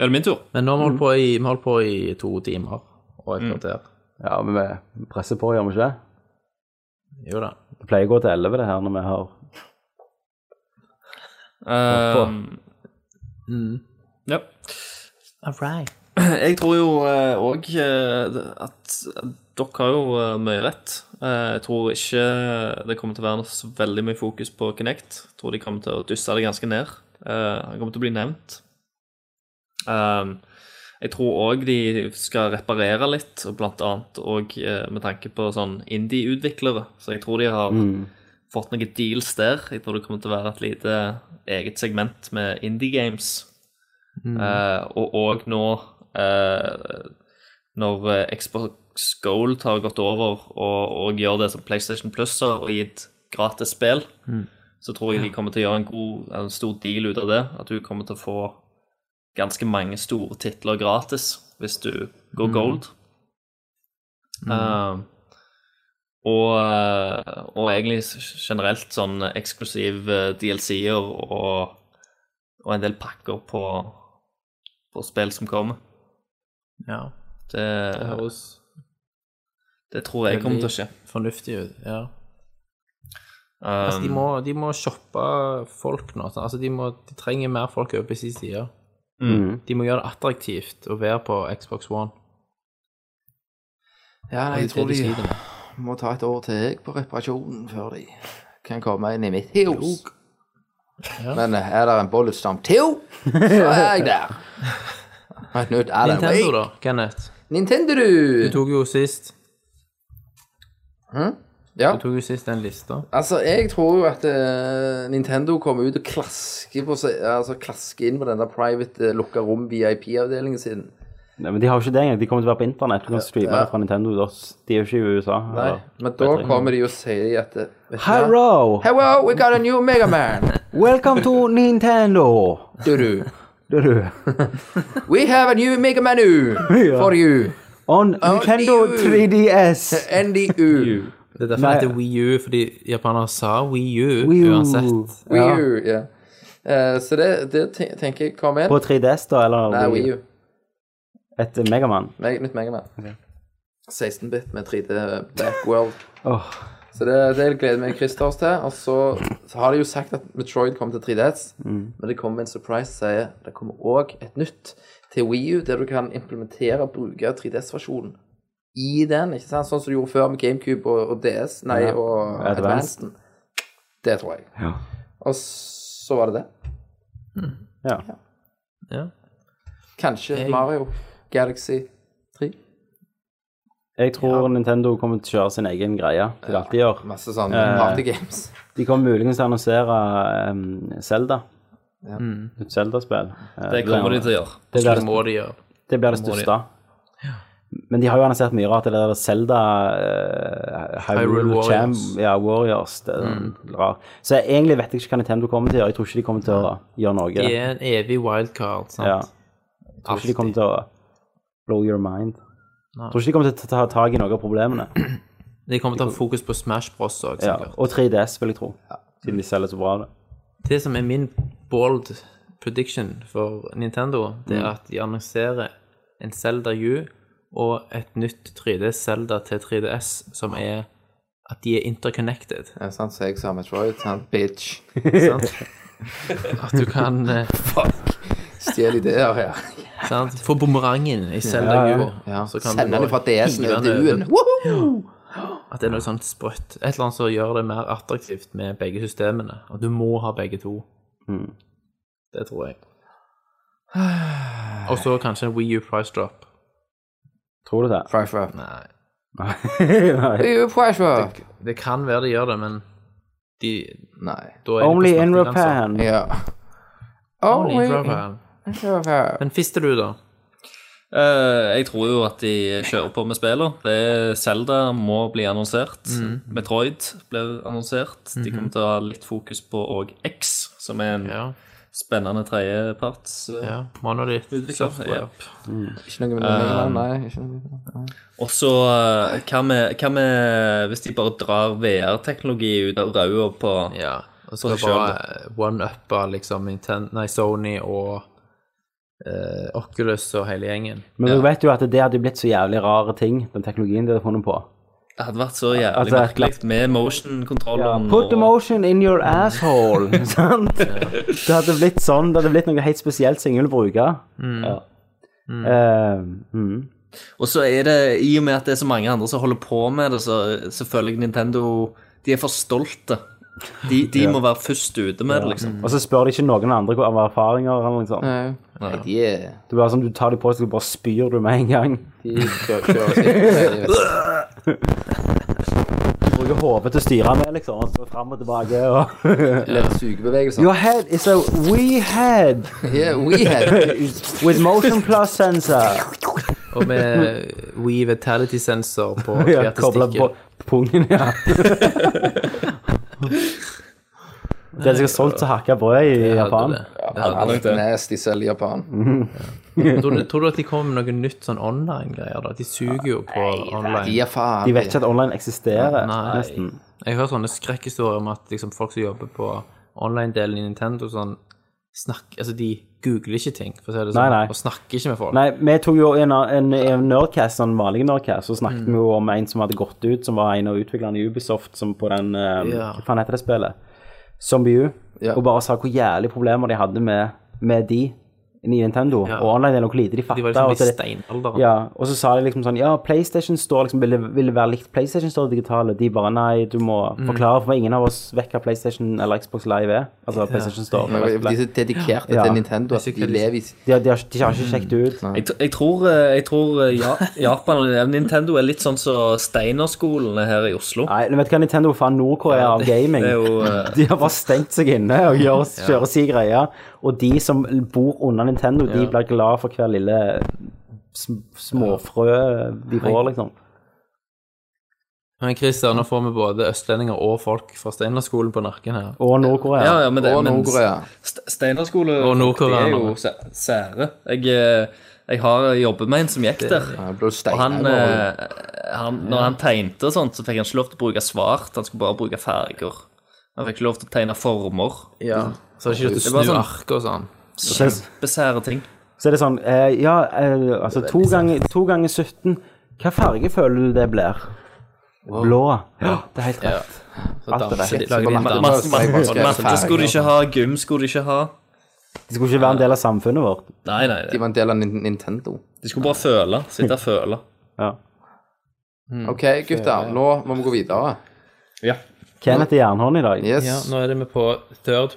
Er det min tur? men nå har vi holdt Mm. på i- vi har holdt på i to timer og et kvarter. Ja, men vi presser på, gjør vi ikke det? Jo da. Det pleier å gå til 11 det her når vi har Um, ja. Mm. Jeg tror jo òg at dere har jo eh, mye rett. Eh, Jeg tror ikke det kommer til å være så veldig mye fokus på Kinect. Jeg tror de kommer til å dysse det ganske ned. Eh, Han kommer til å bli nevnt. Um, jeg tror òg de skal reparere litt, og blant annet òg med tanke på sånn indie-utviklere. Så jeg tror de har Mm. fått noen deals der. Jeg tror det kommer til å være et lite eget segment med indie games. Mm. Eh, og òg nå, eh, når eh, Xbox Gold har gått over og, og gjør det som PlayStation Plus har, og gitt gratis spill, Mm. så tror jeg de kommer til å gjøre en, god, en stor deal ut av det. At du kommer til å få ganske mange store titler gratis hvis du går Mm. gold. Eh, og, eh, og egentlig s- generelt sånn eksklusiv eh, DLC-er og, og en del pakker på, på spill som kommer. Ja. Det, Det høres det tror jeg kommer til å skje. fornuftig ut. Ja. Altså, de, Um, må, de må shoppe folk nå. sant? Altså, de, må, de trenger mer folk over på sin side. Mm. Mm. Mhm. De må gjøre det attraktivt å være på Xbox One. Ja, Og nei, det jeg er tror det de de sliter med. må ta et år til jeg på reparasjonen før de kan komme inn i mitt hus. Men eh, er det en bollestamp til, så er jeg der. Et nytt Alan Nintendo, Wake. da, Kenneth. Nintendo, Du tok jo sist Hm? Ja. Du tok jo sist den lista. Altså, jeg tror jo at eh, Nintendo kommer ut og klasker, på seg, altså, klasker inn på den der private eh, lukka rom VIP-avdelingen sin. Nei, men De har jo ikke det engang. De kommer til å være på internett. Du kan streame Ja. det fra Nintendo. da. De er jo ikke i USA. Nei, eller- men da vet jeg. kommer de og sier at eh, vet du hva? Hello! Hello, we got a new Mega Man. Welcome to Nintendo! Do do. Det er du. We have a new Mega Manu for you. On Nintendo you. 3DS! NDU. Det er derfor Nei. det heter Wii U, fordi japanere sa Wii U, Wii U. uansett. Wii U, ja. Eh, så det, det te- tenker jeg kommer inn. På 3DS, da? Eller Nei, Wii Ah, U. et Megaman? Meg, nytt Mega Man. 16-bit med 3D Backworld. Åh. Så det, det gleder meg Christers til. Og så, så har de jo sagt at Metroid kommer til 3DS, Mm. men det kommer en surprise sier det kommer òg et nytt til Wii U, der du kan implementere og bruke 3DS-versjonen i den. ikke sant? Sånn som du gjorde før med GameCube og, og DS, nei, Ja. og Advanced. Advanced. Det tror jeg. Ja. Og så var det det. Ja. Kanskje Mario Galaxy 3. Jeg tror Nintendo kommer til å kjøre sin egen greie. Det de alltid gjør. Masse sånn Eh. partygames. De kommer muligens til å annonsere um, Zelda. Ja. Et Zelda-spill. Eh, det kommer de til å gjøre. Det blir det, Må de gjøre. det, blir det største. Men de har jo annonsert mye rart. Det der Zelda eh, Hyrule Hyrule Warriors. Mm. Warriors. ja, Warriors det, er rar. Så jeg, egentlig vet jeg ikke hva Nintendo kommer til å gjøre. Jeg tror ikke de kommer til å gjøre noe. De er en evig wildcard, sant. Ja. Jeg tror ikke de kommer til å blow your mind. Nei. Jeg tror ikke de kommer til å ta tak i noen av problemene. De kommer til å ha fokus på Smash Bros. òg, Ja. sikkert. Og 3DS, vil jeg tro. Siden de selger så bra det. Det som er min bold prediction for Nintendo, det er at de annonserer en Zelda U og et nytt 3D Zelda til 3DS, som er at de er interconnected. Ja, sant, så jeg sa Metroid, sant, bitch. Sant? At du kan eh, Stjel ideer her. sant? få bumerangen i Zelda U. Ja, Så kan Sender du den fra bare DS-en hive til den over. duen. Woohoo! At det er noe sånt sprøtt. Et eller annet som gjør det mer attraktivt med begge systemene. Og du må ha begge to. Hmm. Det tror jeg. Og så kanskje en Wii U price drop. Tror du det? Fresh up. Nei. Nei. Hey, you fresh up. Det kan være de gjør det, men de, Nei. da er de på Only in smertegrensa. Japan. Ja. Only in Japan. Japan. Men fister du, da? Eh, jeg tror jo at de kjører på med spiller. Det er Zelda må bli annonsert. Mm. Metroid blir annonsert. De kommer til å ha litt fokus på òg X, som er en Mhm. Ja. spennende tredjeparts eh, ja. Monolith. utvikler. Software. Yep. Ikke noe med det. Nei, ikke noe med det. Og så eh, hva med, hva med hvis de bare drar VR-teknologi ut av ræva på Ja. Og så seg skal bare one-uppe liksom Ninten- nei, Sony og eh, Oculus og hele gjengen. Men du vet jo at det hadde blitt så jævlig rare ting, den teknologien de hadde funnet på. Det hadde vært så jævlig Altså, et merkelig med motion-kontrolleren. Put the motion in your asshole. sant? Det hadde blitt sånn. Det hadde blitt noe helt spesielt som ingen ville bruke. Ja. Eh, mm. Og så er det, i og med at det er så mange andre som holder på med det, så, så føler jeg Nintendo De er for stolte. De, de må være først ute med det, liksom. mm. Og så spør de ikke noen andre om erfaringer. eller noe sånt. Nei. Nei, de er Det er bare sånn, Du tar dem på deg, så bare spyr du med en gang. De kjører, kjører sikkert. Bruker hodet til å styre med, liksom. Og så fram og tilbake. og... Litt sugebevegelser. Your head is a wee head Yeah, we had with motion plus sensor. Og med Wii Vitality-sensor på Ja, hvert kobla stikke. på pungen, ja. Den som har solgt så hakka brød i Japan. alt nasty selv i Japan. Tror du, tror du at de kommer med noe nytt sånn online-greier? da? De suger jo på online. Ja, faen. De vet ikke at online eksisterer. Nei. nesten. Jeg hører sånne skrekkhistorier om at liksom, folk som jobber på online-delen i Nintendo, sånn snakk, altså de googler ikke ting, for å si det sånn, Nei, nei. og snakker ikke med folk. Nei, vi tok jo en, en, en nerdcast, sånn vanlig nerdcast, så snakket Mm. vi jo om en som hadde gått ut, som var en av utviklerne i Ubisoft, som på den eh, Ja. Hva faen heter det spillet? Zombie U. Ja. Og bare sa hvor jævlig problemer de hadde med, med de i Nintendo. Og online er noe lite de fatta. De var liksom og så i det- steinalderen. Ja, og så sa de liksom sånn Ja, PlayStation Store liksom ville, ville være likt PlayStation Store digitale. De bare nei, du må Mm. forklare for meg. Ingen av oss vet hva PlayStation eller Xbox Live er. Altså PlayStation Store. eller Xbox De Live. er så dedikerte Ja. til Nintendo at de lever i De, de, har, de har ikke sjekket Mm. det ut. Jeg, tr- jeg tror, eh, jeg tror eh, ja, Japan og Nintendo er litt sånn som Steinerskolene her i Oslo. Nei, men vet du hva Nintendo faen Nord-Korea av gaming? Det er jo eh, De har bare stengt seg inne og gjør, kjører si greier. Og de som bor under Nintendo, de blir glad for hver lille sm småfrø de får, liksom. Men Christer, nå får vi både østlendinger og folk fra Steinerskolen på nakken her. Og Nord-Korea. ja, ja, men det, Og men Nord-Korea. Ste- Steinerskole Og det er jo nordkoreanere. sæ- sære. Jeg, eh, jeg har jobbet med en som gikk der. Ja, det ble jo stein- Og han, Eller- eh, han, når han tegnte og sånt, så fikk han ikke lov til å bruke svart, han skulle bare bruke farger. Han fikk ikke lov til å tegne former. Så har de ikke lov til Det å var snu sånn- arket og sånn. Besære ting. Så er det sånn eh, Ja, eh, altså to ganger, to ganger 17 Hva farge føler du det blir? Blå. Ja, det er helt rett. Alt er Shit, rett. lager de en matte- dans. masse- masse- Matte matte skulle de ikke ha, gym skulle de ikke ha. Det skulle ikke være en del av samfunnet vårt. Nei, nei, De var en del av Nin- Nintendo. de skulle bare føle. Sitte og føle. Ja. Mm. OK, gutter. Nå må vi gå videre. Kenneth er jernhånd i dag. Yes. Ja, nå er det vi på third, vi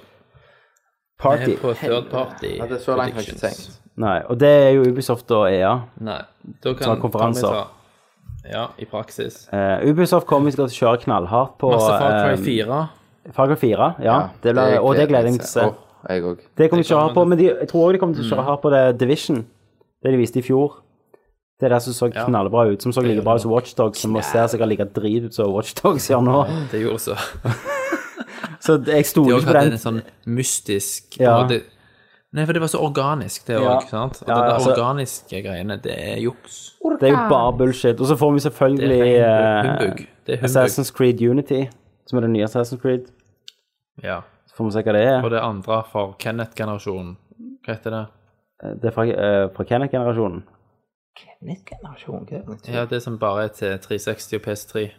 Party. er på third party. Ja, det er så langt jeg har ikke tenkt. Nei, og det er jo Ubisoft og E EA. Nei, da kan Ta konferanser. kan vi ta- Ja, i praksis. Eh, Ubisoft kommer til å kjøre knallhardt på Masse Far Cry eh, 4. Far Cry 4. Ja, det ble, og det gleder jeg meg til å se. Åh, Jeg òg. Det kommer de til å kjøre hardt på, men de, jeg tror også de Mm. kommer til å kjøre hardt på det Division. Det de viste i fjor. Det der som så knallbra ut, som så like bra ut som Watchdogs, som må se sikkert like drit ut som Watchdogs gjør nå. Det gjorde så. Så det- jeg stoler De ikke også på hadde den. en sånn mystisk Ja. og det, Nei, for det var så organisk, det òg. Ja. sant? Og Ja, det der altså- organiske greiene, det er juks. Det er jo bare bullshit. Og så får vi selvfølgelig Det er eh, humbug. Det er humbug. Assassin's Creed Unity, som er det nye Assassin's Creed. Ja. Så får vi se hva det er. Og det andre for Kenneth-generasjonen. Hva heter det? Det er fra, eh, fra Kenneth-generasjonen. Ja, det som bare er til 360 og PS3.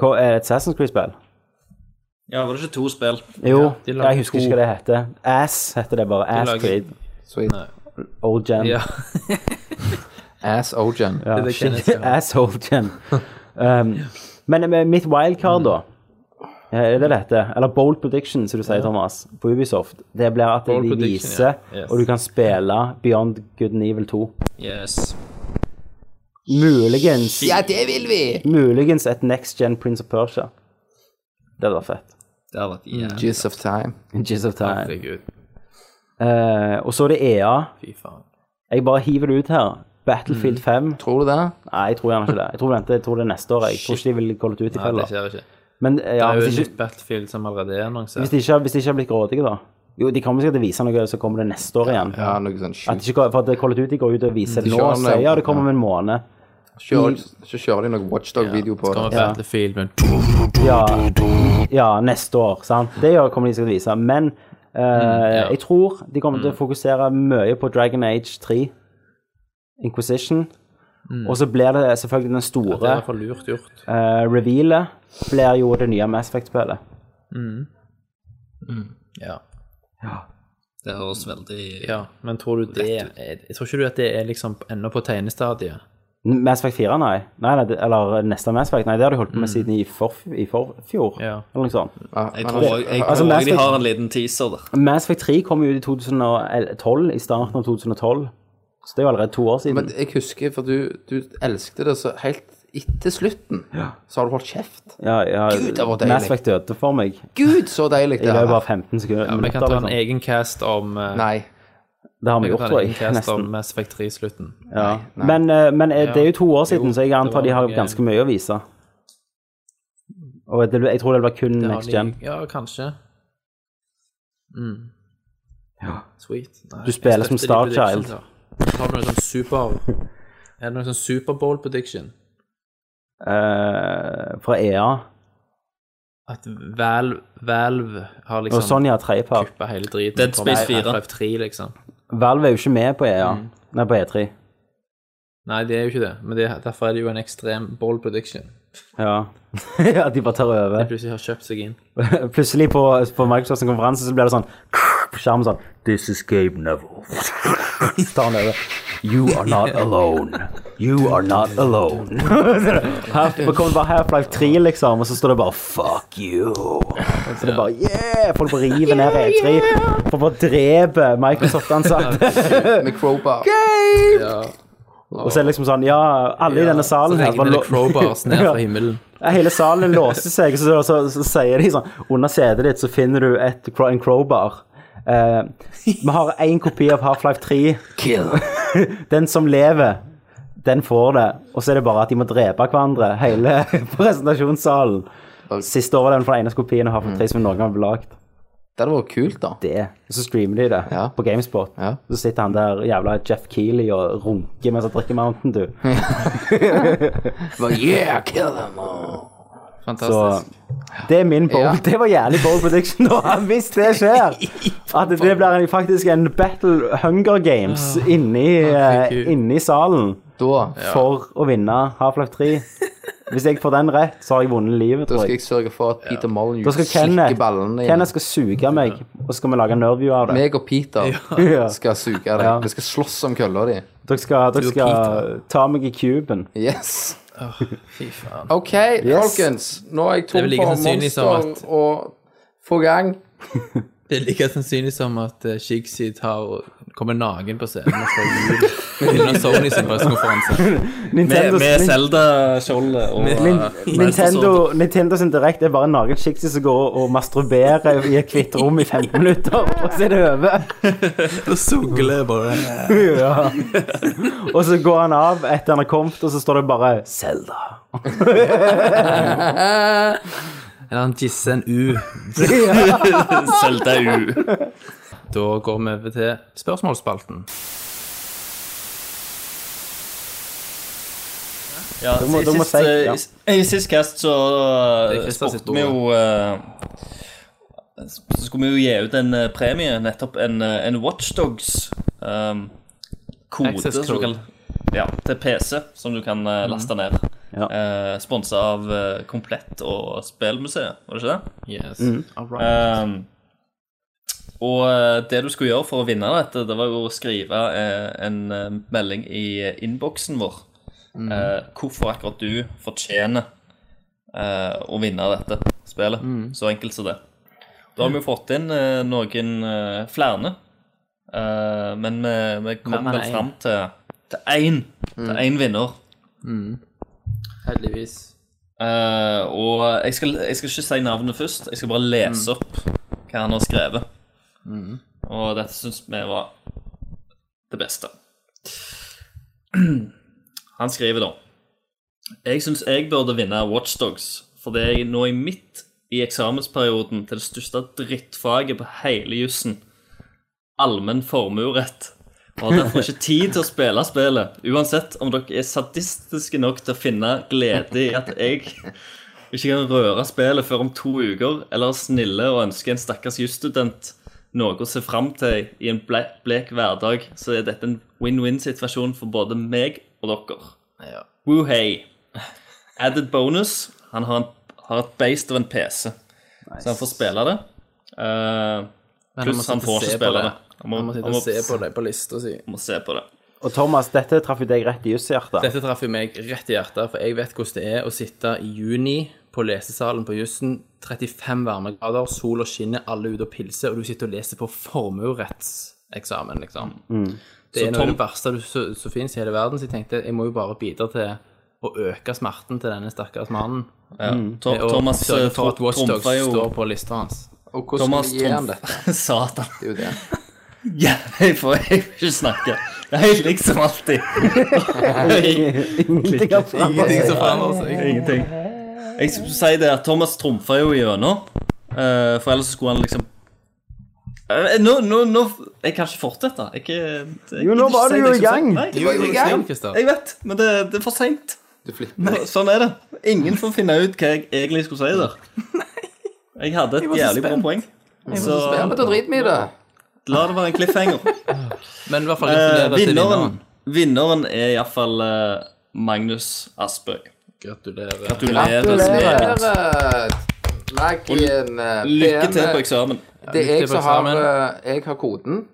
Hva er det et Assassin's Creed-spill? Ja, var det ikke to spill? Jo, de lager jeg husker ikke hva det heter. Ass heter det bare. Ass lager- Creed. Sweet. Old Gen. Ja. Ass Ogen. Ja, det shit, Kenneth, ja. Asshole Gen. Um, men med mitt wildcard, da eh, Er det dette? Eller bold prediction, som du sier, Thomas, på Ubisoft. Det blir at Bold de prediction, viser, ja. Yes. og du kan spille Beyond Good and Evil 2. Yes. Muligens, Ja, det vil vi! muligens et next gen Prince of Persia. Det hadde vært fett. Det har vært jævlig. Juice of time. Jizz of time. Herregud, Eh, og så er det EA. fy faen. Jeg bare hiver det ut her. Battlefield 5. Tror du det? Nei, jeg tror gjerne ikke det. Jeg tror, vent, jeg tror det er neste år. Jeg tror ikke de vil kolle det ut i Nei, det fella. skjer ikke. Men eh, Det ja, er jo hvis et ikke, nytt Battlefield som allerede er Hvis annonsert. de ikke, hvis de ikke har blitt grådige, da? Jo, de kommer sikkert til å vise noe, så kommer det neste år igjen. Ja, noe sånn At sjukt. de ikke, går- for at det er kollet ut, de går ut og Mm. viser det nå kjører og den der- sier ja, det kommer om en måned. Kjører- Så kjører de noe Watchdog-video på Så kommer det. Battlefield, men Ja, ja neste år, sant. Det gjør- kommer de sikkert til å vise. Men eh, Mm, jeg tror de kommer til å fokusere mye på Dragon Age 3, Inquisition, Og så blir det selvfølgelig den store Mm. Det er i hvert fall lurt gjort. eh, revealet blir jo det nye Mass Effect-spillet. Ja. Det høres veldig ja. Men tror du det Jeg jeg tror ikke du at det er liksom ennå på tegnestadiet? N- Mass Effect 4, nei. nei, nei det, eller eh, neste Mass Effect. Nei, det har de holdt på med siden i, forf i forfjor, Mm. Ja. eller noe sånt. Jeg tror også- jeg tror Altså, også de Mass- har en liten teaser der. Mass Effect 3 kom jo ut i 2012, i starten av 2012. Så det er jo allerede to år siden. Men jeg husker, for du, du elskte det så helt etter slutten, så har du holdt kjeft. Ja, ja, Gud, det var deilig. Mass Effect døde for meg Gud, så deilig i det løpet er. av 15 Vi sekunder. kan minutter, ta en liksom. egen cast om eh, Nei. Det har vi vi kan gjort, ta tror en egen jeg. cast om Nesten. Mass Effect 3-slutten. Ja. Men, eh, men eh, det er jo to år siden, Jo, så jeg det var antar de har noe- ganske mye å vise. Og det, jeg tror det blir kun next gen. Ja, kanskje. Mm. Sweet. Nei, Du spiller jeg som støtter Star de Child. predictions, da. Har du noen sånn super Er det noen sånn Super Bowl prediction? eh, fra EA. At Valve, Valve har Og sånn, liksom Sonja Treipar. kuppa hele driten? Dead som Space kommer i 4. Half-Life 3, liksom. Valve er jo ikke med på EA. Nei, på E E3. Nei, det er jo ikke det, men det, derfor er det jo en ekstrem ball prediction. Ja. ja, de bare tar De over. plutselig har kjøpt seg inn. Plutselig på, på Microsofts konferanse så blir det sånn på skjermen sånn This is Gabe Neville. Så tar han over. You are not alone. You are not alone. Her det kommer bare Half-Life 3, liksom, og så står det bare Fuck you. Så det er bare Yeah! Folk bare river ned E3. Folk bare dreper Microsoft-ansatte. Med crowbar. Og så er det liksom sånn Ja, alle i denne salen her Så bare regner det lå- crowbars ned fra himmelen. Ja, Hele salen låser seg, og så, så, så, sier de sånn Under setet ditt så finner du et, cro- en crowbar. Eh, vi har én kopi av Half-Life 3. Den som lever, den får det. Og så er det bare at de må drepe hverandre, hele presentasjonssalen. Siste året er den for den eneste kopien av Half-Life 3 som noen gang ble lagd. Det hadde vært kult, da. Det. Og så streamer de det Ja. på Gamespot. Ja. Så sitter han der jævla Jeff Keeley og runker mens han drikker Mountain Dew. Bare, yeah, kill them all. Så Fantastisk. det er min bold. Ja. Det var jævlig bold prediction. da, Hvis det skjer, at det blir en, faktisk en battle Hunger Games Ah. inni, eh, herregud. inni salen Da, for å vinne Half-Life 3. Hvis jeg får den rett, så har jeg vunnet da livet, tror skal jeg. jeg sørge for at Peter Molyneux Da skal slikker Kenneth, ballene igjen. Kenneth skal suge meg, og så skal vi lage en nerdview av det. Meg og Peter Ja. skal suge deg. Vi skal slåss om kølla di. Dere skal, dere skal ta meg i kuben. Yes. Fy faen. OK, folkens. Nå er jeg er tom vel like for sannsynlig som monster og få gang. Det er like sannsynlig som at eh, Shigsy tar kommer naken på scenen og slår jul under Sony sin pressekonferanse. Med, Nintendo, med Zelda-skjoldet og Nin- eh, Nintendo, Nintendo sin direkt er bare naken Shixi som går og masturberer i et hvitt rom i 15 minutter, og så er det over. Og sugler bare. Ja. Og så går han av etter han har kommet, og så står det bare 'Selda'. Eller han gisser en U. Zelda U. Da går vi over til spørsmålsspalten. Ja, må- i du må sist, si, eh, ja. i, I sist cast så Det er uh, Christer sitt spurte vi ord. jo eh, Så skulle vi jo gi ut en eh, premie, nettopp en, eh, en Watchdogs um, kode, Access som du code. kan, ja, til PC, som du kan eh, laste ned. Mm. Ja. Uh, Sponsa av eh, Komplett og Spelmuseet, var det ikke det? Yes. All right. Um, og eh, det du skulle gjøre for å vinne dette, det var jo å skrive eh, en eh, melding i eh, innboksen vår. Mm. Eh, hvorfor akkurat du fortjener eh, å vinne dette spillet. Mm. Så enkelt som det. Da har vi jo fått inn eh, noen eh, flere, eh, men vi, vi kom Men- men en. vel Mm. fram til til én. Til én vinner. Heldigvis. Eh, og jeg skal, jeg skal ikke si navnet først. Jeg skal bare lese opp hva han har skrevet. Og dette syns vi var det beste. Han skriver da Jeg syns jeg burde vinne Watchdogs, fordi jeg nå er midt i eksamensperioden til det største drittfaget på hele jussen, allmenn formuerett, og har derfor ikke tid til å spille spillet, uansett om dere er sadistiske nok til å finne glede i at jeg ikke kan røre spillet før om to uker, eller er snille og ønsker en stakkars jusstudent noe å se fram til i en ble- blek hverdag, så er dette en win-win-situasjon for både meg og dere. Ja. Woohei. Added bonus. Han har, en, har et beist av en PC, så han får spille det. Eh, Men han må pluss sitte han og får se på ikke spille det. det. Han må sitte og se på det på lista si. må se på det. Og Thomas, dette traff jo deg rett i jusshjertet. Dette traff jo meg rett i hjertet, for jeg vet hvordan det er å sitte i juni på lesesalen på jussen. 35 varmegrader, sol og skinner, alle ute og pilser, og du sitter og leser på formuerettseksamen, liksom. Det Mm. Så er noe av Tom- det verste du- så, som finnes i hele verden, så jeg tenkte jeg må jo bare bidra til å øke smerten til denne stakkars mannen. Ja. To- Og Mm. Thomas sørge for at Watch Dogs trumfa jo står på lista hans. Og hvordan Thomas gir han trumf- dette? Satan. Det er jo det. Ja, jeg får jeg vil ikke snakke. Det er helt liksom alltid. Ingenting av Ingenting som forandrer seg. Ingenting. Jeg skulle si det at Thomas trumfa jo gjennom, eh, for ellers skulle han liksom Eh, Nå, nå, nå Jeg kan ikke fortsette. Jeg, jeg, jeg, Jo, nå var du jo i gang. Du var jo i gang. Kristian. Jeg vet, men det, det er for seint. Du flipper. Sånn er det. Ingen får finne ut hva jeg egentlig skulle si der. Jeg hadde et jævlig bra poeng. Så Ja, men da driter vi i det. la det være en cliffhanger. Men i hvert fall Eh, gratulerer til vinneren, vinneren. vinneren er iallfall uh, Magnus Aspøy. Gratulerer. Gratulerer. Gratulerer. Gratulerer. Legg i en eh, Lykke pen- til på eksamen. Det er til jeg på Mm. som har eksamen. eh, Jeg har koden.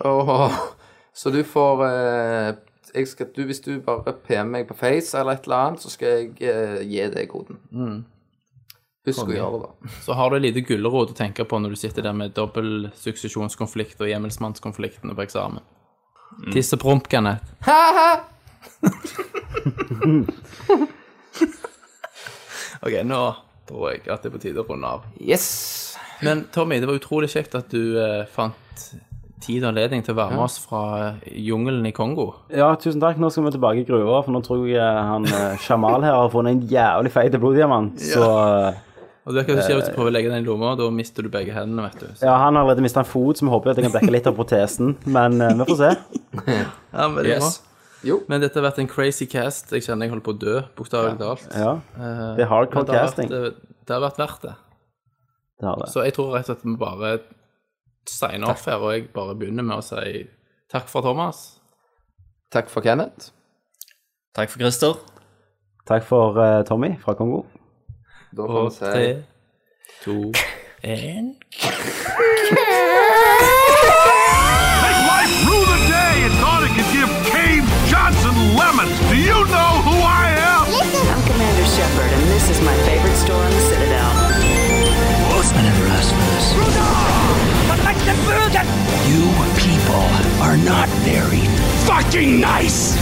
Og- så du får eh, jeg skal, du, Hvis du bare PM meg på Face eller et eller annet, så skal jeg eh, gi deg koden. Mm. Husk å gjøre det, da. Så har du en liten gulrot å tenke på når du sitter der med dobbel suksesjonskonflikt og hjemmelsmannskonfliktene på eksamen. Mm. Tissepromp, Kenneth. ok, nå tror jeg at det er på tide å runde av. Yes! Men Tommy, det var utrolig kjekt at du eh, fant tid og anledning til å være med oss fra eh, jungelen i Kongo. Ja, tusen takk. Nå skal vi tilbake i gruva, for nå tror jeg eh, han eh, Jamal her har funnet en jævlig feit bloddiamant. Så eh, Og det er hva som skjer hvis du prøver å legge den i lomma, da mister du begge hendene, vet du. Så, ja, han har allerede mista en fot, så vi håper at jeg kan dekke litt av protesen. Men eh, vi får se. ja, men, det er Yes. bra. Jo. men dette har vært en crazy cast. Jeg kjenner jeg holder på å dø, bokstavelig talt. Ja. Det er Men hardcore det har vært- eh, casting. Det har vært verdt det. Det har det. Så jeg tror rett og slett vi bare signer off her, og jeg bare begynner med å si takk for Thomas. Takk for Kenneth. Takk for Christer. Takk for eh, Tommy fra Kongo. Da får Og vi se. tre, to, én Take life rue the day and thought it could give Cave Johnson lemons. Do you know who I am? I'm Commander Shepard, and this is my favorite store on the Citadel. I never asked for this. You people are not very fucking nice.